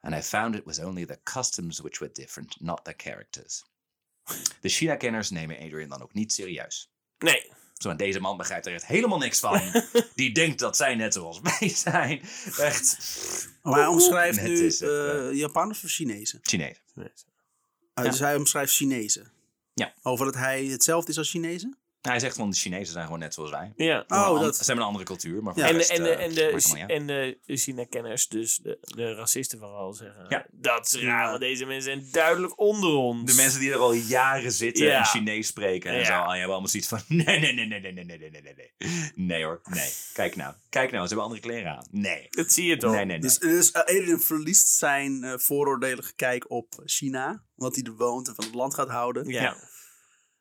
Speaker 2: And I found it was only their customs which were different, not their characters. De China-kenners nemen Adrian dan ook niet serieus.
Speaker 3: Nee.
Speaker 2: Zo, en deze man begrijpt er echt helemaal niks van. [laughs] Die denkt dat zij net zoals wij zijn. Echt
Speaker 1: Maar hij omschrijft
Speaker 2: Net
Speaker 1: nu
Speaker 2: is het, eh.
Speaker 1: eh, Japanners of Chinezen?
Speaker 2: Chinees.
Speaker 1: Ah,
Speaker 2: Ja.
Speaker 1: Dus hij omschrijft Chinezen.
Speaker 2: Ja.
Speaker 1: Over dat hij hetzelfde is als Chinezen?
Speaker 2: Hij zegt van de Chinezen zijn gewoon net zoals wij.
Speaker 3: Ja.
Speaker 1: Oh,
Speaker 2: Gewoon an-
Speaker 1: dat-
Speaker 2: Ze hebben een andere cultuur, maar voor
Speaker 1: Ja.
Speaker 2: de
Speaker 3: en, de,
Speaker 2: rest,
Speaker 3: en, de,
Speaker 2: eh, maakt
Speaker 3: en, de,
Speaker 2: het allemaal niet uit.
Speaker 3: en de China-kenners, dus de, de racisten vooral, zeggen...
Speaker 2: Ja.
Speaker 3: Dat is raar, want deze mensen zijn duidelijk onder ons.
Speaker 2: De mensen die er al jaren zitten
Speaker 3: Ja.
Speaker 2: en Chinees spreken en
Speaker 3: Ja.
Speaker 2: zo. En je hebt allemaal zoiets van, [laughs] nee, nee, nee, nee, nee, nee, nee, nee, nee, nee, nee. Nee hoor, nee. Kijk nou, kijk nou, ze hebben andere kleren aan. Nee.
Speaker 3: Dat zie je toch?
Speaker 2: Nee, nee, nee.
Speaker 1: Dus, dus eh, Adrian verliest zijn eh, vooroordelige kijk op China. Omdat hij er woont en van het land gaat houden.
Speaker 3: Ja.
Speaker 2: Ja.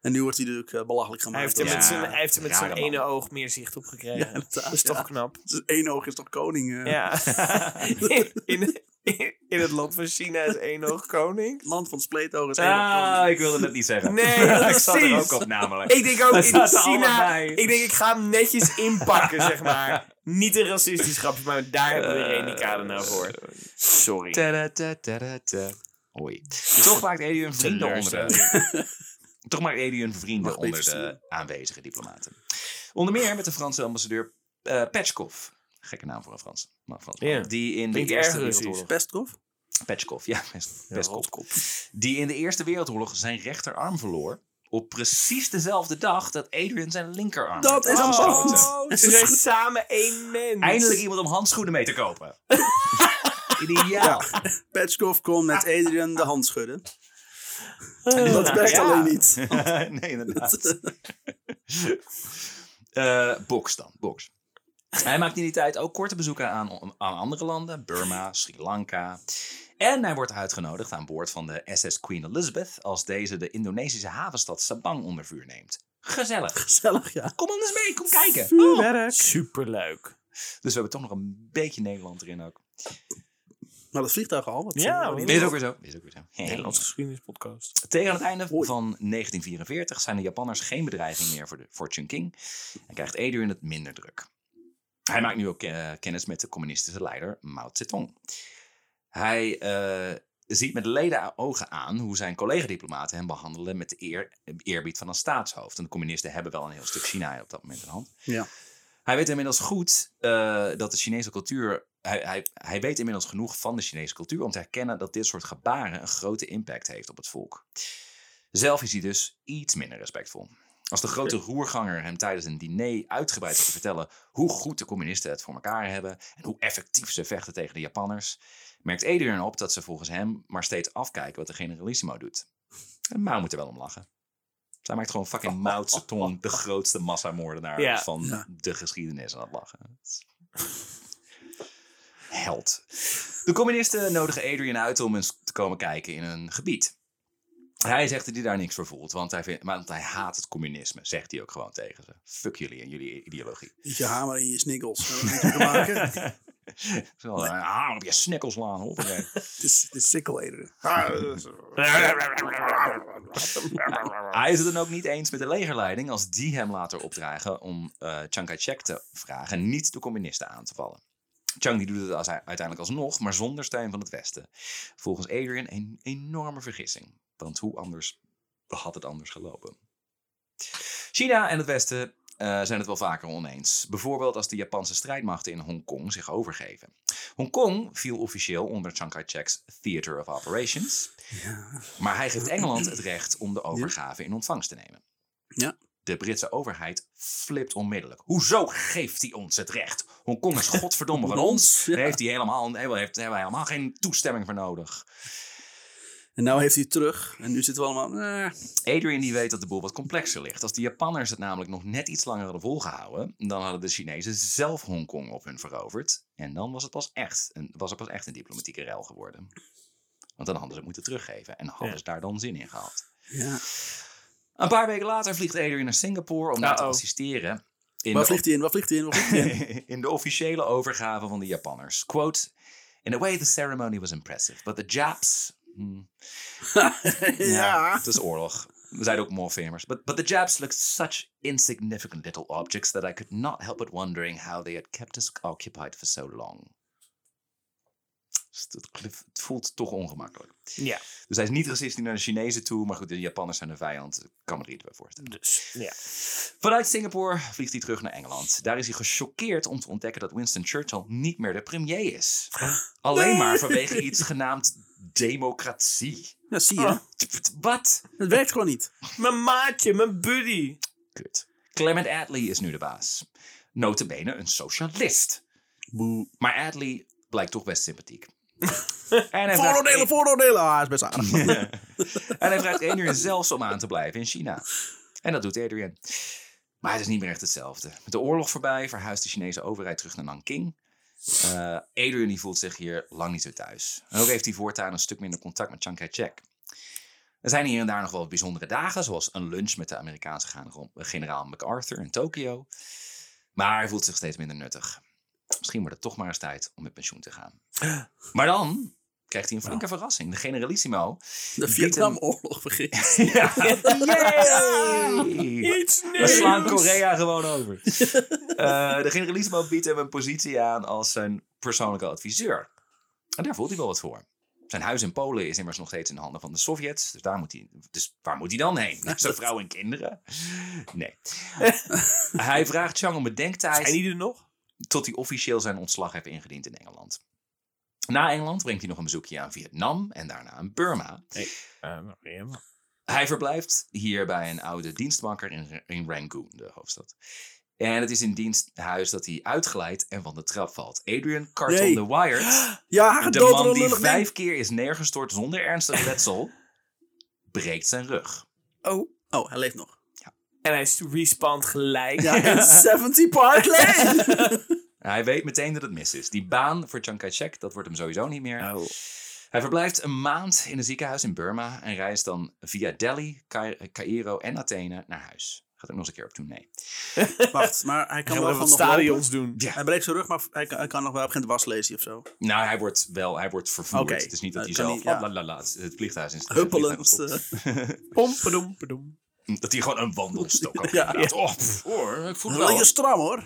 Speaker 1: En nu wordt hij natuurlijk eh, belachelijk
Speaker 3: Hij
Speaker 1: gemaakt.
Speaker 3: heeft er
Speaker 2: Ja,
Speaker 3: met zijn, hij heeft er met zijn
Speaker 2: rare man.
Speaker 3: ene oog meer zicht op gekregen.
Speaker 1: Ja, inderdaad,
Speaker 3: dat is
Speaker 1: ja.
Speaker 3: toch knap.
Speaker 1: Dus één oog is toch koning? eh?
Speaker 3: Ja.
Speaker 2: [laughs]
Speaker 3: in, in, in het land van China is één oog koning.
Speaker 1: Het land van spleetoog is één oog koning.
Speaker 2: Ah, ik wilde het niet zeggen.
Speaker 3: Nee,
Speaker 2: [laughs] ik zat er
Speaker 3: precies.
Speaker 2: ook op namelijk.
Speaker 3: Ik denk ook
Speaker 2: Dat
Speaker 3: in
Speaker 2: staat er
Speaker 3: China.
Speaker 2: allebei.
Speaker 3: Ik denk, ik ga hem netjes inpakken, zeg maar. Niet een racistisch grapje, maar daar hebben we Reni Kader nou voor. Sorry.
Speaker 2: Ta-da-ta-ta-ta. Hoi. Toch maakt Adrian vrienden onder de... [laughs] Toch maakt Adrian vrienden
Speaker 1: Mag ik
Speaker 2: onder
Speaker 1: even
Speaker 2: de aanwezige diplomaten. Onder meer met de Franse ambassadeur eh Petschkoff. Gekke naam voor een Frans. Maar Frans man.
Speaker 3: Ja.
Speaker 2: Die in de
Speaker 3: Klinkt
Speaker 2: Eerste
Speaker 3: erg Russisch.
Speaker 2: Wereldoorlog...
Speaker 1: Pestkov?
Speaker 2: Petschkoff, ja. Pes- Pestkov.
Speaker 3: rotkop.
Speaker 2: Die in de Eerste Wereldoorlog zijn rechterarm verloor. Op precies dezelfde dag dat Adrian zijn linkerarm
Speaker 1: Dat
Speaker 2: werd
Speaker 1: is
Speaker 2: afgeschoten.
Speaker 1: ambacht.
Speaker 3: Oh, ze zijn samen één mens.
Speaker 2: Eindelijk iemand om handschoenen mee te kopen. Ideaal.
Speaker 1: Petschkoff kon met Adrian de hand schudden.
Speaker 3: Eh,
Speaker 1: Dat werkt
Speaker 2: [laughs] Ja.
Speaker 1: alleen niet.
Speaker 2: [laughs] nee,
Speaker 1: [laughs]
Speaker 2: inderdaad. [laughs] Eh box dan, box. Hij maakt in die tijd ook korte bezoeken aan, aan andere landen. Burma, Sri Lanka. En hij wordt uitgenodigd aan boord van de SS Queen Elizabeth... als deze de Indonesische havenstad Sabang onder vuur neemt. Gezellig.
Speaker 1: Gezellig, ja.
Speaker 2: Kom anders mee, kom kijken.
Speaker 3: Superleuk.
Speaker 2: Dus we hebben toch nog een beetje Nederland erin ook.
Speaker 1: Maar dat vliegtuig al. Wat,
Speaker 3: Ja,
Speaker 1: eh,
Speaker 3: wat
Speaker 1: wat-
Speaker 2: Dit is ook weer zo. Dit is ook weer zo.
Speaker 3: Nederlandse geschiedenispodcast.
Speaker 2: Tegen het einde
Speaker 1: Oei.
Speaker 2: van 1944 zijn de Japanners geen bedreiging meer voor, de, voor Chungking en krijgt Adrian het minder druk. Hij maakt nu ook eh, kennis met de communistische leider Mao Zedong. Hij eh, ziet met leden ogen aan hoe zijn collega-diplomaten hem behandelen met de eer, eerbied van een staatshoofd. En de communisten hebben wel een heel stuk China op dat moment in hand.
Speaker 1: Ja.
Speaker 2: Hij weet inmiddels goed eh, dat de Chinese cultuur. Hij, hij, hij weet inmiddels genoeg van de Chinese cultuur om te herkennen dat dit soort gebaren een grote impact heeft op het volk. Zelf is hij dus iets minder respectvol. Als de grote roerganger hem tijdens een diner uitgebreid zit te vertellen hoe goed de communisten het voor elkaar hebben en hoe effectief ze vechten tegen de Japanners, merkt Adrian op dat ze volgens hem maar steeds afkijken wat de generalissimo doet. En Mao moet er wel om lachen. Zij maakt gewoon fucking Mao Zedong de grootste massamoordenaar
Speaker 3: Ja.
Speaker 2: van
Speaker 1: Ja.
Speaker 2: de geschiedenis aan het lachen. Het is- Held. De communisten nodigen Adrian uit om eens te komen kijken in een gebied. Hij zegt dat hij daar niks voor voelt, want hij, vindt, want hij haat het communisme, zegt hij ook gewoon tegen ze. Fuck jullie en jullie ideologie.
Speaker 1: Eet je hamer in je snikkels. Dat heeft niks mee te
Speaker 2: [laughs]
Speaker 1: maken. Het
Speaker 2: Zo, een hamer op je snikkels slaan, hoor.
Speaker 1: [laughs] is, het is sikkel eten.
Speaker 2: Hij is het dan ook niet eens met de legerleiding als die hem later opdragen om eh Chiang Kai-shek te vragen niet de communisten aan te vallen. Chiang die doet het als, uiteindelijk alsnog, maar zonder steun van het Westen. Volgens Adrian een enorme vergissing, want hoe anders had het anders gelopen? China en het Westen eh, zijn het wel vaker oneens. Bijvoorbeeld als de Japanse strijdmachten in Hongkong zich overgeven. Hongkong viel officieel onder Chiang Kai-shek's Theater of Operations. Maar hij geeft Engeland
Speaker 1: [clears throat]
Speaker 2: het recht om de overgave in ontvangst te nemen.
Speaker 1: Ja.
Speaker 2: De Britse overheid flipt onmiddellijk. Hoezo geeft hij ons het recht? Hongkong
Speaker 1: [laughs]
Speaker 2: is godverdomme van
Speaker 1: Van ons,
Speaker 2: ons.
Speaker 1: ja.
Speaker 2: Daar heeft hij helemaal, nee, daar heeft, daar hebben wij helemaal geen toestemming voor nodig.
Speaker 1: En nou heeft hij het terug. En nu zitten we allemaal... eh,
Speaker 2: Adrian die weet dat de boel wat complexer ligt. Als de Japanners het namelijk nog net iets langer hadden volgehouden, dan hadden de Chinezen zelf Hongkong op hun veroverd. En dan was het pas echt een, was het pas echt een diplomatieke rel geworden. Want dan hadden ze het moeten teruggeven en hadden
Speaker 3: Ja.
Speaker 2: ze daar dan zin in gehad.
Speaker 1: ja.
Speaker 2: Een paar weken later vliegt Adrian naar Singapore om daar te
Speaker 3: Uh-oh.
Speaker 2: assisteren. In
Speaker 1: Waar
Speaker 2: de,
Speaker 1: vliegt hij in? Waar vliegt hij in? Waar vliegt hij in?
Speaker 2: [laughs] in de officiële overgave van de Japanners. Quote, in a way the ceremony was impressive, but the Japs... Hmm,
Speaker 1: ja.
Speaker 2: Het is oorlog. We zijn ook morfemers. But, but the Japs looked such insignificant little objects that I could not help but wondering how they had kept us occupied for so long. Dus dat kl- Het voelt toch ongemakkelijk.
Speaker 3: Ja,
Speaker 2: Dus hij is niet racistisch naar de Chinezen toe, maar goed, de Japanners zijn een vijand. Ik kan me er iets bij voorstellen.
Speaker 3: dus. Ja.
Speaker 2: Vanuit Singapore vliegt hij terug naar Engeland. Daar is hij gechoqueerd om te ontdekken dat Winston Churchill niet meer de premier is. Alleen maar vanwege iets genaamd democratie.
Speaker 1: Ja, zie
Speaker 2: Oh.
Speaker 1: je.
Speaker 2: Wat?
Speaker 1: Het werkt gewoon niet.
Speaker 3: Mijn maatje, mijn buddy.
Speaker 2: Kut. Clement Attlee is nu de baas. Notabene een socialist.
Speaker 1: Boe.
Speaker 2: Maar Attlee blijkt toch best sympathiek. en hij
Speaker 1: Vooroordelen, [laughs] vooroordelen. Ah, is best aardig.
Speaker 2: [laughs] En hij vraagt Adrian zelfs om aan te blijven in China. En dat doet Adrian. Maar het is niet meer echt hetzelfde. Met de oorlog voorbij verhuist de Chinese overheid terug naar Nanking. Eh, Adrian die voelt zich hier lang niet zo thuis. En ook heeft hij voortaan een stuk minder contact met Chiang Kai-shek. Er zijn hier en daar nog wel bijzondere dagen, zoals een lunch met de Amerikaanse gen- generaal MacArthur in Tokio. Maar hij voelt zich steeds minder nuttig. Misschien wordt het toch maar eens tijd om met pensioen te gaan. Maar dan krijgt hij een flinke verrassing. De generalissimo
Speaker 1: De Vietnamoorlog begint.
Speaker 2: ja.
Speaker 3: Iets
Speaker 2: We
Speaker 3: nieuws.
Speaker 2: slaan Korea gewoon over. Eh, de generalissimo biedt hem een positie aan als zijn persoonlijke adviseur. En daar voelt hij wel wat voor. Zijn huis in Polen is immers nog steeds in de handen van de Sovjets. Dus, daar moet hij, dus waar moet hij dan heen? Naar zijn vrouw en kinderen? Nee. [laughs] hij vraagt Chang om bedenktijd
Speaker 3: Zijn die er nog?
Speaker 2: tot hij officieel zijn ontslag heeft ingediend in Engeland. Na Engeland brengt hij nog een bezoekje aan Vietnam en daarna aan Burma. Hij verblijft hier bij een oude dienstbanker in, in Rangoon, de hoofdstad. En het is in diensthuis dat hij uitglijdt en van de trap valt. Adrian Carton
Speaker 1: Nee.
Speaker 2: de Wired,
Speaker 1: Ja, hij gaat
Speaker 2: de
Speaker 1: dood door
Speaker 2: man
Speaker 1: een
Speaker 2: die
Speaker 1: lullig ding.
Speaker 2: vijf keer is neergestort zonder ernstig letsel, breekt zijn rug.
Speaker 3: Oh.
Speaker 1: Oh, hij leeft nog.
Speaker 3: En hij is respawnt gelijk. [laughs]
Speaker 1: Ja, [laughs] in 70 Park Lane.
Speaker 2: Hij weet meteen dat het mis is. Die baan voor Chiang Kai-shek, dat wordt hem sowieso niet meer.
Speaker 1: Nou.
Speaker 3: Oh.
Speaker 2: Hij verblijft een maand in een ziekenhuis in Burma en reist dan via Delhi, Cai- Cairo en Athene naar huis. Gaat ook nog eens een keer op tournee.
Speaker 1: Wacht, maar hij kan
Speaker 3: Gaan we
Speaker 1: wel
Speaker 3: even
Speaker 1: van
Speaker 3: wat
Speaker 1: nog
Speaker 3: stadions
Speaker 1: lopen.
Speaker 3: doen.
Speaker 2: Ja.
Speaker 1: Hij breekt zijn rug, maar hij kan, hij kan nog wel op geen waslezen of zo.
Speaker 2: Nou, hij wordt wel, hij wordt vervoerd.
Speaker 1: Oké.
Speaker 2: Het is niet dat hij
Speaker 1: Nou, kan
Speaker 2: zelf,
Speaker 1: hij- ja.
Speaker 2: la, la, la, het vliegtuig is... het
Speaker 1: Huppelend.
Speaker 2: vliegtuig is op.
Speaker 1: eh,
Speaker 3: Pom, padoem,
Speaker 2: [laughs]
Speaker 3: padoem.
Speaker 2: Dat hij gewoon een
Speaker 1: [laughs]
Speaker 2: wandelstok had.
Speaker 1: Ja.
Speaker 2: gemaakt. Oh, pff, hoor, ik voel het
Speaker 1: Dat
Speaker 2: wel.
Speaker 1: is eh, stram hoor.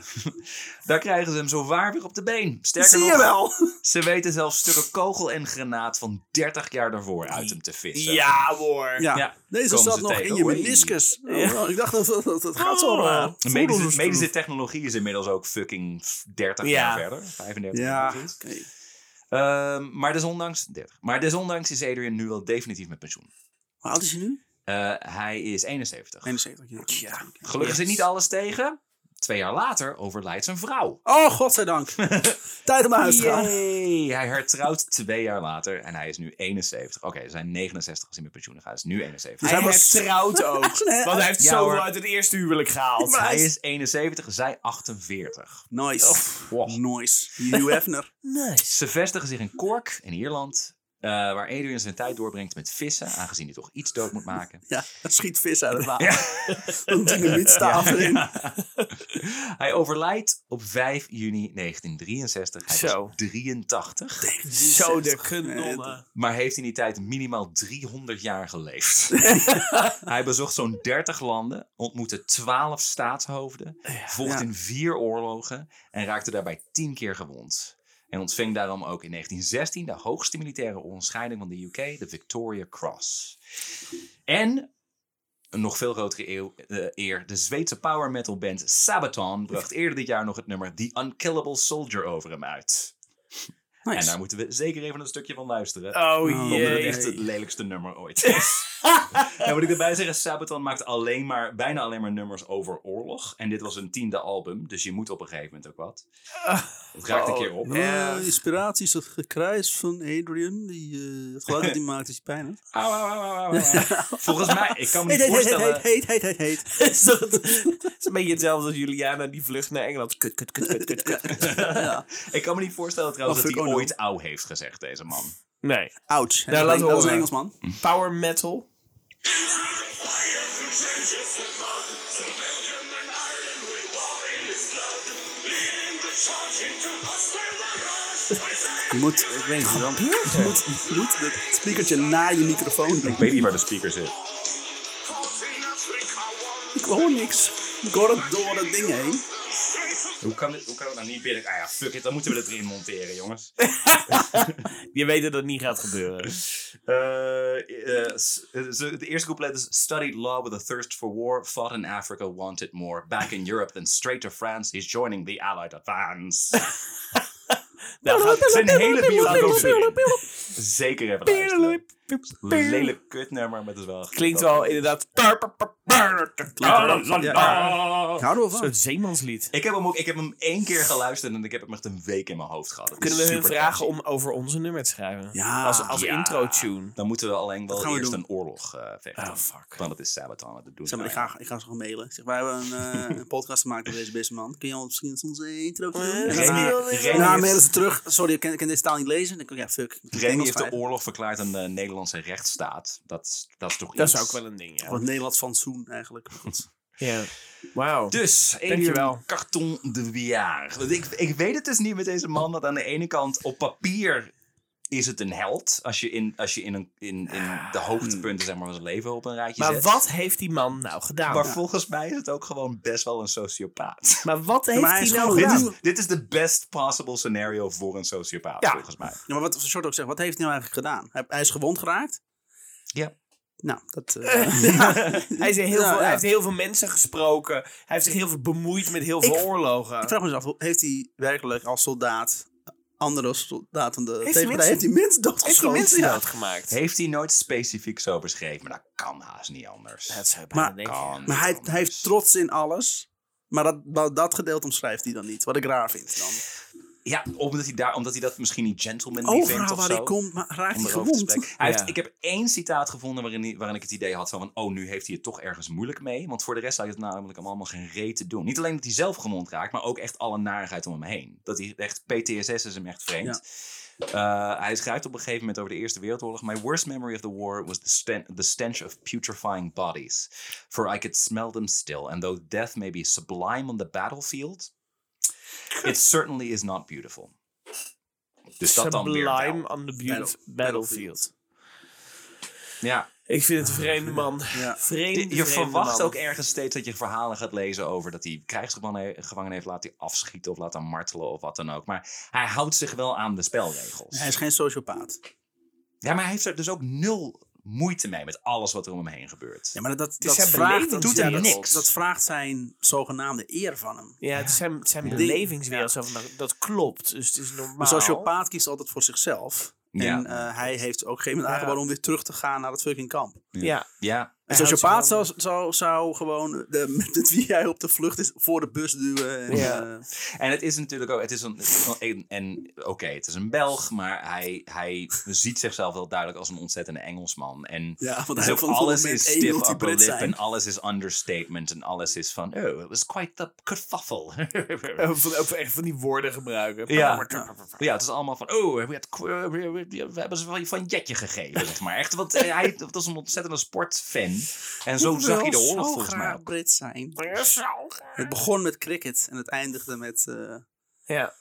Speaker 2: Daar krijgen ze hem zo waar weer op de been. Sterker
Speaker 1: Zie
Speaker 2: nog,
Speaker 1: je wel.
Speaker 2: ze weten zelfs stukken kogel en granaat van 30 jaar daarvoor uit hem te vissen.
Speaker 3: Ja hoor.
Speaker 1: Ja,
Speaker 2: Ja,
Speaker 1: deze
Speaker 2: komen
Speaker 1: zat
Speaker 2: ze
Speaker 1: nog
Speaker 2: tegen.
Speaker 1: in je
Speaker 2: Oei.
Speaker 1: meniscus. Oh, ik dacht, dat, dat, dat gaat zo
Speaker 3: Oh.
Speaker 1: raar.
Speaker 2: De Medische, medische technologie is inmiddels ook fucking 30
Speaker 3: Ja.
Speaker 2: jaar verder. 35 jaar
Speaker 1: Ja,
Speaker 2: jaar.
Speaker 1: oké.
Speaker 2: Ehm maar, desondanks, 30. maar desondanks is Adrian nu wel definitief met pensioen.
Speaker 1: Hoe oud is hij nu?
Speaker 2: Eh, hij is 71.
Speaker 1: 71. Ja.
Speaker 2: Gelukkig zit niet alles tegen. Twee jaar later overlijdt zijn
Speaker 1: [laughs]
Speaker 2: vrouw.
Speaker 1: Oh, godzijdank. Tijd om naar huis te gaan.
Speaker 2: Yay! Hij hertrouwt twee jaar later en hij is nu 71. Oké, ze zijn 69 als hij met pensioen gaat. Hij is nu 71.
Speaker 1: Dus
Speaker 3: Hij
Speaker 1: hij was-
Speaker 3: hertrouwt ook.
Speaker 1: Nee,
Speaker 3: Want [laughs] hij heeft
Speaker 2: Ja,
Speaker 3: zoveel
Speaker 2: hoor.
Speaker 3: uit het eerste huwelijk gehaald.
Speaker 1: Maar-
Speaker 2: Hij is 71, zij 48.
Speaker 1: Nice.
Speaker 2: Wow.
Speaker 1: Oh, Nice.
Speaker 3: [laughs]
Speaker 1: Hugh Hefner.
Speaker 2: Ze vestigen zich in Cork, in Ierland, eh, waar Adrian zijn tijd doorbrengt met vissen, aangezien hij toch iets dood moet maken.
Speaker 1: Ja, het schiet vis uit het water.
Speaker 2: Ja.
Speaker 1: Een dynamietstaaf erin.
Speaker 2: Hij overlijdt op 5 juni 1963. Hij
Speaker 3: Zo.
Speaker 2: was 83,
Speaker 3: Zo de
Speaker 1: genonnen.
Speaker 3: genonnen.
Speaker 2: maar heeft in die tijd minimaal 300
Speaker 1: [laughs]
Speaker 2: jaar geleefd. Hij bezocht zo'n 30 landen, ontmoette 12 staatshoofden, vocht
Speaker 1: Ja.
Speaker 2: in vier oorlogen en raakte daarbij 10 keer gewond. En ontving daarom ook in 1916 de hoogste militaire onderscheiding van de UK, de Victoria Cross. En een nog veel grotere eeuw, eh, eer, de Zweedse power metal band Sabaton bracht eerder dit jaar nog het nummer The Unkillable Soldier over hem uit. En daar
Speaker 1: Nice.
Speaker 2: moeten we zeker even een stukje van luisteren.
Speaker 3: Oh
Speaker 1: Oh,
Speaker 2: Omdat het
Speaker 1: jee.
Speaker 2: echt het lelijkste nummer ooit is. en moet ik erbij zeggen, Sabaton maakt alleen maar, bijna alleen maar nummers over oorlog. En dit was hun tiende album, dus je moet op een gegeven moment ook wat. Het raakt een keer op.
Speaker 1: Nou, inspiratie is het gekrijs van Adrian. Die, eh, het geluid dat hij maakt is die pijn. hè?
Speaker 3: [laughs]
Speaker 2: Au, au, au, au, au, au. Volgens mij, ik kan
Speaker 1: [laughs]
Speaker 2: me
Speaker 1: Heet,
Speaker 2: niet
Speaker 1: heet, heet, heet,
Speaker 2: voorstellen...
Speaker 1: heet, heet, heet, heet.
Speaker 3: is [laughs] dat, is een beetje hetzelfde als Juliana die vlucht naar Engeland. Kut, kut, kut, kut, kut, kut.
Speaker 2: [laughs] Ik kan me niet voorstellen trouwens
Speaker 1: Oh,
Speaker 2: dat
Speaker 1: fuck,
Speaker 2: hij
Speaker 1: oh no.
Speaker 2: ooit au heeft gezegd, deze man.
Speaker 3: Nee.
Speaker 1: Ouch.
Speaker 3: laten we
Speaker 1: dat was
Speaker 3: horen.
Speaker 1: een Engelsman.
Speaker 3: Power metal.
Speaker 1: Je moet, ik weet niet, dan, je moet, je moet het speakertje na je microfoon doen.
Speaker 2: weet niet waar de speaker zit.
Speaker 1: Ik hoor niks. Ik hoor het door dat ding heen.
Speaker 2: Hoe kan, dit, hoe kan het nou niet binnen? Ah ja, fuck it, dan moeten we het erin monteren, jongens.
Speaker 3: Je weet dat dat niet gaat gebeuren.
Speaker 2: Eh, eh, s- eh, zo- de eerste couplet is studied law with a thirst for war, fought in Africa, wanted more. Back in Europe, then straight to France, he's joining the Allied advance.
Speaker 3: [laughs] Nou, gaat
Speaker 2: Zijn hele biografie. Zeker even luisteren. Lelijk kutnummer, maar het is wel...
Speaker 3: Klinkt wel inderdaad.
Speaker 1: Ik hou er wel van.
Speaker 3: Zo'n zeemanslied.
Speaker 2: Ik heb, hem ook, ik heb hem één keer geluisterd en ik heb hem echt een week in mijn hoofd gehad. Het is
Speaker 3: Kunnen we hun
Speaker 2: super
Speaker 3: vragen
Speaker 2: catchy. Ah,
Speaker 3: om over onze nummer te schrijven?
Speaker 1: Ja.
Speaker 3: Als, als
Speaker 2: Ja.
Speaker 3: intro-tune.
Speaker 2: Dan moeten we alleen wel
Speaker 1: gaan we
Speaker 2: eerst
Speaker 1: doen.
Speaker 2: een oorlog eh, vechten.
Speaker 3: Oh, fuck.
Speaker 2: Want dat is Sabaton, dat doen ze
Speaker 1: Zeg maar, ik ga, ik ga ze gewoon mailen. Ik Zeg, wij hebben een, eh, een podcast gemaakt met deze beste man. Kun je al misschien soms een intro doen?
Speaker 3: Eh,
Speaker 1: En daarna-
Speaker 3: Remy-
Speaker 1: En daarna
Speaker 2: heeft-
Speaker 1: mailen ze terug. Sorry, ik kan, ik kan deze taal niet lezen. Dan kan ik, ja, fuck. Ik moet
Speaker 2: Remy
Speaker 1: Engels
Speaker 2: heeft de
Speaker 1: schrijven.
Speaker 2: oorlog verklaard aan de Nederlandse rechtsstaat. Dat, dat is toch
Speaker 3: Dat
Speaker 2: iets.
Speaker 3: is ook wel een ding, ja.
Speaker 1: Wat Nederlands fansoen eigenlijk. Maar goed.
Speaker 3: ja. Wauw.
Speaker 2: Dus,
Speaker 3: Dankjewel.
Speaker 2: Adrian Carton de Wiaar. Want Ik, ik weet het dus niet met deze man, dat aan de ene kant op papier is het een held. Als je in, als je in, een, in, in de hoogtepunten zeg maar, van zijn leven op een rijtje
Speaker 3: Ah, hmm. Maar
Speaker 2: zet.
Speaker 3: wat heeft die man nou gedaan?
Speaker 2: Maar volgens mij is het ook gewoon best wel een sociopaat.
Speaker 3: Maar wat heeft
Speaker 1: Maar hij
Speaker 3: hij
Speaker 1: is
Speaker 3: nou
Speaker 1: gewoon
Speaker 2: Dit
Speaker 3: gedaan?
Speaker 1: goed.
Speaker 2: is,
Speaker 3: [laughs]
Speaker 2: dit is de best possible scenario voor een sociopaat,
Speaker 3: Ja.
Speaker 2: volgens mij.
Speaker 1: Ja, maar wat Short ook zegt, wat heeft hij nou eigenlijk gedaan? Hij, hij is gewond geraakt.
Speaker 2: Ja.
Speaker 1: Nou, dat...
Speaker 3: [laughs]
Speaker 1: eh,
Speaker 3: Hij,
Speaker 1: Ja,
Speaker 3: is heel veel,
Speaker 1: ja.
Speaker 3: hij heeft heel veel mensen gesproken. Hij heeft zich heel veel bemoeid met heel veel
Speaker 1: Ik-
Speaker 3: oorlogen.
Speaker 1: Ik vraag me eens af, hoe- heeft hij werkelijk als soldaat andere soldaten de
Speaker 3: hij
Speaker 1: tegenpartij-
Speaker 3: mensen-
Speaker 1: heeft hij mensen
Speaker 3: heeft hij
Speaker 1: doodgeschoten?
Speaker 3: mensen
Speaker 1: Ja.
Speaker 3: doodgemaakt?
Speaker 2: Heeft hij nooit specifiek zo beschreven, maar dat kan haast niet anders.
Speaker 3: Dat zou je bijna
Speaker 1: Maar-
Speaker 3: denken.
Speaker 2: kan
Speaker 1: Maar hij,
Speaker 2: niet
Speaker 1: hij heeft
Speaker 2: anders.
Speaker 1: trots in alles. Maar dat, dat, dat gedeelte omschrijft hij dan niet. Wat ik raar vind dan.
Speaker 2: Ja, omdat hij, daar, omdat hij dat misschien niet gentleman vindt
Speaker 1: Overal
Speaker 2: of
Speaker 1: waar
Speaker 2: zo.
Speaker 1: hij komt, maar raakt
Speaker 2: om
Speaker 1: hij
Speaker 2: erover te
Speaker 1: gewond.
Speaker 2: spreken. Hij
Speaker 3: Ja.
Speaker 2: heeft, ik heb één citaat gevonden waarin, hij- waarin ik het idee had van, van, oh, nu heeft hij het toch ergens moeilijk mee. Want voor de rest had hij het namelijk allemaal geen reet te doen. Niet alleen dat hij zelf gewond raakt, maar ook echt alle narigheid om hem heen. Dat hij echt, PTSS is hem echt vreemd. Eh, hij schrijft op een gegeven moment over de Eerste Wereldoorlog. My worst memory of the war was the, sten the stench of putrefying bodies. For I could smell them still. And though death may be sublime on the battlefield, it certainly is not beautiful. Dus dat dan weer wel.
Speaker 3: Sublime on the beaut- battlefield.
Speaker 2: Ja.
Speaker 3: Ik vind het een vreemde man.
Speaker 1: Ah, Ja.
Speaker 3: Vreemde,
Speaker 2: Je, je
Speaker 3: vreemde
Speaker 2: verwacht
Speaker 3: man.
Speaker 2: ook ergens steeds dat je verhalen gaat lezen over dat hij krijgsgevangen he- gevangen heeft laten afschieten of laten martelen of wat dan ook. Maar hij houdt zich wel aan de spelregels.
Speaker 1: Hij is geen sociopaat.
Speaker 2: Ja, maar hij heeft er dus ook nul moeite mee met alles wat er om hem heen gebeurt.
Speaker 1: Ja, maar dat, dat,
Speaker 3: is zijn
Speaker 1: vraagt,
Speaker 3: beleving,
Speaker 1: dat-
Speaker 2: doet hij
Speaker 1: dat-
Speaker 2: niks.
Speaker 1: dat vraagt zijn zogenaamde eer van hem.
Speaker 3: Ja, het zijn, het zijn belevingswereld. zo van, dat- Dat klopt. Dus het is normaal.
Speaker 1: Een sociopaat kiest altijd voor zichzelf.
Speaker 2: Ja.
Speaker 1: En eh, hij heeft ook geen moment
Speaker 3: Ja.
Speaker 1: aangeboden om weer terug te gaan naar het fucking kamp.
Speaker 3: Ja.
Speaker 2: Ja,
Speaker 1: Een
Speaker 3: Hij houdt
Speaker 1: sociopaat
Speaker 3: zich wel-
Speaker 1: zou, zou, zou gewoon de, met het wie hij op de vlucht is voor de bus duwen. En,
Speaker 3: Ja.
Speaker 1: eh,
Speaker 2: en het is natuurlijk ook, het is een, en, en oké, het is een Belg, maar hij, hij ziet zichzelf wel duidelijk als een ontzettende Engelsman. En
Speaker 1: ja, want
Speaker 2: Dus
Speaker 1: hij
Speaker 2: ook
Speaker 1: van alles
Speaker 2: alles
Speaker 1: moment
Speaker 2: is
Speaker 1: één wil
Speaker 2: stiff
Speaker 1: die
Speaker 2: upper
Speaker 1: Brit
Speaker 2: lip
Speaker 1: zijn.
Speaker 2: en alles is understatement en alles is van, oh, it was quite the kerfuffle. [laughs]
Speaker 3: Eh, Van, ook echt van die woorden gebruiken.
Speaker 2: Ja. ja, het is allemaal van, oh, we, had- we- we- we hebben ze van, van jetje gegeven, zeg maar. Echt, want eh, hij was een ontzettende sportfan. En zo
Speaker 1: Ik
Speaker 2: zag
Speaker 1: wil
Speaker 2: je de oorlog
Speaker 1: zo
Speaker 2: volgens mij
Speaker 1: graag
Speaker 2: ook.
Speaker 1: Brit zijn. Het begon met cricket en het eindigde met eh
Speaker 3: Ja.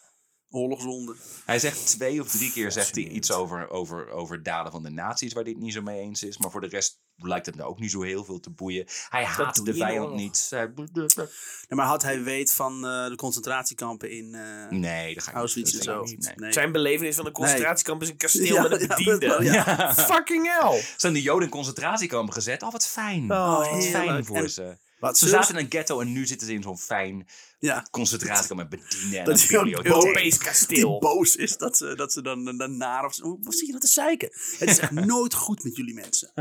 Speaker 1: oorlogswonden.
Speaker 2: Hij zegt twee of drie keer zegt hij iets over, over, over daden van de nazi's waar dit niet zo mee eens is. Maar voor de rest lijkt het me ook niet zo heel veel te boeien. Hij haat
Speaker 3: doe
Speaker 2: de
Speaker 3: je in de
Speaker 2: vijand
Speaker 3: oorlog.
Speaker 2: niet. Hij-
Speaker 1: Nee, maar had hij weet van eh, de concentratiekampen in eh,
Speaker 2: Nee, dat ga ik
Speaker 1: Auschwitz en
Speaker 2: dat
Speaker 1: zo?
Speaker 2: denk ik niet, nee.
Speaker 1: Nee.
Speaker 3: Zijn belevenis van een concentratiekamp is een kasteel
Speaker 1: Ja,
Speaker 3: met een
Speaker 1: ja,
Speaker 3: bediende.
Speaker 1: dat-
Speaker 2: Ja.
Speaker 3: Fucking
Speaker 1: [laughs]
Speaker 3: hell.
Speaker 2: [laughs] Zijn de Joden in concentratiekampen gezet? Oh, wat fijn.
Speaker 3: Oh,
Speaker 2: wat fijn
Speaker 1: heerlijk.
Speaker 2: voor
Speaker 1: En
Speaker 2: ze.
Speaker 1: Wat
Speaker 2: Ze
Speaker 1: zus?
Speaker 2: zaten in een ghetto en nu zitten ze in zo'n fijn
Speaker 1: Ja.
Speaker 2: concentratiekamp met bedienden en
Speaker 1: Dat
Speaker 2: een
Speaker 1: is ook
Speaker 2: bibliotheek.
Speaker 3: Europees
Speaker 1: Die
Speaker 3: kasteel.
Speaker 1: boos is dat ze, dat ze dan, dan, dan naar of zo. Wat zie je dat te zeiken? Het
Speaker 2: [laughs]
Speaker 1: is echt nooit goed met jullie mensen.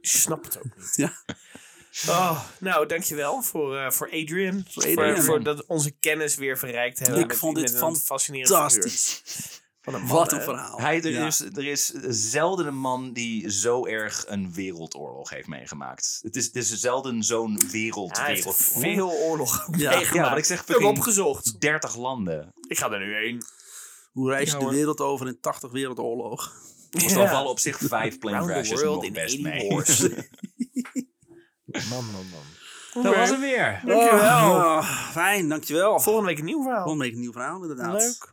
Speaker 3: Ik snap het ook niet.
Speaker 1: Ja.
Speaker 3: Oh, nou, dankjewel voor, eh, voor Adrian. Voor,
Speaker 1: Adrian.
Speaker 3: voor dat onze kennis weer verrijkt hebben.
Speaker 1: Ik vond dit
Speaker 3: met een fascinerend figuur.
Speaker 1: fantastisch.
Speaker 3: Wat een, man,
Speaker 1: Wat een
Speaker 3: hè?
Speaker 1: verhaal.
Speaker 2: Hij, er,
Speaker 1: Ja.
Speaker 2: is, er is zelden een man die zo erg een wereldoorlog heeft meegemaakt. Het is, het is zelden zo'n wereld,
Speaker 3: Hij heeft
Speaker 2: wereldoorlog.
Speaker 3: veel oorlog
Speaker 1: Ja.
Speaker 3: meegemaakt.
Speaker 2: Ja, wat ik zeg,
Speaker 3: heb hem
Speaker 2: fucking-
Speaker 3: opgezocht.
Speaker 2: 30 landen.
Speaker 3: Ik ga er nu heen.
Speaker 1: Hoe reis je
Speaker 3: Ja,
Speaker 1: de
Speaker 3: hoor.
Speaker 1: wereld over in 80
Speaker 2: [laughs]
Speaker 1: wereldoorlog?
Speaker 2: Dus
Speaker 3: Ja.
Speaker 2: dan vallen op zich vijf plane
Speaker 3: Round the
Speaker 2: crashes
Speaker 3: world
Speaker 2: nog
Speaker 3: in
Speaker 2: best
Speaker 3: 80
Speaker 2: mee. [laughs]
Speaker 3: wars.
Speaker 1: Oh,
Speaker 2: Man, man, man. Dat
Speaker 3: Oké.
Speaker 2: was hem weer.
Speaker 1: Oh,
Speaker 3: Dankjewel.
Speaker 1: Ah, fijn, dankjewel.
Speaker 3: Volgende week een nieuw verhaal.
Speaker 1: Volgende week een nieuw verhaal, inderdaad.
Speaker 3: Leuk.